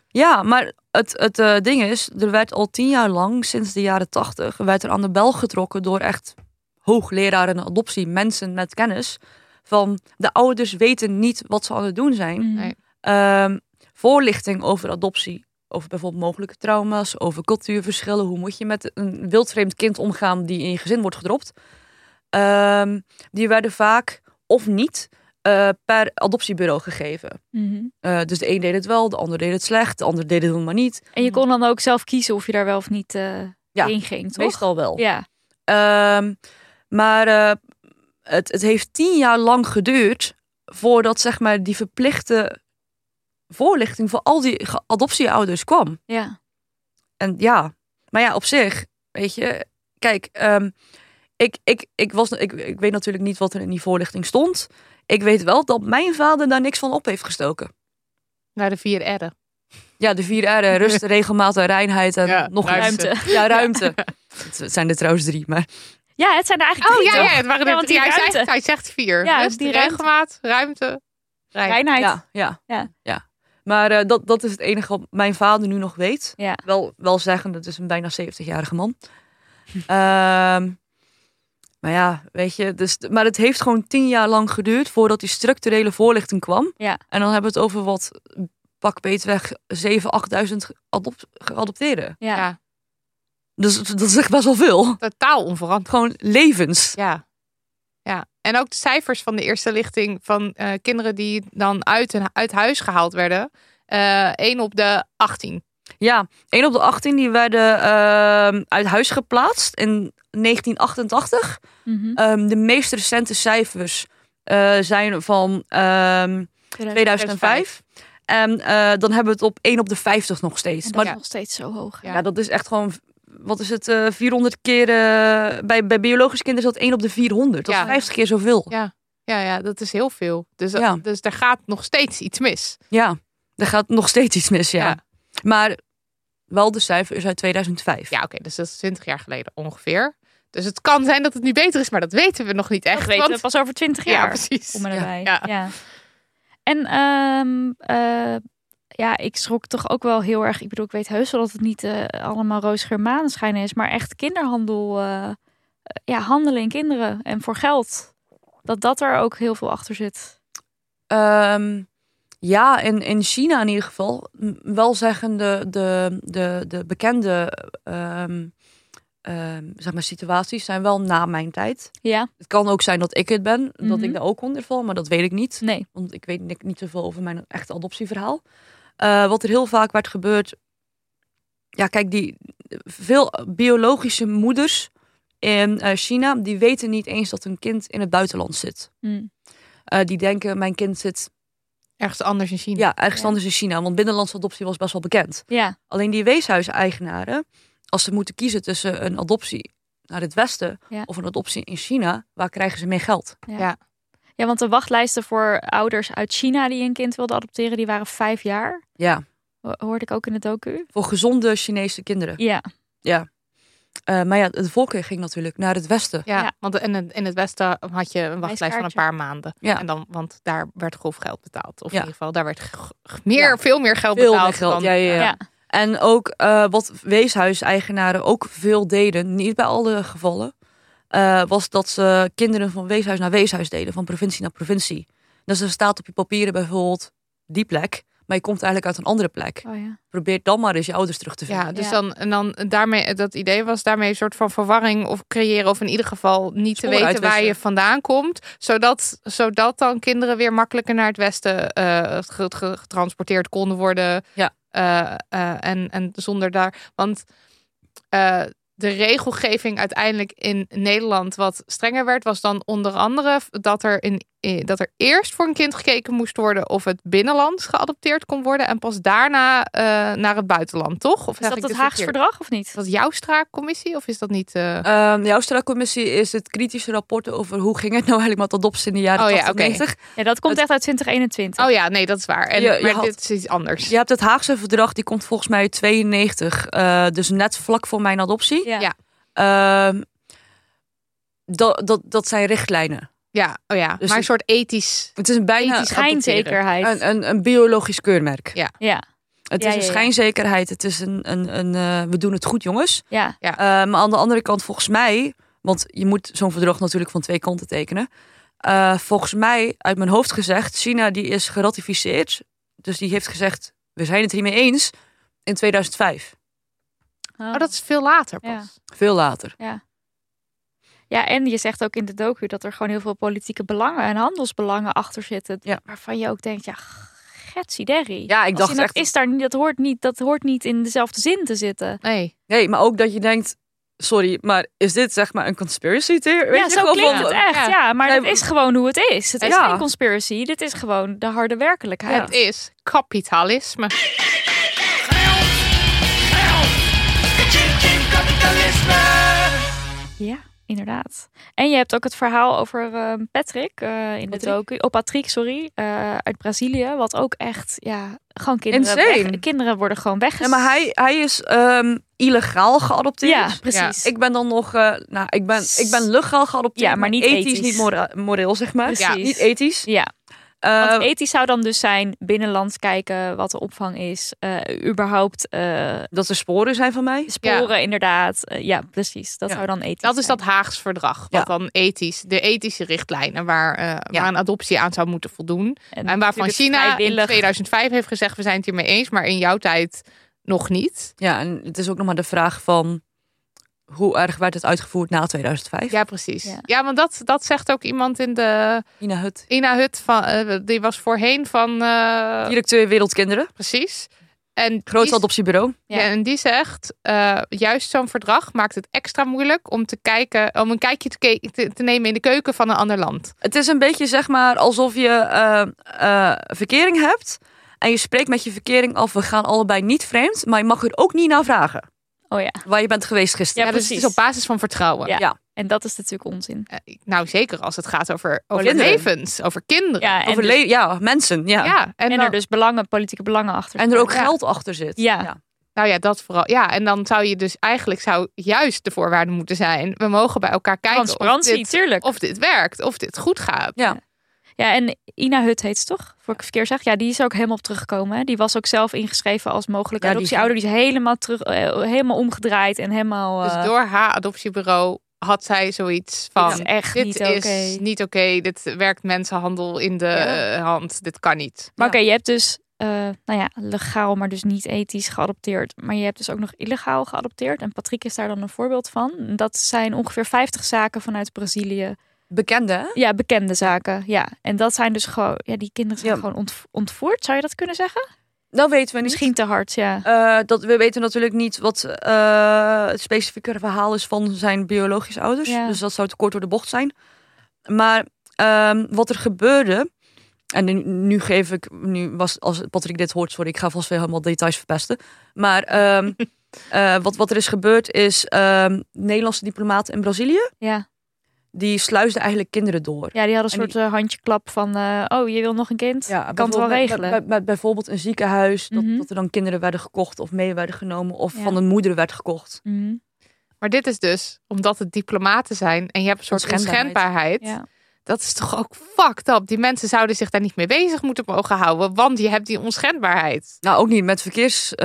[SPEAKER 4] Ja, maar het, het eh, ding is, er werd al tien jaar lang, sinds de jaren tachtig, werd er aan de bel getrokken door echt hoogleraren adoptie, mensen met kennis. Van de ouders weten niet wat ze aan het doen zijn.
[SPEAKER 2] Mhm.
[SPEAKER 3] Nee.
[SPEAKER 4] Ehm, voorlichting over adoptie, over bijvoorbeeld mogelijke trauma's, over cultuurverschillen. Hoe moet je met een wildvreemd kind omgaan die in je gezin wordt gedropt? Ehm, die werden vaak of niet eh, per adoptiebureau gegeven.
[SPEAKER 2] Mhm.
[SPEAKER 4] Eh, dus de een deed het wel, de ander deed het slecht, de ander deed het helemaal niet.
[SPEAKER 2] En je kon dan ook zelf kiezen of je daar wel of niet eh
[SPEAKER 4] Mhm. Ja,
[SPEAKER 2] heen ging, toch?
[SPEAKER 4] Meestal wel.
[SPEAKER 2] Ja.
[SPEAKER 4] Ehm, maar eh, het, het heeft tien jaar lang geduurd voordat zeg maar, die verplichte voorlichting voor al die ge- adoptieouders kwam.
[SPEAKER 2] ja.
[SPEAKER 4] En ja, maar ja, op zich, weet je, kijk, ehm, ik, ik, ik, was, ik, ik weet natuurlijk niet wat er in die voorlichting stond. Ik weet wel dat mijn vader daar niks van op heeft gestoken.
[SPEAKER 3] Naar de vier R'en.
[SPEAKER 4] Ja, de vier R'en. Rust, regelmaat en reinheid en
[SPEAKER 3] Ja,
[SPEAKER 4] nog
[SPEAKER 3] ruimte.
[SPEAKER 2] Ruimte.
[SPEAKER 4] iets. Ja, ruimte. Het zijn er trouwens drie, maar...
[SPEAKER 2] Ja, het zijn er eigenlijk
[SPEAKER 3] Oh
[SPEAKER 2] drie,
[SPEAKER 3] ja, ja,
[SPEAKER 2] toch?
[SPEAKER 3] het waren
[SPEAKER 2] Ja,
[SPEAKER 3] er
[SPEAKER 2] want
[SPEAKER 3] drie.
[SPEAKER 2] die
[SPEAKER 3] Hij
[SPEAKER 2] ruimte.
[SPEAKER 3] zegt, hij zegt vier.
[SPEAKER 2] Ja, dus
[SPEAKER 3] Rust,
[SPEAKER 2] die ruimte.
[SPEAKER 3] regelmaat, ruimte, rij.
[SPEAKER 2] Reinheid.
[SPEAKER 4] Ja, ja.
[SPEAKER 2] Ja.
[SPEAKER 4] ja. Maar eh, dat, dat is het enige wat mijn vader nu nog weet.
[SPEAKER 2] Ja.
[SPEAKER 4] Wel, wel zeggen, dat is een bijna 70-jarige man. Ehm, maar ja, weet je. Dus, maar het heeft gewoon tien jaar lang geduurd voordat die structurele voorlichting kwam.
[SPEAKER 2] Ja.
[SPEAKER 4] En dan hebben we het over wat pak beetweg 7.000, 8.000 geadop- geadopteerden.
[SPEAKER 2] Ja.
[SPEAKER 3] Ja.
[SPEAKER 4] Dus dat is echt best wel veel.
[SPEAKER 3] Totaal onveranderd.
[SPEAKER 4] Gewoon levens.
[SPEAKER 3] Ja. ja. En ook de cijfers van de eerste lichting van eh, kinderen die dan uit, hun- uit huis gehaald werden. Eh 1 op de 18.
[SPEAKER 4] Ja, 1 op de 18 die werden ehm, uit huis geplaatst in 1988.
[SPEAKER 2] Mhm.
[SPEAKER 4] Ehm, de meest recente cijfers eh, zijn van ehm, 2005. En eh, dan hebben we het op 1 op de 50 nog steeds.
[SPEAKER 2] En dat
[SPEAKER 4] maar
[SPEAKER 2] is
[SPEAKER 4] ja.
[SPEAKER 2] nog steeds zo hoog.
[SPEAKER 3] ja.
[SPEAKER 4] dat is echt gewoon, wat is het, eh, 400 keer. eh, bij, bij biologisch kind is dat 1 op de 400. Dat
[SPEAKER 3] Ja.
[SPEAKER 4] is 50 keer zoveel.
[SPEAKER 3] Ja. Ja, ja, dat is heel veel. Dus,
[SPEAKER 4] Ja.
[SPEAKER 3] dus er gaat nog steeds iets mis.
[SPEAKER 4] Ja, er gaat nog steeds iets mis, ja.
[SPEAKER 3] Ja.
[SPEAKER 4] Maar wel de cijfer is uit 2005.
[SPEAKER 3] Ja, oké, dus dat is 20 jaar geleden ongeveer. Dus het kan zijn dat het nu beter is, maar dat weten we nog niet echt.
[SPEAKER 2] Echt, weten
[SPEAKER 3] want-
[SPEAKER 2] we pas over twintig
[SPEAKER 3] Ja,
[SPEAKER 2] jaar.
[SPEAKER 3] precies.
[SPEAKER 2] Kom maar
[SPEAKER 4] Ja,
[SPEAKER 2] erbij. Ja.
[SPEAKER 3] ja.
[SPEAKER 2] En ehm, eh, ja, ik schrok toch ook wel heel erg. Ik bedoel, ik weet heus wel dat het niet eh, allemaal roosgeur maneschijnen is, maar echt kinderhandel, eh, eh, ja, handelen in kinderen en voor geld. Dat dat er ook heel veel achter zit.
[SPEAKER 4] Ehm, ja, in, in China in ieder geval. M- Wel zeggen de, de, de, de bekende ehm, ehm, zeg maar situaties zijn wel na mijn tijd.
[SPEAKER 2] Ja,
[SPEAKER 4] Het kan ook zijn dat ik het ben, dat
[SPEAKER 2] Mhm.
[SPEAKER 4] ik daar ook onder val, maar dat weet ik niet.
[SPEAKER 2] nee.
[SPEAKER 4] Want ik weet ni- niet zoveel over mijn echte adoptieverhaal. Eh, wat er heel vaak werd gebeurd. Ja, kijk, die, veel biologische moeders in eh, China, die weten niet eens dat hun kind in het buitenland zit.
[SPEAKER 2] Hm.
[SPEAKER 4] Eh, die denken, mijn kind zit
[SPEAKER 3] Ergens anders in China.
[SPEAKER 4] ja, ergens
[SPEAKER 2] Ja.
[SPEAKER 4] anders in China. Want binnenlandse adoptie was best wel bekend.
[SPEAKER 2] Ja,
[SPEAKER 4] Alleen die weeshuiseigenaren, als ze moeten kiezen tussen een adoptie naar het Westen
[SPEAKER 2] Ja.
[SPEAKER 4] of een adoptie in China, waar krijgen ze meer geld?
[SPEAKER 2] ja, want de wachtlijsten voor ouders uit China die een kind wilden adopteren, die waren vijf jaar.
[SPEAKER 4] Ja,
[SPEAKER 2] Ho- Hoorde ik ook in de docu.
[SPEAKER 4] voor gezonde Chinese kinderen.
[SPEAKER 2] Ja,
[SPEAKER 4] Eh, maar ja, de voorkeur ging natuurlijk naar het Westen.
[SPEAKER 3] Ja,
[SPEAKER 2] Ja.
[SPEAKER 3] want in het, in het Westen had je een wachtlijst van een
[SPEAKER 2] Reiskaartje.
[SPEAKER 3] paar maanden.
[SPEAKER 4] Ja.
[SPEAKER 3] En dan, want daar werd grof geld betaald. Of
[SPEAKER 4] Ja.
[SPEAKER 3] in ieder geval, daar werd g- g- meer,
[SPEAKER 4] Ja.
[SPEAKER 3] veel meer geld
[SPEAKER 4] Veel
[SPEAKER 3] betaald.
[SPEAKER 4] meer geld,
[SPEAKER 3] dan-
[SPEAKER 4] ja, ja, ja.
[SPEAKER 2] ja.
[SPEAKER 4] En ook eh, wat weeshuiseigenaren ook veel deden, niet bij alle gevallen, eh, was dat ze kinderen van weeshuis naar weeshuis deden, van provincie naar provincie. Dus er staat op je papieren bijvoorbeeld die plek, maar je komt eigenlijk uit een andere plek.
[SPEAKER 2] Oh, ja.
[SPEAKER 4] Probeer dan maar eens je ouders terug te vinden.
[SPEAKER 3] Ja, dus
[SPEAKER 2] Ja.
[SPEAKER 3] dan en dan daarmee eh, dat idee was daarmee een soort van verwarring of creëren of in ieder geval niet te
[SPEAKER 4] Sporen
[SPEAKER 3] weten waar
[SPEAKER 4] uitwissen.
[SPEAKER 3] je vandaan komt, zodat zodat dan kinderen weer makkelijker naar het westen eh, ge- ge- getransporteerd konden worden.
[SPEAKER 4] Ja.
[SPEAKER 3] Eh, eh, en en zonder daar, want eh, de regelgeving uiteindelijk in Nederland wat strenger werd, was dan onder andere dat er, in, eh, dat er eerst voor een kind gekeken moest worden of het binnenland geadopteerd kon worden en pas daarna eh, naar het buitenland, toch? Of
[SPEAKER 2] Is
[SPEAKER 3] zeg
[SPEAKER 2] dat
[SPEAKER 3] ik
[SPEAKER 2] het
[SPEAKER 3] dit
[SPEAKER 2] Haags
[SPEAKER 3] verkeerd?
[SPEAKER 2] verdrag of niet?
[SPEAKER 3] Is dat jouw straakcommissie of is dat niet? eh,
[SPEAKER 4] Ehm, de Joustra-commissie is het kritische rapport over hoe ging het nou eigenlijk met adoptie in de jaren
[SPEAKER 3] Oh ja,
[SPEAKER 4] 80
[SPEAKER 3] oké.
[SPEAKER 4] 90.
[SPEAKER 2] Ja, dat komt
[SPEAKER 4] Het-
[SPEAKER 2] echt uit 2021.
[SPEAKER 3] Oh ja, nee, dat is waar. En,
[SPEAKER 4] Je- je
[SPEAKER 3] maar
[SPEAKER 4] had-
[SPEAKER 3] dit is iets anders.
[SPEAKER 4] Je hebt het Haagse verdrag, die komt volgens mij uit 92, eh, dus net vlak voor mijn adoptie.
[SPEAKER 2] Ja.
[SPEAKER 3] Ja.
[SPEAKER 4] Ehm, dat, dat, dat zijn richtlijnen.
[SPEAKER 3] Ja, oh ja.
[SPEAKER 4] Dus
[SPEAKER 3] maar een
[SPEAKER 4] het-
[SPEAKER 3] soort ethisch.
[SPEAKER 4] Het is bijna
[SPEAKER 3] Ethisch
[SPEAKER 2] Schijnzekerheid.
[SPEAKER 4] een, een, een biologisch keurmerk.
[SPEAKER 2] Ja,
[SPEAKER 4] Het
[SPEAKER 2] Ja,
[SPEAKER 4] is een
[SPEAKER 2] ja, ja.
[SPEAKER 4] schijnzekerheid. Het is een, een, een eh, we doen het goed, jongens.
[SPEAKER 2] ja.
[SPEAKER 3] Ja.
[SPEAKER 4] Eh, maar aan de andere kant, volgens mij, want je moet zo'n verdrag natuurlijk van twee kanten tekenen. Eh, volgens mij, uit mijn hoofd gezegd, China die is geratificeerd. Dus die heeft gezegd, we zijn het hiermee eens in 2005.
[SPEAKER 3] Oh, dat is veel later pas.
[SPEAKER 2] Ja.
[SPEAKER 4] Veel later.
[SPEAKER 2] Ja, en je zegt ook in de docu dat er gewoon heel veel politieke belangen en handelsbelangen achter zitten.
[SPEAKER 4] Ja.
[SPEAKER 2] Waarvan je ook denkt, ja, getsiderrie.
[SPEAKER 4] Ja, ik
[SPEAKER 2] Als
[SPEAKER 4] dacht
[SPEAKER 2] je- dat
[SPEAKER 4] echt...
[SPEAKER 2] Is daar, niet- dat, hoort niet, dat hoort niet in dezelfde zin te zitten.
[SPEAKER 3] Nee.
[SPEAKER 4] Nee, maar ook dat je denkt, sorry, maar is dit zeg maar een conspiracy theory? Weet
[SPEAKER 2] ja,
[SPEAKER 4] je,
[SPEAKER 2] zo
[SPEAKER 4] gewoon
[SPEAKER 2] klinkt
[SPEAKER 4] van-
[SPEAKER 2] het echt. Ja,
[SPEAKER 3] ja.
[SPEAKER 2] maar
[SPEAKER 4] Nee,
[SPEAKER 2] dat is gewoon hoe het is. Het is
[SPEAKER 4] Ja.
[SPEAKER 2] geen conspiracy. Dit is gewoon de harde werkelijkheid.
[SPEAKER 3] Het is kapitalisme.
[SPEAKER 2] Ja, inderdaad. En je hebt ook het verhaal over ehm, Patrick eh, in de
[SPEAKER 4] Patrick?
[SPEAKER 2] docu. Oh, Patrick, sorry. eh, uit Brazilië. Wat ook echt, ja, gewoon kinderen.
[SPEAKER 4] Insane.
[SPEAKER 2] weg- kinderen worden gewoon weg.
[SPEAKER 4] Ja, maar hij, hij is ehm, illegaal geadopteerd.
[SPEAKER 2] Ja, precies.
[SPEAKER 4] Ik ben dan nog, eh, nou, ik ben, ik ben legaal geadopteerd.
[SPEAKER 2] Ja, maar niet ethisch.
[SPEAKER 4] niet mora- moreel, zeg maar.
[SPEAKER 2] Precies.
[SPEAKER 4] Niet ethisch.
[SPEAKER 2] ja,
[SPEAKER 4] Eh,
[SPEAKER 2] Want ethisch zou dan dus zijn binnenlands kijken wat de opvang is. eh, überhaupt eh,
[SPEAKER 4] dat er sporen zijn van mij.
[SPEAKER 2] sporen inderdaad. Eh, ja, precies. Dat
[SPEAKER 4] Ja.
[SPEAKER 2] zou dan ethisch
[SPEAKER 3] Dat is
[SPEAKER 2] zijn.
[SPEAKER 3] dat Haags verdrag. Wat
[SPEAKER 4] Ja.
[SPEAKER 3] dan ethisch, de ethische richtlijnen waar, eh, waar een adoptie aan zou moeten voldoen.
[SPEAKER 2] En,
[SPEAKER 3] En waarvan
[SPEAKER 2] natuurlijk
[SPEAKER 3] China in
[SPEAKER 2] vrijwillig.
[SPEAKER 3] 2005 heeft gezegd: we zijn het hiermee eens, maar in jouw tijd nog niet.
[SPEAKER 4] Ja, en het is ook nog maar de vraag van hoe erg werd het uitgevoerd na 2005?
[SPEAKER 3] Ja, precies. Ja,
[SPEAKER 2] Ja.
[SPEAKER 3] want dat, dat zegt ook iemand in de
[SPEAKER 4] Ina Hut,
[SPEAKER 3] Ina Hut. Van, eh, die was voorheen van. eh,
[SPEAKER 4] directeur Wereldkinderen,
[SPEAKER 3] Precies. En
[SPEAKER 4] groot
[SPEAKER 3] die-
[SPEAKER 4] adoptiebureau.
[SPEAKER 2] Ja.
[SPEAKER 3] Ja, en die zegt, eh, juist zo'n verdrag maakt het extra moeilijk om te kijken, om een kijkje te, ke- te, te nemen in de keuken van een ander land.
[SPEAKER 4] Het is een beetje zeg maar alsof je eh, eh, verkering hebt en je spreekt met je verkering af, we gaan allebei niet vreemd, maar je mag er ook niet naar vragen
[SPEAKER 2] Oh ja.
[SPEAKER 4] waar je bent geweest gisteren.
[SPEAKER 2] Ja,
[SPEAKER 3] dus het
[SPEAKER 2] precies.
[SPEAKER 3] is op basis van vertrouwen.
[SPEAKER 2] Ja.
[SPEAKER 4] Ja.
[SPEAKER 2] En dat is natuurlijk onzin.
[SPEAKER 3] Eh, nou, zeker als het gaat over, over
[SPEAKER 4] Kinderen.
[SPEAKER 3] levens, over kinderen.
[SPEAKER 2] Ja, en,
[SPEAKER 4] Over
[SPEAKER 2] dus-
[SPEAKER 4] le- ja mensen, ja.
[SPEAKER 3] Ja, en,
[SPEAKER 2] en
[SPEAKER 3] dan-
[SPEAKER 2] er dus belangen, politieke belangen achter.
[SPEAKER 4] En er ook
[SPEAKER 3] Ja.
[SPEAKER 4] geld achter zit.
[SPEAKER 2] Ja.
[SPEAKER 3] nou ja, dat vooral. Ja, en dan zou je dus eigenlijk zou juist de voorwaarde moeten zijn. We mogen bij elkaar kijken of
[SPEAKER 2] transparantie,
[SPEAKER 3] dit,
[SPEAKER 2] tuurlijk.
[SPEAKER 3] of dit werkt, of dit goed gaat.
[SPEAKER 4] Ja.
[SPEAKER 2] Ja, en Ina Hut heet ze toch? Voor ik het verkeerd zeg. Ja, die is er ook helemaal op teruggekomen. hè. Die was ook zelf ingeschreven als mogelijke
[SPEAKER 4] Ja, die-
[SPEAKER 2] adoptieouder. Die is helemaal, terug, eh, helemaal omgedraaid en helemaal... eh,
[SPEAKER 3] Dus door haar adoptiebureau had zij zoiets van...
[SPEAKER 2] Dit is echt
[SPEAKER 3] dit
[SPEAKER 2] niet
[SPEAKER 3] is
[SPEAKER 2] oké.
[SPEAKER 3] niet oké, dit werkt mensenhandel in de
[SPEAKER 4] Ja.
[SPEAKER 3] eh, hand, dit kan niet.
[SPEAKER 2] Maar
[SPEAKER 4] Ja.
[SPEAKER 2] oké, je hebt dus, eh, nou ja, legaal, maar dus niet ethisch geadopteerd. Maar je hebt dus ook nog illegaal geadopteerd. En Patrick is daar dan een voorbeeld van. Dat zijn ongeveer 50 zaken vanuit Brazilië.
[SPEAKER 4] Bekende, hè?
[SPEAKER 2] Ja, bekende zaken. Ja, en dat zijn dus gewoon, ja, die kinderen zijn
[SPEAKER 4] Ja.
[SPEAKER 2] gewoon ontv- ontvoerd. Zou je dat kunnen zeggen?
[SPEAKER 4] Dat Nou weten we niet.
[SPEAKER 2] Misschien te hard, ja.
[SPEAKER 4] Eh, dat, we weten natuurlijk niet wat eh, het specifieke verhaal is van zijn biologische ouders.
[SPEAKER 2] Ja.
[SPEAKER 4] Dus dat zou te kort door de bocht zijn. Maar ehm, wat er gebeurde. En nu, nu geef ik. Nu was, als Patrick dit hoort, sorry, ik ga vast weer helemaal details verpesten. Maar ehm, eh, wat, wat er is gebeurd is. ehm, Nederlandse diplomaten in Brazilië.
[SPEAKER 2] Ja,
[SPEAKER 4] die sluisden eigenlijk kinderen door.
[SPEAKER 2] ja die hadden een
[SPEAKER 4] En
[SPEAKER 2] soort eh, handjeklap van, eh, oh, je wil nog een kind? kan het wel
[SPEAKER 4] bijvoorbeeld bij-
[SPEAKER 2] regelen.
[SPEAKER 4] bij- bij- bijvoorbeeld een ziekenhuis. Dat,
[SPEAKER 2] Mhm.
[SPEAKER 4] dat er dan kinderen werden gekocht of mee werden genomen. of
[SPEAKER 2] Ja.
[SPEAKER 4] van een moeder werd gekocht.
[SPEAKER 2] Mhm,
[SPEAKER 3] Maar dit is dus, omdat het diplomaten zijn en je hebt een soort onschendbaarheid.
[SPEAKER 4] Onschendbaarheid.
[SPEAKER 2] ja.
[SPEAKER 3] Dat is toch ook fucked up. Die mensen zouden zich daar niet mee bezig moeten mogen houden, want je hebt die onschendbaarheid.
[SPEAKER 4] Nou, ook niet met eh,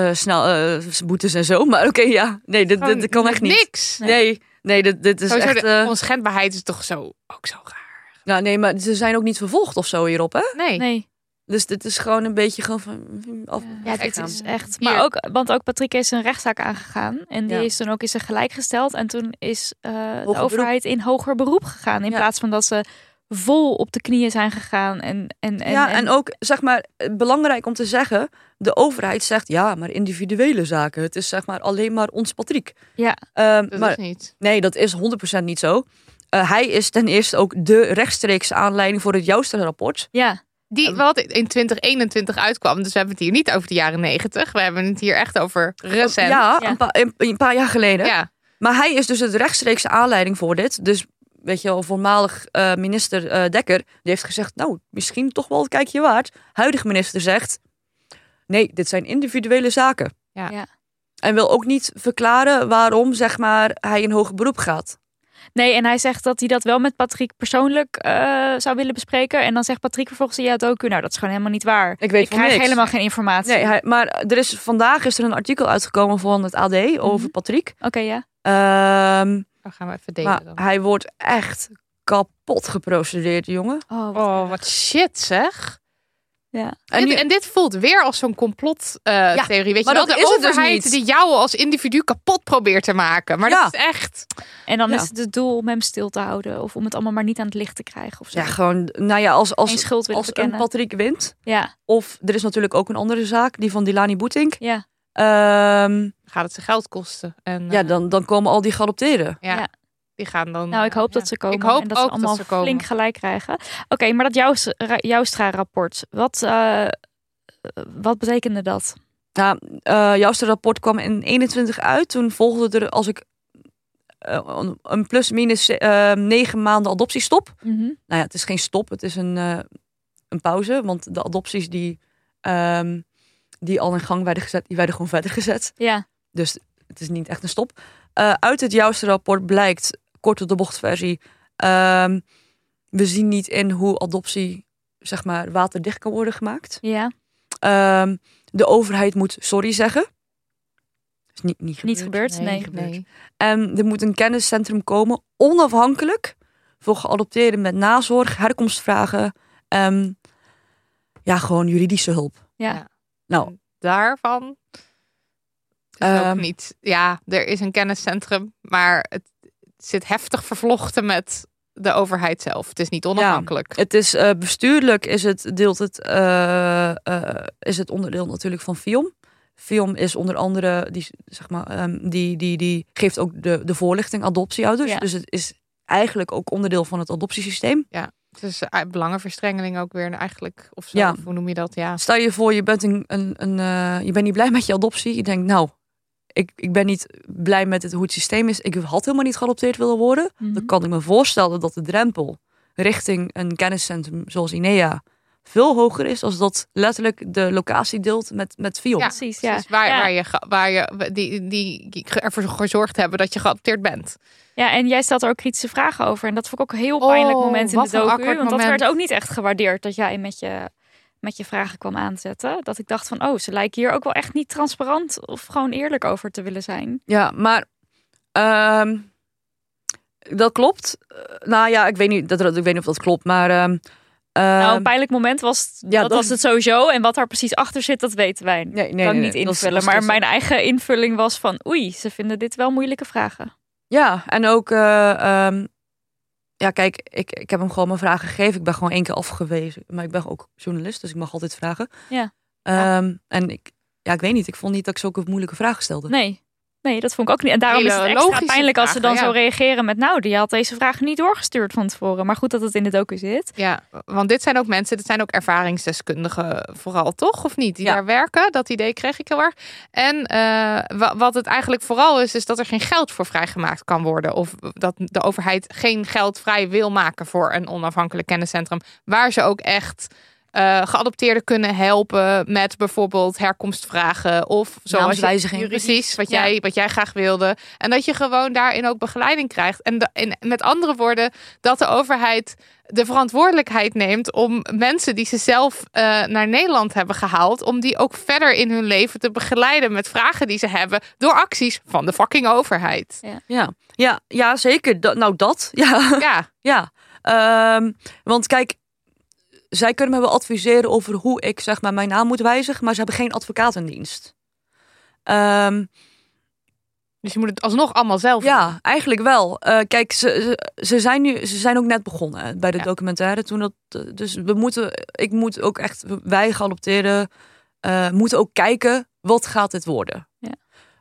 [SPEAKER 4] verkeersboetes en zo. Maar oké, ja. Nee, dit, dit, dit kan echt niet.
[SPEAKER 3] Niks.
[SPEAKER 4] Nee, nee dit, dit is
[SPEAKER 3] Sowieso
[SPEAKER 4] echt...
[SPEAKER 3] de
[SPEAKER 4] eh,
[SPEAKER 3] onschendbaarheid is toch zo, ook zo raar.
[SPEAKER 4] nou, nee, maar ze zijn ook niet vervolgd of zo hierop, hè?
[SPEAKER 3] Nee.
[SPEAKER 2] Nee,
[SPEAKER 4] Dus dit is gewoon een beetje gewoon van... Af,
[SPEAKER 2] ja, dit
[SPEAKER 4] afgaan.
[SPEAKER 2] is echt.
[SPEAKER 3] Hier.
[SPEAKER 2] Maar ook, want ook Patrick is een rechtszaak aangegaan. En die
[SPEAKER 4] Ja.
[SPEAKER 2] is toen ook is er gelijkgesteld. En toen is eh, de
[SPEAKER 4] beroep.
[SPEAKER 2] overheid in hoger beroep gegaan. In
[SPEAKER 4] Ja.
[SPEAKER 2] plaats van dat ze vol op de knieën zijn gegaan. En, en, en,
[SPEAKER 4] ja, en ook, zeg maar, eh, belangrijk om te zeggen... de overheid zegt, ja, maar individuele zaken. Het is, zeg maar, alleen maar ons Patrick.
[SPEAKER 2] Ja.
[SPEAKER 4] Ehm,
[SPEAKER 3] Dat
[SPEAKER 4] maar
[SPEAKER 3] is niet.
[SPEAKER 4] Nee, dat is 100% niet zo. Eh, hij is ten eerste ook de rechtstreekse aanleiding voor het Jouster-rapport.
[SPEAKER 2] ja,
[SPEAKER 3] Die wat in 2021 uitkwam, dus we hebben het hier niet over de jaren 90. We hebben het hier echt over recent.
[SPEAKER 4] Ja,
[SPEAKER 2] Ja.
[SPEAKER 4] Een, paar- een- een paar jaar geleden.
[SPEAKER 3] Ja.
[SPEAKER 4] Maar hij is dus het rechtstreekse aanleiding voor dit. Dus weet je wel, voormalig eh, minister eh, Dekker, die heeft gezegd, nou, misschien toch wel het kijkje waard. Huidig minister zegt, nee, dit zijn individuele zaken.
[SPEAKER 3] Ja.
[SPEAKER 2] Ja.
[SPEAKER 4] En wil ook niet verklaren waarom, zeg maar, hij in hoger beroep gaat.
[SPEAKER 2] nee, en hij zegt dat hij dat wel met Patrick persoonlijk eh, zou willen bespreken. En dan zegt Patrick vervolgens: ja, het ook. Nou, dat is gewoon helemaal niet waar.
[SPEAKER 4] Ik weet
[SPEAKER 2] Ik
[SPEAKER 4] van
[SPEAKER 2] krijg
[SPEAKER 4] niks.
[SPEAKER 2] helemaal geen informatie.
[SPEAKER 4] Nee, hij, maar er is, vandaag is er een artikel uitgekomen van het AD over Patrick.
[SPEAKER 2] Oké, ja.
[SPEAKER 4] Ehm,
[SPEAKER 3] Dan Oh, gaan we even delen
[SPEAKER 4] maar
[SPEAKER 3] dan.
[SPEAKER 4] hij wordt echt kapot geprocedeerd, jongen.
[SPEAKER 2] Oh, wat
[SPEAKER 3] Oh,
[SPEAKER 2] erg.
[SPEAKER 3] wat shit zeg.
[SPEAKER 2] Ja.
[SPEAKER 3] En
[SPEAKER 4] En
[SPEAKER 3] dit,
[SPEAKER 4] nu-
[SPEAKER 3] en dit voelt weer als zo'n complottheorie.
[SPEAKER 4] Ja,
[SPEAKER 3] theorie. Weet
[SPEAKER 4] maar
[SPEAKER 3] je wel,
[SPEAKER 4] dat
[SPEAKER 3] de
[SPEAKER 4] is het dus
[SPEAKER 3] overheid
[SPEAKER 4] niet.
[SPEAKER 3] die jou als individu kapot probeert te maken. Maar
[SPEAKER 4] Ja.
[SPEAKER 3] dat is echt.
[SPEAKER 2] En dan
[SPEAKER 4] Ja.
[SPEAKER 2] is het het doel om hem stil te houden. Of om het allemaal maar niet aan het licht te krijgen. Of zo.
[SPEAKER 4] ja, gewoon, nou ja, als,
[SPEAKER 2] Geen
[SPEAKER 4] als,
[SPEAKER 2] schuld willen
[SPEAKER 4] als een
[SPEAKER 2] bekennen.
[SPEAKER 4] Patrick wint...
[SPEAKER 2] Ja,
[SPEAKER 4] Of er is natuurlijk ook een andere zaak, die van Dilani Boetink.
[SPEAKER 2] ja.
[SPEAKER 4] Ehm,
[SPEAKER 3] Gaat het ze geld kosten? En eh,
[SPEAKER 4] ja, dan, dan komen al die geadopteerden.
[SPEAKER 3] ja,
[SPEAKER 2] ja.
[SPEAKER 3] die gaan dan.
[SPEAKER 2] Nou, ik hoop
[SPEAKER 3] eh,
[SPEAKER 2] dat ze komen
[SPEAKER 3] Ik hoop
[SPEAKER 2] en dat
[SPEAKER 3] ook
[SPEAKER 2] ze allemaal
[SPEAKER 3] dat ze komen.
[SPEAKER 2] flink gelijk krijgen. Oké, maar dat Joust- Ra- Joustra-rapport, wat, eh, wat betekende dat?
[SPEAKER 4] Nou, eh, jouwste rapport kwam in 21 uit. Toen volgde er, als ik eh, een- een plus-minus eh, negen maanden adoptiestop.
[SPEAKER 2] Mhm.
[SPEAKER 4] Nou ja, het is geen stop, het is een, eh, een pauze. Want de adopties die, ehm, die al in gang werden gezet, die werden gewoon verder gezet.
[SPEAKER 2] Ja.
[SPEAKER 4] Dus het is niet echt een stop. Eh, uit het juiste rapport blijkt, kort op de bochtversie, ehm, we zien niet in hoe adoptie zeg maar, waterdicht kan worden gemaakt.
[SPEAKER 2] Ja.
[SPEAKER 4] Ehm, de overheid moet sorry zeggen. Is niet, niet gebeurd.
[SPEAKER 2] Niet gebeurd. Nee.
[SPEAKER 3] nee.
[SPEAKER 4] En er moet een kenniscentrum komen, onafhankelijk, voor geadopteerden met nazorg, herkomstvragen. en ja, gewoon juridische hulp.
[SPEAKER 2] Ja.
[SPEAKER 4] Nou,
[SPEAKER 3] Daarvan is het
[SPEAKER 4] Ehm.
[SPEAKER 3] ook niet. Ja, er is een kenniscentrum, maar het zit heftig vervlochten met de overheid zelf. Het is niet onafhankelijk.
[SPEAKER 4] het is eh, bestuurlijk is het, deelt het, eh, eh, is het onderdeel natuurlijk van FIOM. FIOM is onder andere, die, zeg maar, ehm, die, die, die geeft ook de, de voorlichting adoptieouders.
[SPEAKER 2] Ja.
[SPEAKER 4] Dus het is eigenlijk ook onderdeel van het adoptiesysteem.
[SPEAKER 3] Het is eh, belangenverstrengeling ook weer eigenlijk. Of zo,
[SPEAKER 4] Ja.
[SPEAKER 3] of hoe noem je dat? Ja.
[SPEAKER 4] Stel je voor, je bent, een, een, een, eh, je bent niet blij met je adoptie. Je denkt, nou, ik, ik ben niet blij met het, hoe het systeem is. Ik had helemaal niet geadopteerd willen worden.
[SPEAKER 2] Mhm.
[SPEAKER 4] Dan kan ik me voorstellen dat de drempel richting een kenniscentrum zoals INEA veel hoger is als dat letterlijk de locatie deelt met, met VIOM.
[SPEAKER 3] Ja.
[SPEAKER 2] Precies. Ja.
[SPEAKER 3] Dus waar,
[SPEAKER 2] ja.
[SPEAKER 3] waar je, ge- waar je die, die, die ervoor gezorgd hebben dat je geadopteerd bent.
[SPEAKER 2] Ja, en jij stelt er ook kritische vragen over. En dat vond ik ook een heel pijnlijk
[SPEAKER 3] Oh,
[SPEAKER 2] moment in
[SPEAKER 3] wat
[SPEAKER 2] de
[SPEAKER 3] een
[SPEAKER 2] docu.
[SPEAKER 3] awkward
[SPEAKER 2] Want dat
[SPEAKER 3] moment.
[SPEAKER 2] werd ook niet echt gewaardeerd dat jij met je, met je vragen kwam aanzetten. Dat ik dacht van, oh, ze lijken hier ook wel echt niet transparant of gewoon eerlijk over te willen zijn.
[SPEAKER 4] Ja, maar ehm, dat klopt. Eh, nou ja, ik weet niet, dat, dat- ik weet niet of dat klopt, maar... ehm,
[SPEAKER 2] nou,
[SPEAKER 4] ehm,
[SPEAKER 2] een pijnlijk moment was, het-
[SPEAKER 4] ja,
[SPEAKER 2] dat
[SPEAKER 4] dat-
[SPEAKER 2] was het sowieso. En wat daar precies achter zit, dat weten wij
[SPEAKER 4] nee, nee,
[SPEAKER 2] kan ik
[SPEAKER 4] nee,
[SPEAKER 2] niet
[SPEAKER 4] nee, dat is-
[SPEAKER 2] invullen.
[SPEAKER 4] dat is- dus-
[SPEAKER 2] maar
[SPEAKER 4] dat is-
[SPEAKER 2] mijn eigen invulling was van, oei, ze vinden dit wel moeilijke vragen.
[SPEAKER 4] Ja, en ook, eh, ehm, ja, kijk, ik, ik heb hem gewoon mijn vragen gegeven. Ik ben gewoon één keer afgewezen. Maar ik ben ook journalist, dus ik mag altijd vragen.
[SPEAKER 2] Ja.
[SPEAKER 4] Ehm, En ik, ja, ik weet niet. Ik vond niet dat ik zulke moeilijke vragen stelde.
[SPEAKER 2] Nee. Nee, dat vond ik ook niet. En daarom
[SPEAKER 3] Hele
[SPEAKER 2] is het extra
[SPEAKER 3] logische
[SPEAKER 2] pijnlijk als ze dan
[SPEAKER 3] vragen,
[SPEAKER 2] zo
[SPEAKER 3] ja.
[SPEAKER 2] reageren met... nou, die had deze vraag niet doorgestuurd van tevoren. Maar goed dat het in de docu zit.
[SPEAKER 3] Ja, want dit zijn ook mensen, dit zijn ook ervaringsdeskundigen vooral, toch? Of niet? Die
[SPEAKER 4] Ja.
[SPEAKER 3] daar werken, dat idee kreeg ik heel erg. En eh, wa- wat het eigenlijk vooral is, is dat er geen geld voor vrijgemaakt kan worden. Of dat de overheid geen geld vrij wil maken voor een onafhankelijk kenniscentrum. Waar ze ook echt eh, geadopteerden kunnen helpen met bijvoorbeeld herkomstvragen. Of zoals je-
[SPEAKER 4] Naamswijziging.
[SPEAKER 3] Precies, wat
[SPEAKER 2] Ja.
[SPEAKER 3] jij, wat jij graag wilde. En dat je gewoon daarin ook begeleiding krijgt. En, da- en met andere woorden, dat de overheid de verantwoordelijkheid neemt om mensen die ze zelf eh, naar Nederland hebben gehaald, om die ook verder in hun leven te begeleiden met vragen die ze hebben door acties van de fucking overheid.
[SPEAKER 4] Ja, ja, ja zeker. Dat- nou, dat. Ja,
[SPEAKER 3] Ja,
[SPEAKER 4] ja. Ehm, want kijk, zij kunnen me wel adviseren over hoe ik zeg maar, mijn naam moet wijzigen. Maar ze hebben geen advocaat in dienst. Ehm,
[SPEAKER 3] dus je moet het alsnog allemaal zelf doen.
[SPEAKER 4] Ja, eigenlijk wel. Eh, kijk, ze, ze, ze zijn nu, ze zijn ook net begonnen hè, bij de
[SPEAKER 3] Ja.
[SPEAKER 4] documentaire. Toen dat, eh, dus we moeten, ik moet ook echt, wij geadopteerden, eh, moeten ook kijken, wat gaat dit worden?
[SPEAKER 2] Ja.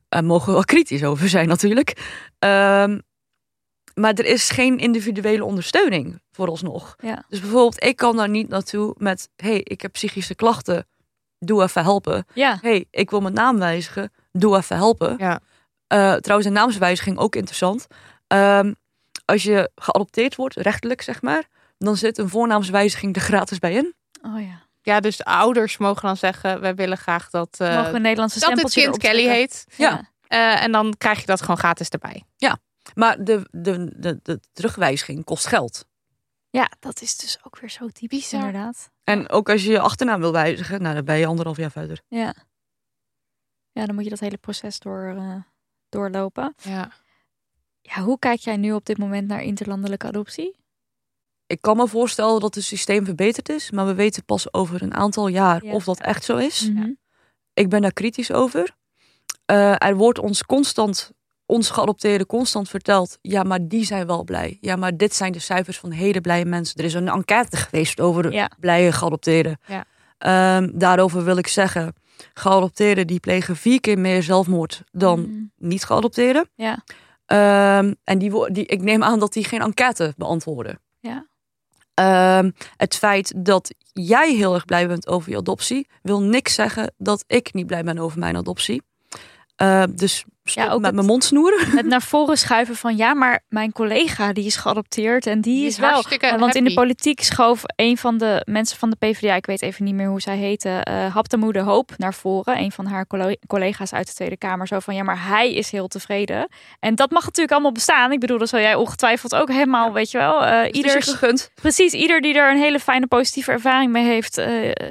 [SPEAKER 4] Eh, mogen we wel kritisch over zijn natuurlijk. Ehm, maar er is geen individuele ondersteuning vooralsnog.
[SPEAKER 2] Ja.
[SPEAKER 4] Dus bijvoorbeeld, ik kan daar niet naartoe met, hey, ik heb psychische klachten, doe even helpen
[SPEAKER 2] Ja,
[SPEAKER 4] hé, hey, ik wil mijn naam wijzigen, doe even helpen.
[SPEAKER 3] Ja.
[SPEAKER 4] Eh, trouwens, een naamswijziging ook interessant. Ehm, als je geadopteerd wordt, rechtelijk zeg maar, dan zit een voornaamswijziging er gratis bij in.
[SPEAKER 2] oh ja.
[SPEAKER 3] ja, dus de ouders mogen dan zeggen: wij willen graag dat, eh,
[SPEAKER 2] Mogen we een Nederlandse
[SPEAKER 3] dat dit
[SPEAKER 2] stempeltje
[SPEAKER 3] kind
[SPEAKER 2] erop
[SPEAKER 3] Kelly
[SPEAKER 2] zetten?
[SPEAKER 3] heet.
[SPEAKER 2] Ja.
[SPEAKER 3] Eh, en dan krijg je dat gewoon gratis erbij.
[SPEAKER 4] Maar de, de, de, de terugwijziging kost geld.
[SPEAKER 2] Ja, dat is dus ook weer zo typisch
[SPEAKER 3] Bizar.
[SPEAKER 2] inderdaad.
[SPEAKER 4] En ook als je je achternaam wil wijzigen, nou, dan ben je anderhalf jaar verder.
[SPEAKER 2] Ja. Ja, dan moet je dat hele proces door, eh, doorlopen.
[SPEAKER 3] Ja.
[SPEAKER 2] Ja, hoe kijk jij nu op dit moment naar interlandelijke adoptie?
[SPEAKER 4] Ik kan me voorstellen dat het systeem verbeterd is, maar we weten pas over een aantal jaar
[SPEAKER 2] Ja.
[SPEAKER 4] of dat echt zo is.
[SPEAKER 2] Mhm.
[SPEAKER 4] Ik ben daar kritisch over. Eh, er wordt ons constant, ons geadopteerden constant verteld. Ja, maar die zijn wel blij. Ja, maar dit zijn de cijfers van hele blije mensen. Er is een enquête geweest over de
[SPEAKER 2] Ja.
[SPEAKER 4] blije geadopteerden.
[SPEAKER 3] Ja.
[SPEAKER 4] Ehm, daarover wil ik zeggen. Geadopteerden die plegen vier keer meer zelfmoord dan
[SPEAKER 2] Mhm.
[SPEAKER 4] niet geadopteerden.
[SPEAKER 2] Ja.
[SPEAKER 4] Ehm, en die, wo- die, ik neem aan dat die geen enquête beantwoorden.
[SPEAKER 2] Ja.
[SPEAKER 4] Ehm, het feit dat jij heel erg blij bent over je adoptie, wil niks zeggen dat ik niet blij ben over mijn adoptie. Ehm, dus stop
[SPEAKER 2] Ja, ook
[SPEAKER 4] met
[SPEAKER 2] het-
[SPEAKER 4] mijn mond snoeren.
[SPEAKER 2] Het naar voren schuiven van ja, maar mijn collega die is geadopteerd en die,
[SPEAKER 3] Die
[SPEAKER 2] is,
[SPEAKER 3] is
[SPEAKER 2] wel.
[SPEAKER 3] hartstikke
[SPEAKER 2] want in de
[SPEAKER 3] happy.
[SPEAKER 2] politiek schoof een van de mensen van de PvdA, ik weet even niet meer hoe zij heette, eh Haptamoede Hoop naar voren. Een van haar colle- collega's uit de Tweede Kamer. Zo van ja, maar hij is heel tevreden. En dat mag natuurlijk allemaal bestaan. Ik bedoel, dat zal jij ongetwijfeld ook helemaal, weet je wel. eh
[SPEAKER 4] Ieder
[SPEAKER 2] ieders
[SPEAKER 4] gegund.
[SPEAKER 2] Precies, ieder die er een hele fijne positieve ervaring mee heeft, eh,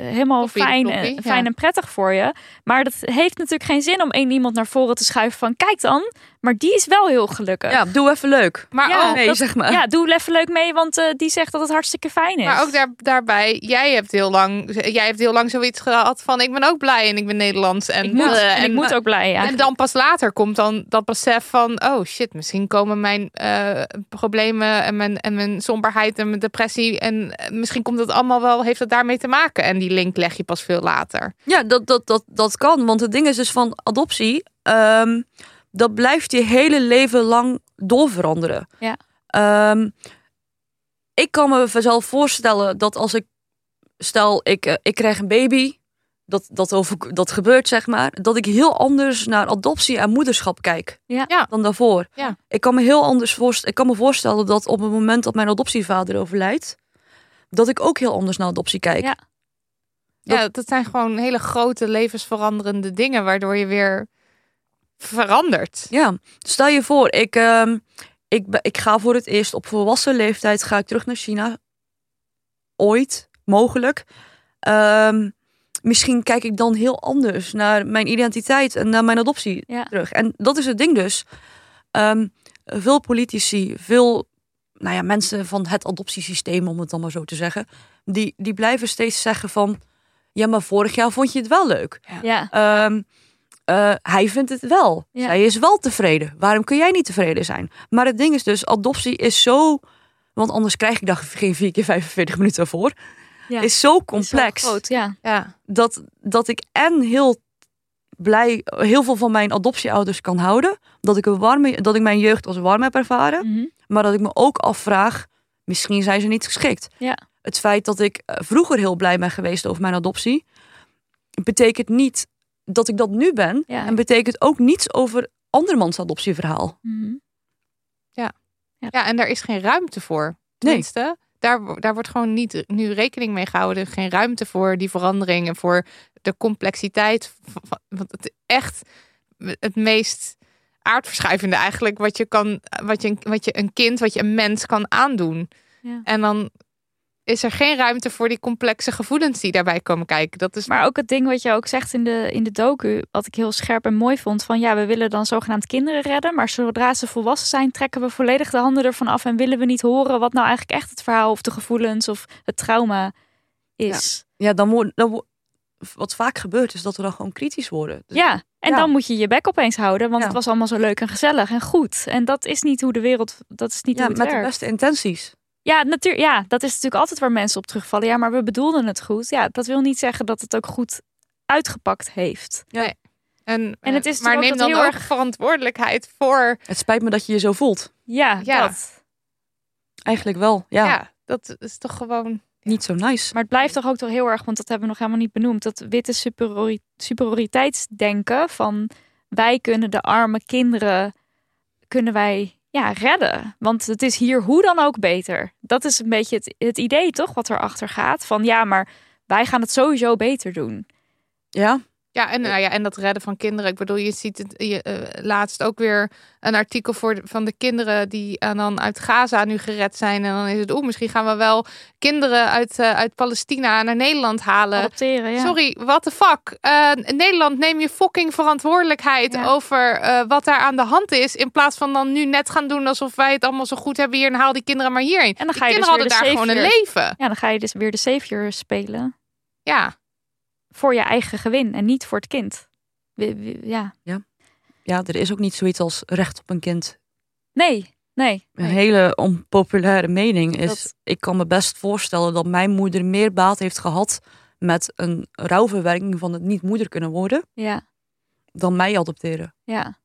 [SPEAKER 2] helemaal
[SPEAKER 3] Toppie,
[SPEAKER 2] fijn,
[SPEAKER 3] toppie,
[SPEAKER 2] en-
[SPEAKER 3] ja.
[SPEAKER 2] fijn en prettig voor je. Maar dat heeft natuurlijk geen zin om één iemand naar voren te schuiven van kijk dan, maar die is wel heel gelukkig.
[SPEAKER 4] Ja, doe even leuk.
[SPEAKER 3] ah, Maar, oh,
[SPEAKER 2] Ja.
[SPEAKER 3] ook,
[SPEAKER 4] nee,
[SPEAKER 2] dat-
[SPEAKER 4] zeg maar.
[SPEAKER 2] Ja, doe even leuk mee, want eh, die zegt dat het hartstikke fijn is.
[SPEAKER 3] maar ook daar, daarbij, jij hebt, heel lang, jij hebt heel lang zoiets gehad van ik ben ook blij en ik ben Nederlands. En,
[SPEAKER 2] ik moet,
[SPEAKER 3] eh,
[SPEAKER 2] en ik moet ook blij. Ja.
[SPEAKER 3] En dan pas later komt dan dat besef van, oh shit, misschien komen mijn eh, problemen en mijn, en mijn somberheid en mijn depressie en eh, misschien komt dat allemaal wel, heeft dat daarmee te maken. En die link leg je pas veel later.
[SPEAKER 4] Ja, dat, dat, dat, dat kan. Want het ding is dus van adoptie, ehm, dat blijft je hele leven lang doorveranderen.
[SPEAKER 2] Ja.
[SPEAKER 4] Ehm, ik kan me vanzelf voorstellen dat als ik, stel ik, eh, ik krijg een baby, dat, dat, over, dat gebeurt zeg maar, dat ik heel anders naar adoptie en moederschap kijk
[SPEAKER 2] Ja.
[SPEAKER 3] Ja.
[SPEAKER 4] dan daarvoor.
[SPEAKER 3] Ja.
[SPEAKER 4] Ik kan me heel anders voorstellen, ik kan me voorstellen dat op het moment dat mijn adoptievader overlijdt, dat ik ook heel anders naar adoptie kijk.
[SPEAKER 2] Ja.
[SPEAKER 3] Ja, dat, zijn gewoon hele grote levensveranderende dingen waardoor je weer verandert.
[SPEAKER 4] Ja, stel je voor, ik, ehm, ik, be- ik ga voor het eerst op volwassen leeftijd ga ik terug naar China. Ooit, mogelijk. Ehm, misschien kijk ik dan heel anders naar mijn identiteit en naar mijn adoptie
[SPEAKER 2] Ja.
[SPEAKER 4] terug. En dat is het ding dus. Ehm, veel politici, veel nou ja, mensen van het adoptiesysteem, om het dan maar zo te zeggen, die, die blijven steeds zeggen van, ja, maar vorig jaar vond je het wel leuk.
[SPEAKER 2] ja.
[SPEAKER 4] Ehm, eh, hij vindt het wel.
[SPEAKER 2] Ja.
[SPEAKER 4] Zij is wel tevreden. Waarom kun jij niet tevreden zijn? Maar het ding is dus, adoptie is zo... Want anders krijg ik daar geen vier keer 45 minuten voor.
[SPEAKER 2] Ja.
[SPEAKER 4] Is zo
[SPEAKER 2] Is wel
[SPEAKER 4] complex
[SPEAKER 2] groot, ja.
[SPEAKER 3] Ja,
[SPEAKER 4] dat, dat ik en heel blij heel veel van mijn adoptieouders kan houden. Dat ik, een warme, dat ik mijn jeugd als warm heb ervaren.
[SPEAKER 2] Mhm.
[SPEAKER 4] Maar dat ik me ook afvraag, misschien zijn ze niet geschikt.
[SPEAKER 2] Ja.
[SPEAKER 4] Het feit dat ik eh, vroeger heel blij ben geweest over mijn adoptie, betekent niet dat ik dat nu ben.
[SPEAKER 2] Ja.
[SPEAKER 4] En betekent ook niets over andermans adoptieverhaal.
[SPEAKER 2] Mhm.
[SPEAKER 3] ja en daar is geen ruimte voor. Tenminste, daar, wo- daar wordt gewoon niet nu rekening mee gehouden. Er is Geen ruimte voor die verandering en voor de complexiteit. van- van- Want het echt het meest aardverschuivende eigenlijk wat je kan, wat je, wat je een kind, wat je een mens kan aandoen.
[SPEAKER 2] Ja.
[SPEAKER 3] En dan is er geen ruimte voor die complexe gevoelens die daarbij komen kijken. Dat is
[SPEAKER 2] Maar ook het ding wat je ook zegt in de, in de docu, wat ik heel scherp en mooi vond, van ja, we willen dan zogenaamd kinderen redden, maar zodra ze volwassen zijn, trekken we volledig de handen ervan af en willen we niet horen wat nou eigenlijk echt het verhaal of de gevoelens of het trauma is.
[SPEAKER 4] Ja, dan wordt. Dan wo- wat vaak gebeurt is dat we dan gewoon kritisch worden.
[SPEAKER 2] Ja,
[SPEAKER 4] Dus-
[SPEAKER 2] en
[SPEAKER 4] Ja.
[SPEAKER 2] dan moet je je bek opeens houden, want
[SPEAKER 4] Ja.
[SPEAKER 2] het was allemaal zo leuk en gezellig en goed. En dat is niet hoe de wereld, dat is niet
[SPEAKER 4] ja,
[SPEAKER 2] hoe het
[SPEAKER 4] met de
[SPEAKER 2] werkt.
[SPEAKER 4] beste intenties.
[SPEAKER 2] Ja, natuur, ja, dat is natuurlijk altijd waar mensen op terugvallen. Ja, maar we bedoelden het goed. Ja, dat wil niet zeggen dat het ook goed uitgepakt heeft.
[SPEAKER 3] en,
[SPEAKER 2] en het is natuurlijk
[SPEAKER 3] maar
[SPEAKER 2] ook
[SPEAKER 3] neem
[SPEAKER 2] dat
[SPEAKER 3] dan
[SPEAKER 2] heel
[SPEAKER 3] ook
[SPEAKER 2] erg-
[SPEAKER 3] verantwoordelijkheid voor.
[SPEAKER 4] Het spijt me dat je je zo voelt.
[SPEAKER 2] Ja,
[SPEAKER 3] Ja.
[SPEAKER 2] dat.
[SPEAKER 4] Eigenlijk wel. Ja,
[SPEAKER 3] Ja. dat is toch gewoon.
[SPEAKER 4] niet zo nice.
[SPEAKER 2] Maar het blijft toch ook toch heel erg, want dat hebben we nog helemaal niet benoemd, dat witte superiori- superioriteitsdenken van wij kunnen de arme kinderen, kunnen wij ja, redden. Want het is hier hoe dan ook beter. Dat is een beetje het, het idee toch wat erachter gaat van ja, maar wij gaan het sowieso beter doen.
[SPEAKER 4] Ja,
[SPEAKER 3] Ja
[SPEAKER 2] Eh,
[SPEAKER 3] en, nou ja, en dat redden van kinderen. Ik bedoel, je ziet het je, eh, laatst ook weer een artikel voor, de- van de kinderen die eh, dan uit Gaza nu gered zijn. En dan is het, oeh, misschien gaan we wel kinderen uit, eh, uit Palestina naar Nederland halen.
[SPEAKER 2] Adopteren, Oh, ja.
[SPEAKER 3] Sorry, what the fuck? Eh, Nederland, neem je fucking verantwoordelijkheid
[SPEAKER 2] Ja.
[SPEAKER 3] over eh, wat daar aan de hand is. In plaats van dan nu net gaan doen alsof wij het allemaal zo goed hebben hier en haal die kinderen maar hierheen.
[SPEAKER 2] En dan
[SPEAKER 3] Die
[SPEAKER 2] ga je dus
[SPEAKER 3] kinderen hadden
[SPEAKER 2] weer de
[SPEAKER 3] daar gewoon een
[SPEAKER 2] savior.
[SPEAKER 3] leven.
[SPEAKER 2] Ja, dan ga je dus weer de savior spelen
[SPEAKER 3] Ja,
[SPEAKER 2] voor je eigen gewin en niet voor het kind. Wie- wie- Ja,
[SPEAKER 4] ja, er is ook niet zoiets als recht op een kind.
[SPEAKER 2] nee, nee.
[SPEAKER 4] een
[SPEAKER 2] nee.
[SPEAKER 4] hele onpopulaire mening is.
[SPEAKER 2] Dat-
[SPEAKER 4] Ik kan me best voorstellen dat mijn moeder meer baat heeft gehad met een rouwverwerking van het niet moeder kunnen worden
[SPEAKER 2] Ja,
[SPEAKER 4] dan mij adopteren.
[SPEAKER 2] ja,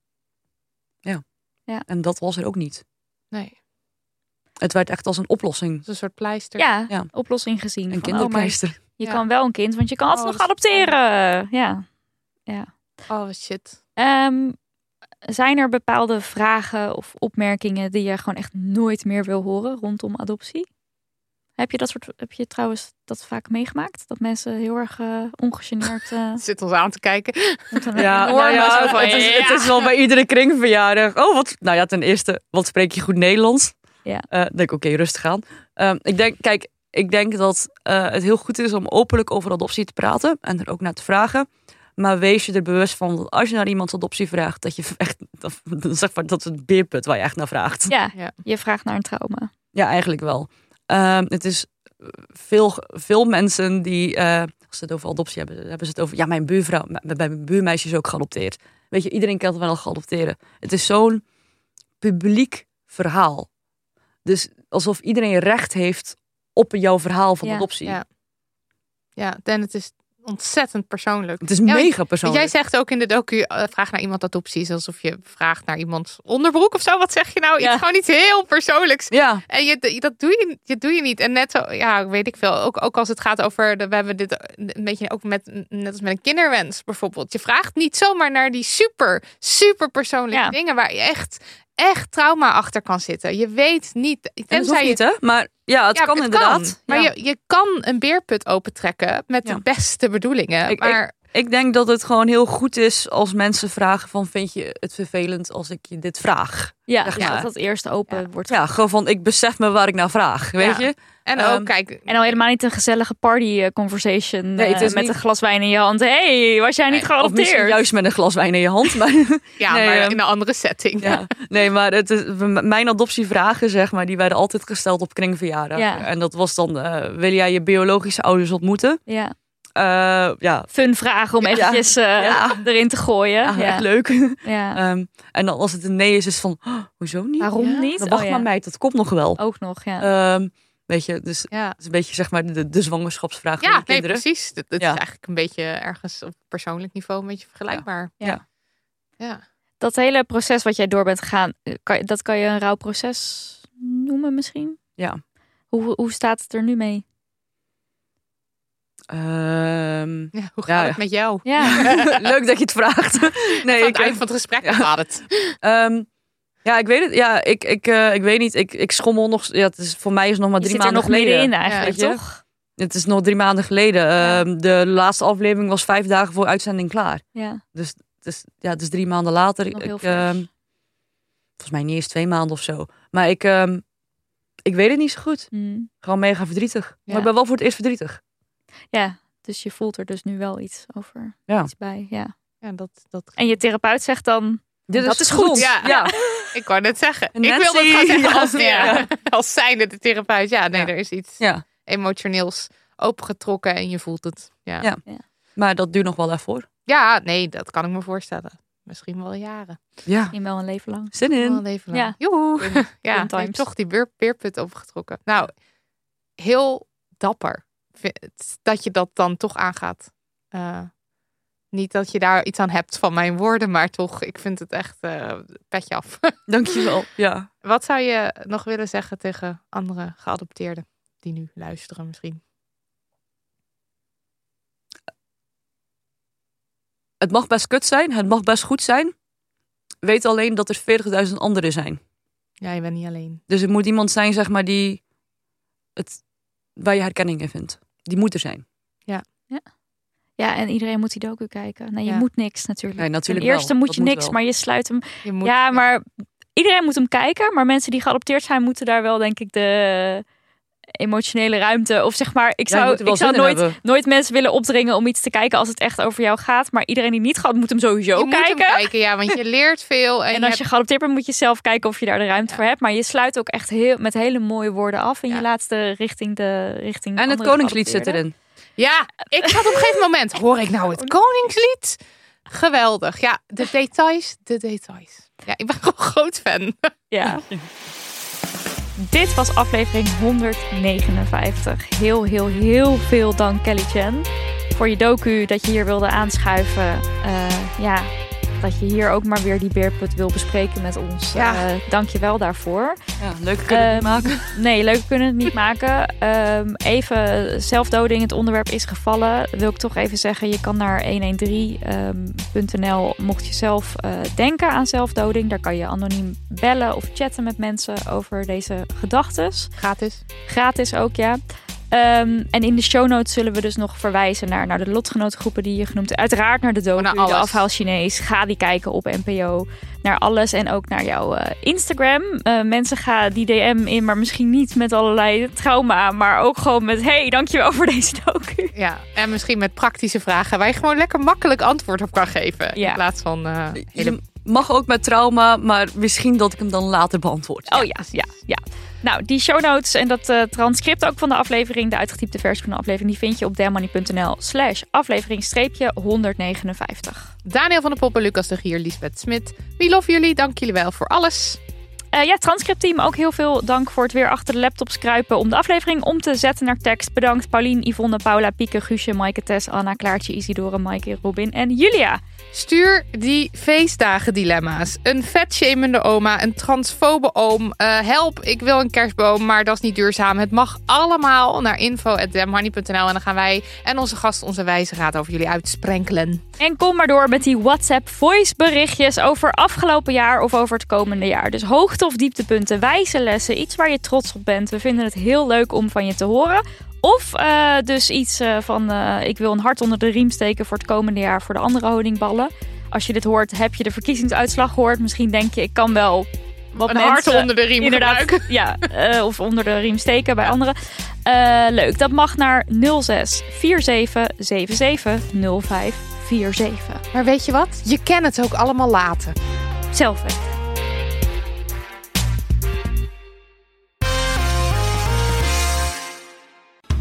[SPEAKER 4] En dat was er ook niet.
[SPEAKER 3] nee.
[SPEAKER 4] Het werd echt als een oplossing.
[SPEAKER 3] Dat is een soort pleister.
[SPEAKER 2] ja,
[SPEAKER 4] Ja.
[SPEAKER 2] oplossing gezien. van,
[SPEAKER 4] Een
[SPEAKER 2] oh, maar
[SPEAKER 4] kinderpleister.
[SPEAKER 2] Je
[SPEAKER 3] Ja.
[SPEAKER 2] kan wel een kind, want je kan altijd
[SPEAKER 3] Oh,
[SPEAKER 2] nog
[SPEAKER 3] dat is fijn.
[SPEAKER 2] adopteren. Ja.
[SPEAKER 3] Oh shit.
[SPEAKER 2] Ehm, zijn er bepaalde vragen of opmerkingen die je gewoon echt nooit meer wil horen rondom adoptie? Heb je dat soort, heb je trouwens dat vaak meegemaakt? Dat mensen heel erg eh ongegeneerd. eh,
[SPEAKER 3] Zit ons aan te kijken.
[SPEAKER 2] met een
[SPEAKER 4] Ja,
[SPEAKER 2] enorme
[SPEAKER 4] nou ja,
[SPEAKER 2] zo van,
[SPEAKER 4] het, is, het is wel bij iedere kringverjaardag. Oh, wat, nou ja, ten eerste, wat spreek je goed Nederlands?
[SPEAKER 2] Ja.
[SPEAKER 4] Eh, denk ik, oké, rustig aan. Ehm, ik denk, kijk, ik denk dat eh, het heel goed is om openlijk over adoptie te praten en er ook naar te vragen. Maar wees je er bewust van dat als je naar iemand adoptie vraagt, dat je echt, dat, zeg maar, dat is het beerput waar je echt naar vraagt.
[SPEAKER 2] Ja,
[SPEAKER 3] Ja.
[SPEAKER 2] je vraagt naar een trauma.
[SPEAKER 4] Ja, eigenlijk wel. Ehm, het is eh, veel, veel mensen die, eh, als ze het over adoptie hebben, dan hebben ze het over, ja, mijn buurvrouw, m- bij mijn buurmeisje is ook geadopteerd. Weet je, iedereen kan het wel geadopteren. Het is zo'n publiek verhaal. Dus alsof iedereen recht heeft op jouw verhaal van
[SPEAKER 2] Ja,
[SPEAKER 4] adoptie.
[SPEAKER 3] ja. Ja, en het is ontzettend persoonlijk.
[SPEAKER 4] Het is
[SPEAKER 3] want-
[SPEAKER 4] mega
[SPEAKER 3] Want
[SPEAKER 4] persoonlijk.
[SPEAKER 3] jij zegt ook in de docu, eh, vraag naar iemand adoptie, is alsof je vraagt naar iemands onderbroek of zo. Wat zeg je nou?
[SPEAKER 2] Ja.
[SPEAKER 3] Iets gewoon iets heel persoonlijks.
[SPEAKER 4] Ja,
[SPEAKER 3] En je, dat, doe je, dat doe je niet. En net zo, ja, weet ik veel. Ook, ook als het gaat over, de, we hebben dit eh, een beetje ook met, net als met een kinderwens bijvoorbeeld. Je vraagt niet zomaar naar die super, super persoonlijke
[SPEAKER 2] Ja.
[SPEAKER 3] dingen waar je echt, echt trauma achter kan zitten. Je weet niet,
[SPEAKER 4] en dat hoeft
[SPEAKER 3] je
[SPEAKER 4] niet, hè? Maar ja, het
[SPEAKER 3] ja,
[SPEAKER 4] kan inderdaad.
[SPEAKER 3] kan. Maar
[SPEAKER 4] Ja.
[SPEAKER 3] je, je kan een beerput opentrekken met
[SPEAKER 4] Ja.
[SPEAKER 3] de beste bedoelingen.
[SPEAKER 4] Ik- ik-
[SPEAKER 3] maar
[SPEAKER 4] Ik denk dat het gewoon heel goed is als mensen vragen van, vind je het vervelend als ik je dit vraag?
[SPEAKER 2] Ja,
[SPEAKER 4] Zeg
[SPEAKER 2] ja,
[SPEAKER 4] maar.
[SPEAKER 2] dat dat eerst open wordt.
[SPEAKER 4] Ja, gewoon van, ik besef me waar ik naar vraag, weet
[SPEAKER 3] Ja.
[SPEAKER 4] je?
[SPEAKER 3] en ook,
[SPEAKER 4] ehm,
[SPEAKER 3] kijk,
[SPEAKER 2] En al helemaal niet een gezellige party eh, conversation
[SPEAKER 4] Nee, het
[SPEAKER 2] eh,
[SPEAKER 4] is
[SPEAKER 2] met
[SPEAKER 4] niet-
[SPEAKER 2] een glas wijn in je hand. hey, was jij niet
[SPEAKER 4] Of misschien
[SPEAKER 2] geadopteerd?
[SPEAKER 4] juist met een glas wijn in je hand. Maar,
[SPEAKER 3] ja,
[SPEAKER 4] nee,
[SPEAKER 3] maar
[SPEAKER 4] ehm,
[SPEAKER 3] in een andere setting.
[SPEAKER 4] ja. Nee, maar het is, m- mijn adoptievragen, zeg maar, die werden altijd gesteld op kringverjaardag.
[SPEAKER 2] Ja.
[SPEAKER 4] En dat was dan, eh, wil jij je biologische ouders ontmoeten?
[SPEAKER 2] Ja,
[SPEAKER 4] Eh, ja,
[SPEAKER 2] fun vraag om
[SPEAKER 4] Ja.
[SPEAKER 2] eventjes eh,
[SPEAKER 4] Ja.
[SPEAKER 2] erin te gooien.
[SPEAKER 4] ja,
[SPEAKER 2] Ja,
[SPEAKER 4] echt leuk.
[SPEAKER 2] Ja.
[SPEAKER 4] Ehm, en dan als het een nee is, is het van, "Oh, hoezo niet?
[SPEAKER 2] Waarom
[SPEAKER 3] Ja.
[SPEAKER 2] niet?
[SPEAKER 4] Dan wacht
[SPEAKER 2] Oh, ja.
[SPEAKER 4] maar meid, dat komt nog wel.
[SPEAKER 2] Ook nog, ja.
[SPEAKER 4] Ehm, weet je, dus het
[SPEAKER 3] Ja,
[SPEAKER 4] is een beetje zeg maar de, de
[SPEAKER 3] ja
[SPEAKER 4] zwangerschapsvraag van
[SPEAKER 3] nee,
[SPEAKER 4] de kinderen.
[SPEAKER 3] precies. Dat, dat
[SPEAKER 4] Ja.
[SPEAKER 3] is eigenlijk een beetje ergens op persoonlijk niveau een beetje vergelijkbaar.
[SPEAKER 2] Ja.
[SPEAKER 4] Ja.
[SPEAKER 3] Ja.
[SPEAKER 2] dat hele proces wat jij door bent gegaan, eh, kan, je- dat kan je een rouwproces noemen misschien?
[SPEAKER 4] Ja.
[SPEAKER 2] Hoe, hoe staat het er nu mee?
[SPEAKER 4] Ehm,
[SPEAKER 3] Ja, hoe gaat
[SPEAKER 4] Ja, ja.
[SPEAKER 3] het met jou?
[SPEAKER 2] Ja,
[SPEAKER 4] leuk dat je het vraagt. Nee,
[SPEAKER 3] Aan het
[SPEAKER 4] eh,
[SPEAKER 3] eind van het gesprek
[SPEAKER 4] Ja.
[SPEAKER 3] gaat het.
[SPEAKER 4] Ehm, ja, ik weet het. Ja, ik, ik, eh, ik weet niet. Ik, ik schommel nog. Ja, het is, voor mij is het nog maar
[SPEAKER 2] je
[SPEAKER 4] drie
[SPEAKER 2] zit er
[SPEAKER 4] maanden
[SPEAKER 2] nog
[SPEAKER 4] geleden.
[SPEAKER 2] middenin eigenlijk,
[SPEAKER 4] Ja, weet je?
[SPEAKER 2] toch?
[SPEAKER 4] Het is nog drie maanden geleden.
[SPEAKER 2] Ja.
[SPEAKER 4] Ehm, de laatste aflevering was vijf dagen voor uitzending klaar.
[SPEAKER 2] Ja,
[SPEAKER 4] Dus ja, het is drie maanden later.
[SPEAKER 2] nog heel
[SPEAKER 4] ik,
[SPEAKER 2] vers.
[SPEAKER 4] ehm, volgens mij niet eens twee maanden of zo. Maar ik, ehm, ik weet het niet zo goed.
[SPEAKER 2] Mm.
[SPEAKER 4] Gewoon mega verdrietig.
[SPEAKER 3] Ja.
[SPEAKER 4] Maar ik ben wel voor het eerst verdrietig.
[SPEAKER 2] ja, dus je voelt er dus nu wel iets over.
[SPEAKER 4] Ja.
[SPEAKER 2] Iets bij, ja.
[SPEAKER 3] Ja, dat, dat...
[SPEAKER 2] En je therapeut zegt dan,
[SPEAKER 4] Dit
[SPEAKER 2] Dat is goed.
[SPEAKER 4] gezond.
[SPEAKER 3] Ja.
[SPEAKER 4] ja.
[SPEAKER 3] Ik wou net zeggen.
[SPEAKER 4] Nancy.
[SPEAKER 3] Ik wil dat gaan zeggen als,
[SPEAKER 4] Ja.
[SPEAKER 3] ja. als zijnde de therapeut. Ja, nee,
[SPEAKER 4] Ja.
[SPEAKER 3] er is iets
[SPEAKER 4] Ja.
[SPEAKER 3] emotioneels opengetrokken en je voelt het. Ja.
[SPEAKER 4] Ja. Maar dat duurt nog wel even voor.
[SPEAKER 3] ja, nee, dat kan ik me voorstellen. Misschien wel jaren.
[SPEAKER 4] Ja.
[SPEAKER 2] in wel een leven lang.
[SPEAKER 4] Zin in.
[SPEAKER 3] Wel even lang.
[SPEAKER 2] Ja.
[SPEAKER 3] Joehoe. Ja,
[SPEAKER 2] times.
[SPEAKER 3] heeft toch die beer, beerput opgetrokken. Nou, heel dapper vind- dat je dat dan toch aangaat. Eh, niet dat je daar iets aan hebt van mijn woorden, maar toch, ik vind het echt eh, petje af.
[SPEAKER 4] Dankjewel. Ja.
[SPEAKER 3] Wat zou je nog willen zeggen tegen andere geadopteerden die nu luisteren misschien?
[SPEAKER 4] Het mag best kut zijn. Het mag best goed zijn. Weet alleen dat er 40.000 anderen zijn.
[SPEAKER 3] Ja, je bent niet alleen.
[SPEAKER 4] Dus het moet iemand zijn, zeg maar, die het, waar je herkenning in vindt. Die moet er zijn.
[SPEAKER 2] Ja, en iedereen moet die docu kijken. Nee, je
[SPEAKER 3] Ja.
[SPEAKER 2] moet niks natuurlijk.
[SPEAKER 4] Nee, natuurlijk
[SPEAKER 2] Ten eerste
[SPEAKER 4] wel.
[SPEAKER 2] moet
[SPEAKER 4] Dat
[SPEAKER 2] je
[SPEAKER 4] moet
[SPEAKER 2] niks,
[SPEAKER 4] wel.
[SPEAKER 2] maar je sluit hem
[SPEAKER 3] Je moet,
[SPEAKER 2] ja, maar iedereen moet hem kijken. Maar mensen die geadopteerd zijn, moeten daar wel, denk ik, de emotionele ruimte. Of zeg maar, ik
[SPEAKER 4] Ja, je
[SPEAKER 2] zou,
[SPEAKER 4] moet er wel
[SPEAKER 2] ik zou
[SPEAKER 4] zin in
[SPEAKER 2] nooit,
[SPEAKER 4] hebben.
[SPEAKER 2] nooit mensen willen opdringen om iets te kijken als het echt over jou gaat. Maar iedereen die niet gaat, moet hem sowieso
[SPEAKER 3] je moet hem
[SPEAKER 2] kijken.
[SPEAKER 3] kijken. Ja, want je leert veel. En,
[SPEAKER 2] En
[SPEAKER 3] je
[SPEAKER 2] als je geadopteerd bent, moet je zelf kijken of je daar de ruimte voor hebt. Maar je sluit ook echt heel, met hele mooie woorden af. En
[SPEAKER 3] Ja.
[SPEAKER 2] je laatste richting de richting.
[SPEAKER 4] En het
[SPEAKER 2] andere
[SPEAKER 4] koningslied zit
[SPEAKER 2] geadopteerden.
[SPEAKER 4] erin.
[SPEAKER 3] Ja, ik had op een gegeven moment, hoor ik nou het Koningslied? Geweldig. Ja, de details, de details. Ja, ik ben gewoon groot fan.
[SPEAKER 2] Ja. Dit was aflevering 159. Heel, heel, heel veel dank Kelly Chen voor je docu dat je hier wilde aanschuiven. Eh, ja, dat je hier ook maar weer die beerput wil bespreken met ons.
[SPEAKER 3] Ja.
[SPEAKER 2] Eh, dank je wel daarvoor.
[SPEAKER 4] Ja, leuk kunnen we
[SPEAKER 2] Ehm,
[SPEAKER 4] het maken.
[SPEAKER 2] Nee, leuk kunnen we het niet maken. Ehm, even zelfdoding, het onderwerp is gevallen. Wil ik toch even zeggen, je kan naar ehm, 113.nl mocht je zelf eh, denken aan zelfdoding. Daar kan je anoniem bellen of chatten met mensen over deze gedachtes.
[SPEAKER 3] Gratis.
[SPEAKER 2] Gratis ook, ja. Ehm, en in de show notes zullen we dus nog verwijzen naar, naar de lotgenotengroepen die je genoemd hebt. Uiteraard naar de docu,
[SPEAKER 3] Naar alles.
[SPEAKER 2] de afhaal Chinees. Ga die kijken op NPO. Naar alles en ook naar jouw eh, Instagram. Eh, mensen gaan die DM in, maar misschien niet met allerlei trauma. Maar ook gewoon met, hey, dankjewel voor deze docu.
[SPEAKER 3] Ja, en misschien met praktische vragen waar je gewoon lekker makkelijk antwoord op kan geven. In
[SPEAKER 2] Ja.
[SPEAKER 3] plaats van eh, hele
[SPEAKER 4] Je mag ook met trauma, maar misschien dat ik hem dan later beantwoord.
[SPEAKER 2] Oh ja, ja, ja. Nou, die show notes en dat eh, transcript ook van de aflevering, de uitgetypte versie van de aflevering, die vind je op delmoney.nl slash aflevering streepje 159.
[SPEAKER 3] Daniel van de Poppen, Lucas de Gier, Lisbeth Smit. We love jullie. Dank jullie wel voor alles.
[SPEAKER 2] Eh, ja, transcriptteam, ook heel veel dank voor het weer achter de laptops kruipen om de aflevering om te zetten naar tekst. Bedankt Paulien, Yvonne, Paula, Pieke, Guusje, Maaike, Tess, Anna, Klaartje, Isidore, Maaike, Robin en Julia.
[SPEAKER 3] Stuur die feestdagen dilemma's. Een vetshamende oma, een transfobe oom. eh, help, ik wil een kerstboom, maar dat is niet duurzaam. Het mag allemaal naar info.demhoney.nl en dan gaan wij en onze gast onze wijze raad over jullie uitsprenkelen.
[SPEAKER 2] En kom maar door met die WhatsApp voice berichtjes over afgelopen jaar of over het komende jaar. Dus hoogte of dieptepunten, wijze lessen, iets waar je trots op bent. We vinden het heel leuk om van je te horen. Of eh, dus iets eh, van eh, ik wil een hart onder de riem steken voor het komende jaar voor de andere honingballen. Als je dit hoort, heb je de verkiezingsuitslag gehoord. Misschien denk je ik kan wel wat
[SPEAKER 3] een
[SPEAKER 2] mensen
[SPEAKER 3] hart onder de riem gebruiken.
[SPEAKER 2] inderdaad, ja, eh, of onder de riem steken bij anderen. Eh, leuk, dat mag naar 06 47 77 05 47.
[SPEAKER 3] Maar weet je wat? Je kan het ook allemaal laten.
[SPEAKER 2] Zelf weten.